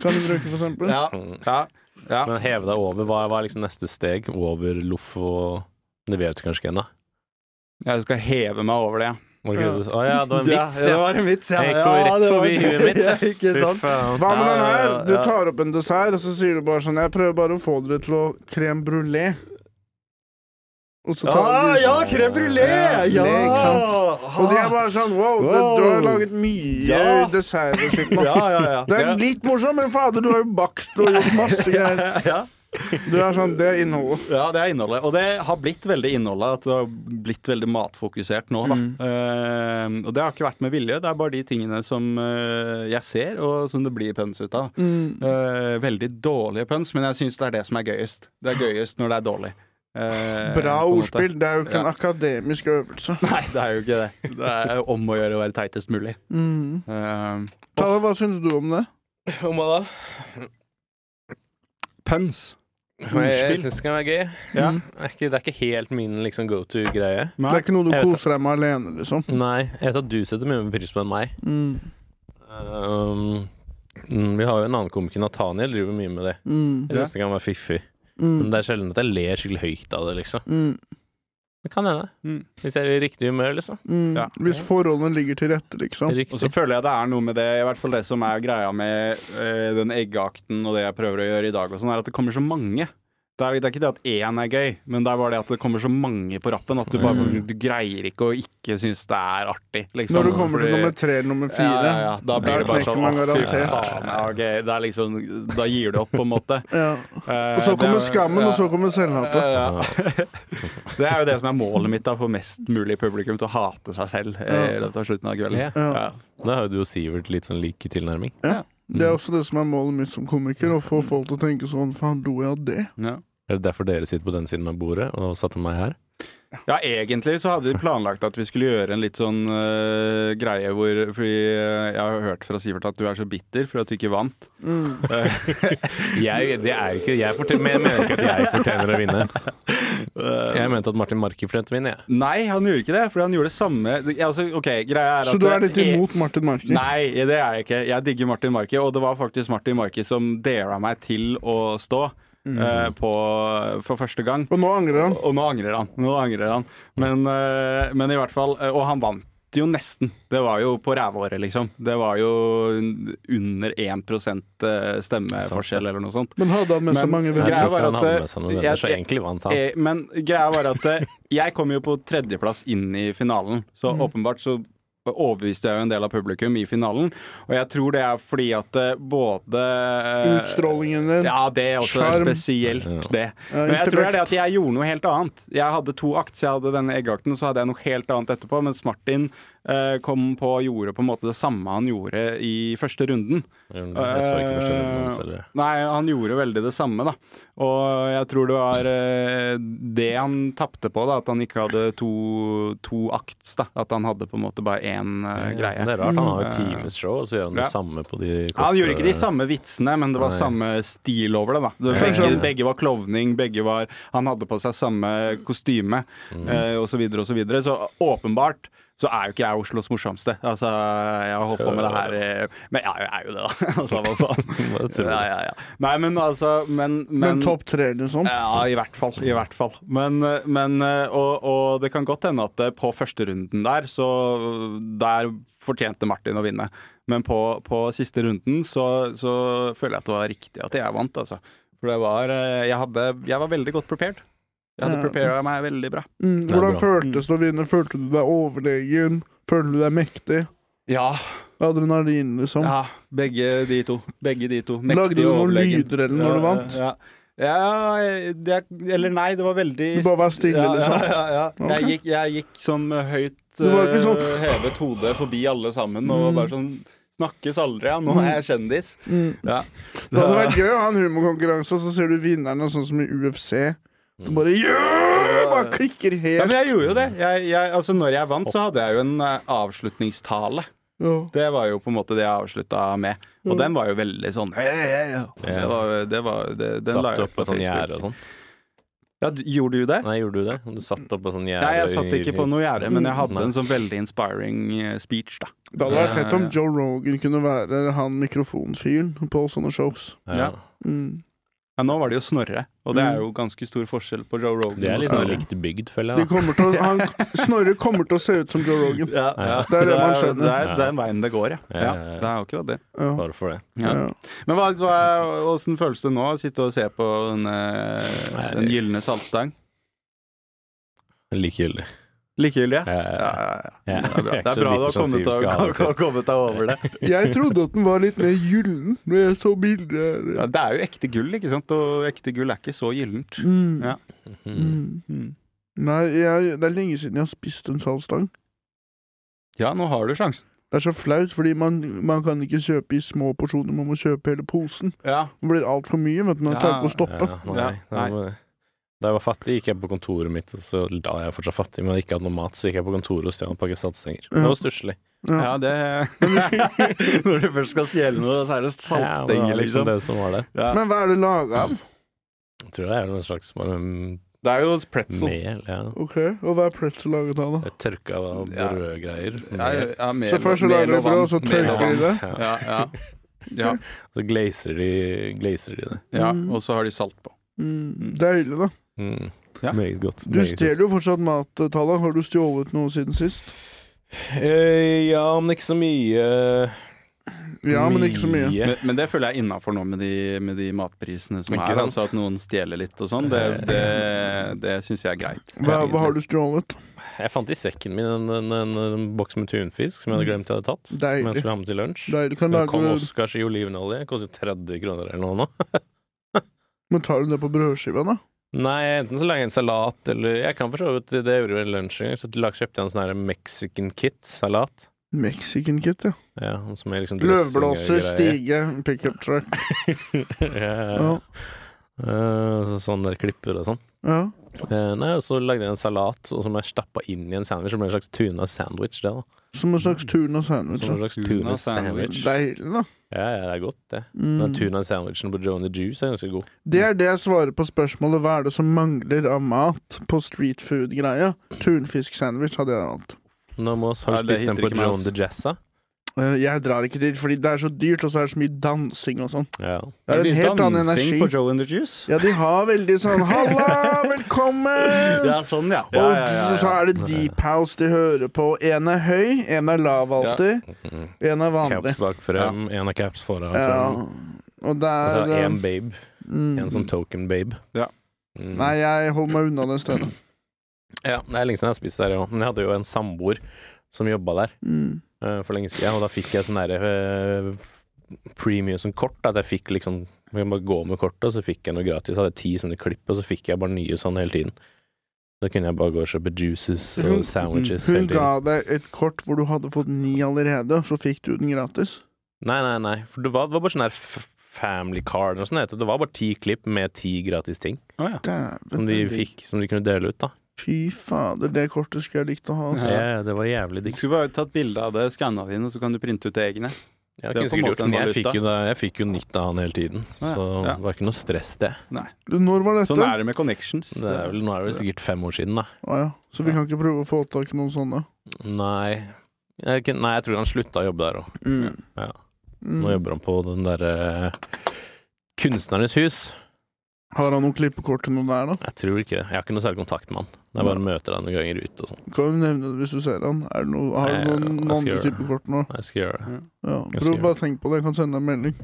Kan du bruke, for eksempel. Ja, ja, ja. Men heve deg over. Hva, hva er liksom neste steg? Over loff og Det vet du kanskje ikke ennå. Jeg skal heve meg over det. Var det ikke det du sa? Å ja, det var en vits, ja. Det ja. var en vits, ja. Jeg gikk jo Ja, rett det var- forbi huet mitt, Ja, ikke Fy sant? faen. Hva med Ja, den her? ja, ja. Du tar opp en dessert, og så sier du bare sånn Jeg prøver bare å få dere til å crème brulé. Og så tar Ah, du ja, crème brulé! Ja! Ja, ikke sant? Og de er bare sånn Wow, det, du har laget mye Ja. dessert og slikt nå. Ja, ja, ja. Det er litt morsomt, men fader, du har jo bakt og gjort masse greier. ja, ja. Du er sånn, det er innholdet. Ja, det er innholdet. Og det har blitt veldig innholdet. At det har blitt veldig matfokusert nå, da. Mm. Eh, og det har ikke vært med vilje. Det er bare de tingene som eh, jeg ser, og som det blir pønsk ut av. Eh, veldig dårlige pønsk, men jeg syns det er det som er gøyest. Det er gøyest når det er dårlig. Eh, Bra på en måte. ordspill. Det er jo ikke en Ja. akademisk øvelse. Nei, det er jo ikke det. Det er om å gjøre å være teitest mulig. Mm. Eh, Tale, hva syns du om det? Om hva da? pøns. Jeg syns det kan være gøy. Ja. Det er ikke, det er ikke helt min liksom, go to-greie. Nei. Mm. Det er ikke noe du Jeg vet koser deg med alene, liksom. Nei, jeg vet at du setter mye mer pris på enn meg. Mm. Um, mm, vi har jo en annen komiker, Nathaniel, driver mye med det. Mm. Jeg syns det kan være fiffig. Men Mm. det er sjelden at jeg ler skikkelig høyt av det, liksom. Mm. Det kan hende. Mm. Hvis jeg er i riktig humør, liksom. Mm. Ja. Hvis forholdene ligger til rette, liksom. Og så Riktig. føler jeg det er noe med det, i hvert fall det som er greia med eh, den eggeakten og det jeg prøver å gjøre i dag og sånn, er at det kommer så mange. Det er, det er ikke det at én er gøy, men det er bare det at det kommer så mange på rappen at du bare du greier ikke å ikke synes det er artig, liksom. Mm. Når du kommer til Fordi- nummer tre eller nummer fire. Ja, ja, ja. Da blir Der det bare knekker sånn man «Å, fy garantert». faen, ja, ok». Det er liksom Da gir du opp, på en måte. Eh, Ja. Og så kommer skammen, og så kommer selvhatet. Ja. Det er jo det som er målet mitt, da, å få mest mulig publikum til å hate seg selv eh, i løpet av slutten av kvelden. Ja. Da har jo du og Sivert litt sånn lik tilnærming. Det er også det som er målet mitt som komiker, å få folk til å tenke sånn faen, lo jeg av det? Ja. Er det derfor dere sitter på den siden av bordet og satte meg her? Ja, egentlig så hadde vi planlagt at vi skulle gjøre en litt sånn øh, greie hvor Fordi øh, jeg har hørt fra Sivert at du er så bitter for at du ikke vant. Mm. Jeg, det er jo ikke Jeg fortjener, men jeg mener ikke at jeg fortjener å vinne. Jeg mente at Martin Marki fortjente å vinne, jeg. Nei, han gjorde ikke det, for han gjorde det samme det- altså, Ok, greia er at Så du er litt imot Martin Marker? Nei, det er jeg ikke. Jeg digger Martin Marki, og det var faktisk Martin Marki som dara meg til å stå Mm. øh, på, for første gang. Og nå angrer han. Og nå angrer han. Nå angrer han. Men, eh, men i hvert fall eh, Og han vant jo nesten. Det var jo på rævåret, liksom. Det var jo under 1 eh, stemmeforskjell eller noe sånt. Men hadde han med seg Men- mange Jeg Greia venner? tror var ikke han at, hadde eh, med seg noen jeg- venner, så egentlig vant han. Eh, Men greia var at eh, jeg kom jo på tredjeplass inn i finalen, så Mhm. åpenbart så overbeviste jeg jo en del av publikum i finalen. Og jeg tror det er fordi at eh, både eh, Utstrålingen din. Ja, det er også Skjerm. spesielt Ja. det. Ja, Men jeg tror det er det intellekt. at jeg gjorde noe helt annet. Jeg hadde to akt, så jeg hadde denne eggakten, og så hadde jeg noe helt annet etterpå. Mens Martin eh, kom på og gjorde på en måte det samme han gjorde i første runden. Jeg så ikke første runden Eh, hans heller. Nei, han gjorde veldig det samme, da. Og jeg tror det var eh, det han tapte på, da. At han ikke hadde to, to akts, da. At han hadde på en måte bare én eh, Det greie. er rart. Han har jo timeshow, og så gjør han det Ja. samme på de Ja, han gjorde ikke de korte- samme vitsene, men det var Nei. samme stil over det. da det, Kanskje begge, han- begge var klovning, begge var Han hadde på seg samme kostyme, eh, og så videre og så videre. Så åpenbart så er jo ikke jeg Oslos morsomste. Altså, jeg har holdt på med det her eh, Men jeg er jo det, da. Altså, hva faen. Hva tror du? Ja, ja, ja. Nei, men altså Men, Men men topp tre, liksom? ja, i hvert fall. I hvert fall. Men, men og, og det kan godt hende at det på førsterunden der, så der fortjente Martin å vinne. Men på, på siste runden så, så føler jeg at det var riktig at jeg vant, altså. For det var eh, Jeg, hadde, jeg var veldig godt prepared. Jeg hadde Ja. prepara meg veldig bra. Mm. Det er Hvordan bra. føltes det å vinne? Følte du deg overlegen? Følte du deg mektig? Ja. Adrenalin, liksom? ja begge de to. Begge de to. Mektig Lagde du noen overlegen. lyder eller når du Ja, vant? Ja, ja det, Eller nei, det var veldig Du bare var stille, Ja, liksom? Ja, ja, ja. Jeg, Ok. gikk, jeg gikk sånn med høyt Det var ikke sånn- Mm. eh, hevet hode forbi alle sammen og bare sånn Snakkes aldri, ja. Nå er jeg kjendis. Ja. Det Mm. hadde vært gøy å ha en humorkonkurranse, og så ser du vinnerne, sånn som i UFC. Du bare yeah! Bare klikker Mm. ja, helt. men jeg gjorde jo det. Jeg, jeg, altså, når jeg vant, så hadde jeg jo en eh, avslutningstale. Ja. Det var jo på en måte det jeg avslutta med. Mm. Og den var jo veldig sånn «Hei, hei, hei». Det var, det var, det, den Satt la du jeg opp ut på på sånn gjerde Facebook. og sånn? Ja, du- gjorde du det? Nei, gjorde du det? Du satt opp på sånn gjerde Nei, jeg satt i- ikke på noe gjerde, men Nei. jeg hadde en sånn veldig inspiring eh, speech, da. Det hadde vært Ja, fett om ja. Joe Rogan kunne være han mikrofonfyren på sånne shows. Ja. Mm. Ja, nå var det jo Snorre, og det er jo ganske stor forskjell på Joe Rogan. Det er og litt sånn Snorre. likt bygd, føler jeg. De da. kommer til å, han, Snorre kommer til å se ut som Joe Rogan. Ja, Ja. Det er det man skjønner. Det er den veien det går, ja. Ja, ja. ja, ja. Det er jo akkurat det. Ja. Bare for det. Ja. Ja. Men hva, hva, hvordan føles det nå å sitte og se på den, eh, den gylne saltstang? Likegyldig. Likegyldig, ja? Ja, Ja, ja, ja, ja. ja. Det er bra, Jeg det så er bra du bitter har som kommet Sivert deg, skal ha det til. kommet deg over det. Jeg trodde at den var litt mer gyllen når jeg så bilder. her. Ja, det er jo ekte gull, ikke sant? Og ekte gull er ikke så gyllent. Mm. Ja. Mhm. Mm. Mm. Nei, jeg, det er lenge siden jeg har spist en saltstang. Ja, nå har du sjansen. Det er så flaut, fordi man, man kan ikke kjøpe i små porsjoner, man må kjøpe hele posen. Ja. Det blir altfor mye, vet du, når jeg tar på å stoppe. Ja, nei, Ja, nei. det var- Da jeg var fattig, gikk jeg på kontoret mitt, og så da jeg fortsatt fattig, men ikke hadde noe mat, så gikk jeg på kontoret og stjal en pakke saltstenger. Det Ja. var stusslig. ja, det Når du først skal stjele noe, så er det Ja, det saltstenger, var liksom. Det som var det. Ja. Men hva er det laga av? Jeg tror det er noen slags um, Det er jo pretzel. mel, ja. Ok, Og hva er pretzel laget av, da? Det er Tørka og Ja. brødgreier. Ja, Mel. ja, mel, Så først så lager mel de og brød, vann. og så Mel og tørker de vann. det? Ja, ja. ja, Så glazer de, glazer de det. ja. Og så har de salt på. Mm, deilig, da. Mm. Ja. Meget godt. Du meget godt. stjeler jo fortsatt mat, Talla. Har du stjålet noe siden sist? Eh, ja, men ikke så mye. Ja, men ikke så mye. Men, men det føler jeg innafor nå, med de, med de matprisene som Ikke er. sant? Altså at noen stjeler litt og sånn. Det, det, det syns jeg er greit. Hva, hva har du stjålet? Jeg fant i sekken min en, en, en, en boks med tunfisk som jeg hadde glemt jeg hadde tatt. Som jeg Mm. Deilig. skulle ha med til lunsj. Deilig. Kan Men Kong lage Oscars i olivenolje koster 30 kroner eller noe nå. Men tar du det på brødskiva, da? Nei, enten så lager jeg en salat, eller Jeg kan for så vidt Det gjorde jeg i lunsj en gang, så lag- kjøpte jeg en sånn her mexican kit-salat. Mexican Kid, ja. Ja, han som er liksom Løvblåser, dressing- stige, pickup truck. ja, ja. Ja. Eh, Sånn der klipper og sånn. ja. Eh, Nei, og så lagde jeg en salat og som jeg stappa inn i en sandwich. Det ble en slags tuna sandwich, det, da. Som en slags tuna sandwich. Som en ja. slags Tuna tuna sandwich. sandwich. Deilig, da. Ja, ja, det er godt, det. Den Mm. tuna sandwichen på Joe and the Juice er ganske god. Det er det jeg svarer på spørsmålet hva er det som mangler av mat på street food-greia. Tunfisk-sandwich hadde jeg valgt. Nå må vi ha Ja, det spist den hitter på ikke meg, Joe and altså. the Jazza. Eh, Jeg drar ikke dit fordi det er så dyrt, og så er det så mye dansing og sånn. Ja. Det er en helt annen energi. på Joe and the Juice? Ja, de har veldig sånn 'halla, velkommen'! Ja, sånn, ja. Og så er det deep house de hører på. En er høy, en er lav alltid. En er vanlig. Caps bak frem, én av caps foran. Ja. frem. Og det Og så er én babe. mm, Altså, En sånn token babe. Ja. Mm. Nei, jeg holder meg unna den stedet. Ja, det er lenge siden jeg har spist der, jo. Men jeg hadde jo en samboer som jobba der Mm. eh, for lenge siden, og da fikk jeg sånn derre premium som kort. At jeg fikk liksom Jeg kunne bare gå med kortet, og så fikk jeg noe gratis. Jeg hadde ti sånne klipp, og så fikk jeg bare nye sånn hele tiden. Da kunne jeg bare gå og kjøpe juices og sandwiches hun hele tiden. ga deg et kort hvor du hadde fått ni allerede, så fikk du den gratis. Nei, nei, nei. For det var, det var bare sånn her f- family card og sånn heter det. Det var bare ti klipp med ti gratis ting som Dæven. de fikk, som de kunne dele ut, da. Fy fader, det kortet skulle jeg likt å ha. Ja. Altså. Ja, ja, det var jævlig Du digg. skulle bare tatt bilde av det, skanna det inn, og så kan du printe ut egne. Jeg, kunne Det er på en sikkert måte gjort, en men jeg, valuta. fikk jo da, jeg fikk jo nytt av han hele tiden, Ja, så ja. det var ikke noe stress, det. Når var dette? Sånn er det med connections. det er vel, nå er det vel sikkert fem år siden, da. Å, ja. Så vi kan ikke prøve å få tak i noen sånne? Nei jeg, kan- nei, jeg tror han slutta å jobbe der òg. Mm. Ja. Mm. Nå jobber han på den derre Kunstnernes hus. Har han noen klippekort til noen der, da? Jeg tror ikke det. Jeg har ikke noe særlig kontakt med han. Jeg bare møter han noen ganger ute og sånn. Kan du nevne det hvis du ser han? Er det noe, har Nei, du noen, jeg skal andre gjøre det. typer kort nå? Jeg skal gjøre det. Ja. Jeg skal Prøv gjøre bare å tenke på det, jeg kan sende deg en melding.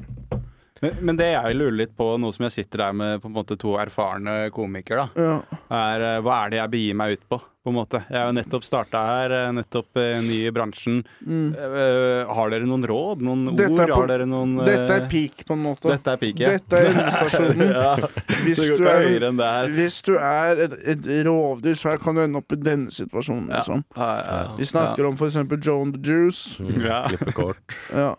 Men, men det jeg lurer litt på, nå som jeg sitter der med på en måte to erfarne komikere, da, Ja. er eh, hva er det jeg begir meg ut på, på en måte? Jeg har jo nettopp starta her, eh, nettopp eh, ny i bransjen. Mm. Eh, har dere noen råd? Noen Dette er ord? på- Har dere noen eh, Dette er peak, på en måte. Dette er piket? Dette er endestasjonen. ja, Hvis det går du ikke er, høyere enn det her. hvis du er et, et rovdyr, så kan du ende opp i denne situasjonen, Ja. liksom. Ja, Vi snakker om for eksempel Joan the Juice. Mm, Ja. Klippekort. Ja.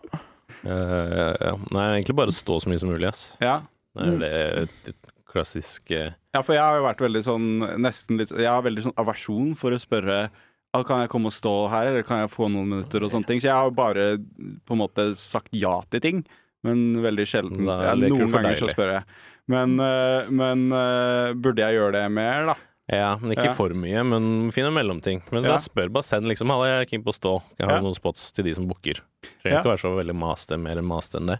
Eh, ja. Nei, egentlig bare stå så mye som mulig, ass. ja. Det er Mm. jo det et, et klassisk eh, Ja, for jeg har jo vært veldig sånn Nesten litt Jeg har veldig sånn aversjon for å spørre «Ah, kan jeg komme og stå her, eller kan jeg få noen minutter og sånne ting. Så jeg har bare på en måte sagt ja til ting, men veldig sjelden. Da Ja, leker du noen for ganger så deilig. Mm. spør jeg. Men, øh, men øh, burde jeg gjøre det mer, da? Ja, men ikke Ja. for mye, men finn en mellomting. Men Ja. da spør bare send liksom Halla, jeg er keen på å stå. Jeg har Ja. noen spots til de som booker. Trenger Ja. ikke være så veldig maste, mer maste enn det.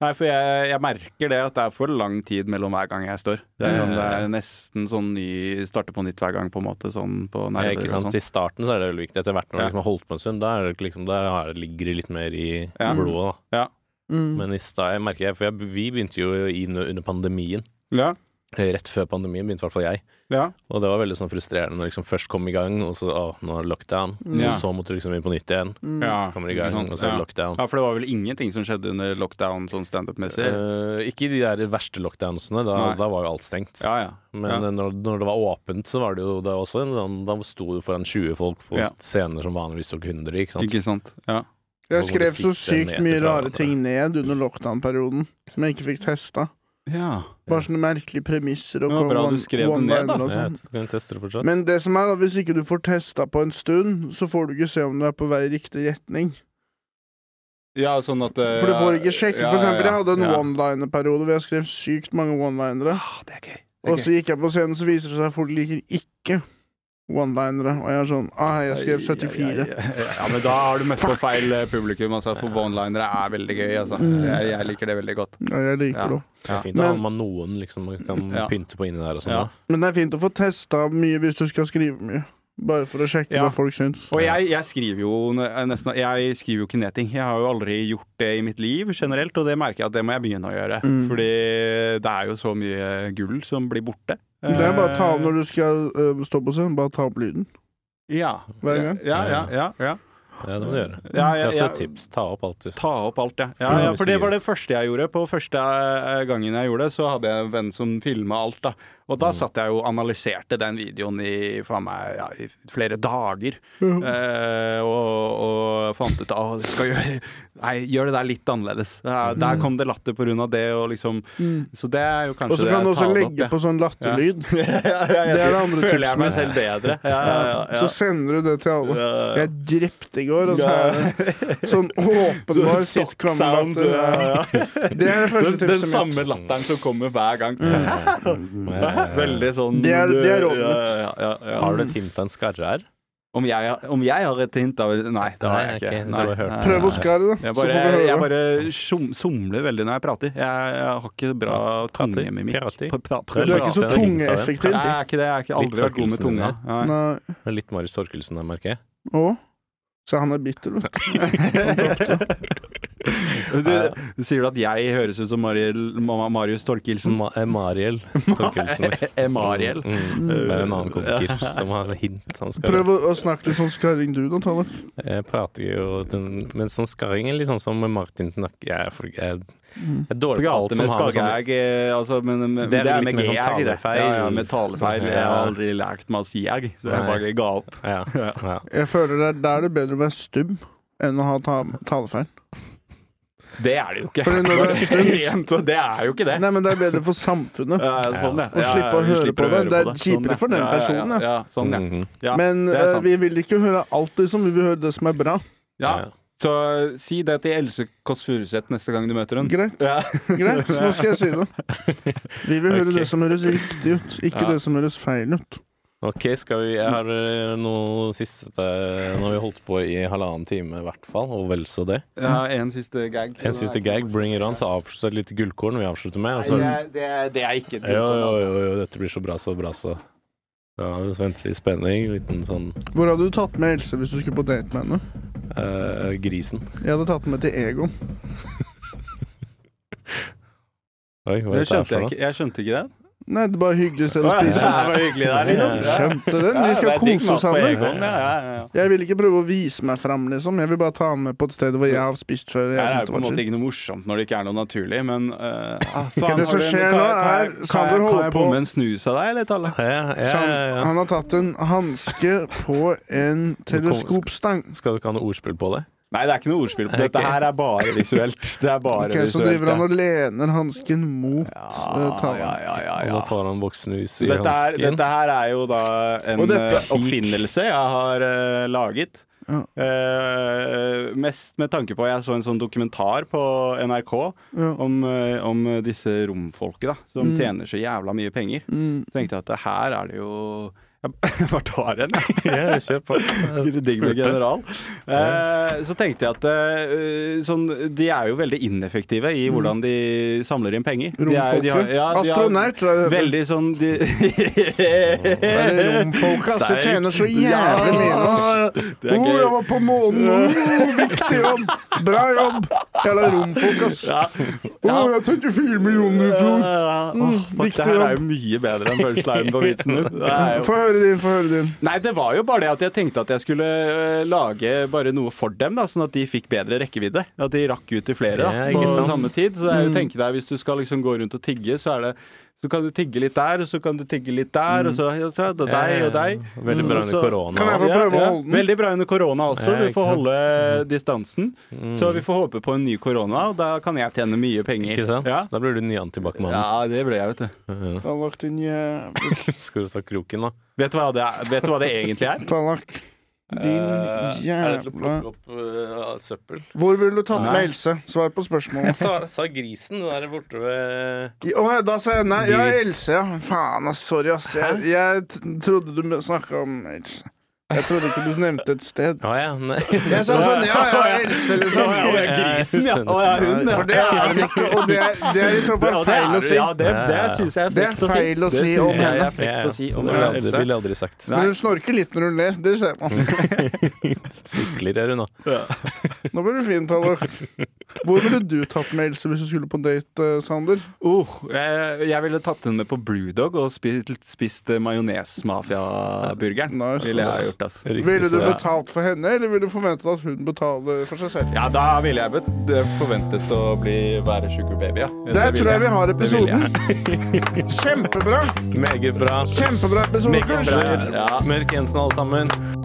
Nei, for jeg, jeg merker det at det er for lang tid mellom hver gang jeg står. Det er, Ja, ja, sånn, det ja. er nesten sånn ny Starte på nytt hver gang, på en måte. Sånn på Ja, nerver Eh, ikke og sant? sånn. I starten så er det veldig viktig. Etter hvert når du Ja. liksom har holdt på en stund, da, er det liksom, da er det- ligger det litt mer i Ja. blodet. Da. Mm. Men i stad jeg merker jeg, for jeg, vi begynte jo i, under pandemien. eh, Ja, Rett før pandemien begynte i hvert fall jeg. ja. Og det var veldig sånn frustrerende når liksom først kom i gang, og så å, nå er det lockdown. Mm. Ja. Og så måtte du liksom inn på nytt igjen. mm. ja. Kommer i gang, ikke sant? og så er det ja. lockdown. Ja, for det var vel ingenting som skjedde under lockdown sånn standup-messig? Eh, ikke i de der verste lockdownsene, da, Nei. da var jo alt stengt. Ja, ja. Men Ja. eh, når, når det var åpent, så var det jo det var også en sånn Da sto du foran 20 folk på Ja. scener som vanligvis tok 100, ikke sant. Ikke sant? Ja. Jeg Folk må skrev så sitte ned sykt mye etter rare hverandre. ting ned under lockdown-perioden som jeg ikke fikk testa. ja. Bare sånne merkelige premisser og Ja, bra one- du skrev det ned, da. one-liner og Ja, sånn. du kan teste det fortsatt. Men det som er at hvis ikke du får testa på en stund, så får du ikke se om du er på vei i riktig retning. ja, sånn at eh, For du får ikke sjekke. ja, For eksempel, ja, jeg hadde en ja. one-liner-periode hvor jeg skrev sykt mange one-linere. Ah, det er gøy. Det er Og så gikk jeg på scenen, så viser det seg at folk liker ikke one-linere. Og jeg er sånn Ah, jeg skrev 74. Ja, ja, ja. ja, men da har du møtt på feil eh, publikum, altså. For one-linere er veldig gøy, altså. Mm. Jeg, jeg liker det veldig godt. Ja, jeg liker Ja. det. Det er fint. Men- da har man noen liksom man kan Ja. pynte på inni der og sånn. Ja. da. Men det er fint å få testa mye hvis du skal skrive mye. Bare for å sjekke Ja. hva folk syns. Og jeg, jeg skriver jo ne- nesten Jeg skriver jo ikke ned ting. Jeg har jo aldri gjort det i mitt liv generelt, og det merker jeg at det må jeg begynne å gjøre. Mm. Fordi det er jo så mye gull som blir borte. Det er bare å ta av når du skal øh, stå på scenen. Bare ta opp lyden. Eh, Ja. Hver gang. Ja, ja, ja. ja. Ja, det må du gjøre. Det Ja, ja, er også et ja. tips. Ta opp alt. Liksom. Ta opp alt, ja. ja, Ja, ja hvis for du gir det var det første jeg gjorde. På første eh, gangen jeg gjorde det, så hadde jeg en venn som filma alt, da. Og Mm. da satt jeg jo og analyserte den videoen i, faen meg, ja, i flere dager. Eh, og, og fant ut at skal gjøre, nei, gjør det der litt annerledes. Der, der kom det latter på grunn av det, og liksom Så det er jo Mm. Og kanskje så det kan du jeg også tar det legge opp, på sånn latterlyd. ja. ja, ja, ja, Det er det andre Føler tipset jeg meg selv bedre. Ja, ja, ja. Så sender du det til alle. Ja, ja. Jeg drepte i går, og så er det sånn åpenbar sitcom-latter. ja, ja. Det er det første Den, tipset mitt. den Mm. samme latteren som kommer hver gang. Veldig sånn Eh, Det er- det er rådende. Ja, ja, ja, ja. Har du et hint av en skarre her? Om, jeg, om jeg har et hint av Nei, det har Nei, jeg ok, ikke. så Nei, bare hørt. nei. Prøv å skære det, så Jeg bare, får vi høre. jeg bare som, somler veldig når jeg prater. Jeg, jeg har ikke bra tungemimikk. Prater. Pra- Du pra- Du er ikke så Det er fint, da, det. Nei, tungeeffektiv. jeg er ikke det. Jeg har ikke aldri vært god med tunga. Nei. Nei. Det er litt Marius Torkelsen der, merker jeg. Å? Så han er bitter, vet du. Du, du sier du at jeg høres ut som Mariel, Ma- Marius Torkelsen? Ma eh, Mariel Torkelsen. eh, Emariel. Mm, mm. Det er en annen komiker som har hint. Han skal Prøv å, å snakke litt sånn skarring du, da, Tallak. Jeg prater jo den, Men sånn skarring er litt sånn som Martin Knakke. Jeg, er for- jeg, jeg er dårlig på alt Prater som har Mm. med med sånn skarre-æg, eh, altså, men, men Det det er litt er, med mer sånn g-æg, det. talefeil. Ja, ja, med talefeil. Jeg har Ja. aldri lært meg å si æg, så jeg Nei. bare ga opp. sånn- ja, ja. Jeg føler det er der det er bedre å være stum enn å ha ta talefeil. Det er det jo ikke. Fordi når du er stum Rent, og det er jo ikke det. Nei, men det er bedre for samfunnet. Ja, ja, sånn, ja. Å Ja, slippe ja, å vi høre slipper på å det. høre Det er på kjipere for den Ja, ja, personen, ja. Ja, ja, sånn, ja. Mhm. ja. Men det er eh, sant. vi vil ikke høre alt det som vi vil høre det som er bra. ja. Ja. Så si det til Else Kåss Furuseth neste gang du møter henne. Greit. Ja. Greit, nå skal jeg si det. Vi vil høre Ok. det som høres riktig ut, ikke Ja. det som høres feil ut. Ok, skal vi Jeg har eh, noe siste Nå har vi holdt på i halvannen time i hvert fall, og vel så det. ja, en siste gag. En siste gag, bring it on, så avslutter litt gullkorn vi avslutter med. Og Nei, så, det, er- det, er- det er ikke et jo, jo, jo, jo, dette blir så bra, så bra, så. Ja, så venter vi i spenning. Liten sånn Hvor hadde du tatt med Else hvis du skulle på date med henne? eh, Grisen. Jeg hadde tatt med til Egon. Oi, hva er Det dette her skjønte for jeg noe? ikke. Jeg skjønte ikke den. Nei, det er bare hyggelig sted å Å, ja, Det spise. var hyggelig der, liksom. Ja. Skjønte den? Vi skal Ja, det er digg kose oss mat på sammen. Egon, Ja, ja, ja. Jeg vil ikke prøve å vise meg fram, liksom. Jeg vil bare ta han med på et sted hvor jeg har spist før. Det Jeg er synes jo det på en var måte chill. ikke noe morsomt når det ikke er noe naturlig, men eh, ah, Ikke det har som du en- skjer kan- nå kan jeg- er- kan jeg- Sander holder Kan på- jeg bomme en snus av deg, eller, Talle? Ja, ja, Så ja, han, ja. han har tatt en hanske på en teleskopstang. Skal du ikke ha noe ordspill på det? Nei, det er ikke noe ordspill på det. Dette Ok. her er bare visuelt. Det er bare Ok, så visuelt. driver han ja. og lener hansken mot eh, ja, ja, tavla. ja, ja, Og ja. Nå får han voksnus i Dette, er, hansken. dette her er jo da en Og dette eh, oppfinnelse jeg har eh, laget. Ja. Eh, mest med tanke på Jeg så en sånn dokumentar på NRK Ja. om, eh, om disse romfolket da som tjener så jævla mye penger. Mm. Tenkte jeg at det her er det jo Jeg bare tar en, jeg. Ja, kjør på. Skulle digg med general. Eh, så tenkte jeg at eh, sånn, de er jo veldig ineffektive i hvordan de samler inn penger. De er- de har- Mm. Romfolket. ja, de har Astronaut, tror jeg det heter. Veldig sånn de Eller romfolk, ass. Det Sterkt. tjener så jævlig mye. ass. Eh, Det er Oh, jeg gøy. var på månen! Oh, viktig jobb! Bra jobb! Jævla romfolk, ass. Ja. Oh, jeg tenkte fire millioner i fjor. Mm, Ja, åh, fuck, viktig det her jobb. er jo mye bedre enn punchlinen på vitsen din. Det er jo- Få høre din, få høre din. Nei, det var jo bare det at jeg tenkte at jeg skulle øh, lage bare noe for dem, da, sånn at de fikk bedre rekkevidde. At de rakk ut til flere da, Ja, på ikke sant. Mm. samme tid. Så jeg tenker deg, hvis du skal liksom gå rundt og tigge, så er det så kan du tigge litt der, og så kan du tigge litt der, og Mm. så, ja, så er det deg og deg. Veldig bra Og under så- korona. Kan jeg få Ja, prøve å ja. holde den? Veldig bra under korona også. Ja, Du får ikke sant. Mm. holde eh, distansen. Så vi får håpe på en ny korona, og da kan jeg tjene mye penger. Ikke sant? Ja. Da blir du den nye antibac-mannen. Ja, det ble jeg, vet du. Tallak, din jævla Skal du ta kroken, da? Vet du hva det, er? Vet du hva det egentlig er? Tallak. Eh, Din jævla opp søppel? Hvor ville du tatt Nei. med Else? Svar på spørsmålet. Sa, sa grisen den der borte ved I- Å, ja, da sa jeg nei. Ja, Else, ja. Faen, ass. Sorry, ass. Jeg, jeg t- trodde du snakka om Else. Jeg trodde ikke du nevnte et sted. Å ja, nei. Jeg sa sånn ja, ja, Else, liksom. Grisen, ja. Å, ja, hun, ja. For det er hun ikke, og det er, det er i så fall Ja, det feil er å du. si. Ja, det, det syns jeg er Det er frekt å si. feil å si Det om syns jeg henne. er frekt å si om Det ville henne. aldri, Else. ville aldri sagt. Nei. Men hun snorker litt når hun ler. Dere ser Å, Sikler gjør hun, da. Nå blir det fint, Tallak. Hvor ville du tatt med Else hvis du skulle på date, eh, Sander? Oh, eh, jeg ville tatt henne med på Brewdog og spist, spist eh, majones-mafia-burgeren. Nice. Ville jeg ha gjort. helt, altså. Ville du så- betalt for henne, eller ville du forventet at hun betaler for seg selv? Ja, da ville jeg bet- forventet å bli være sugar baby, ja. Det Der ville tror jeg vi har Det ville jeg. episoden. Kjempebra! Meget bra. Kjempebra episode. Meget bra. Ja. Mørk Jensen, alle sammen.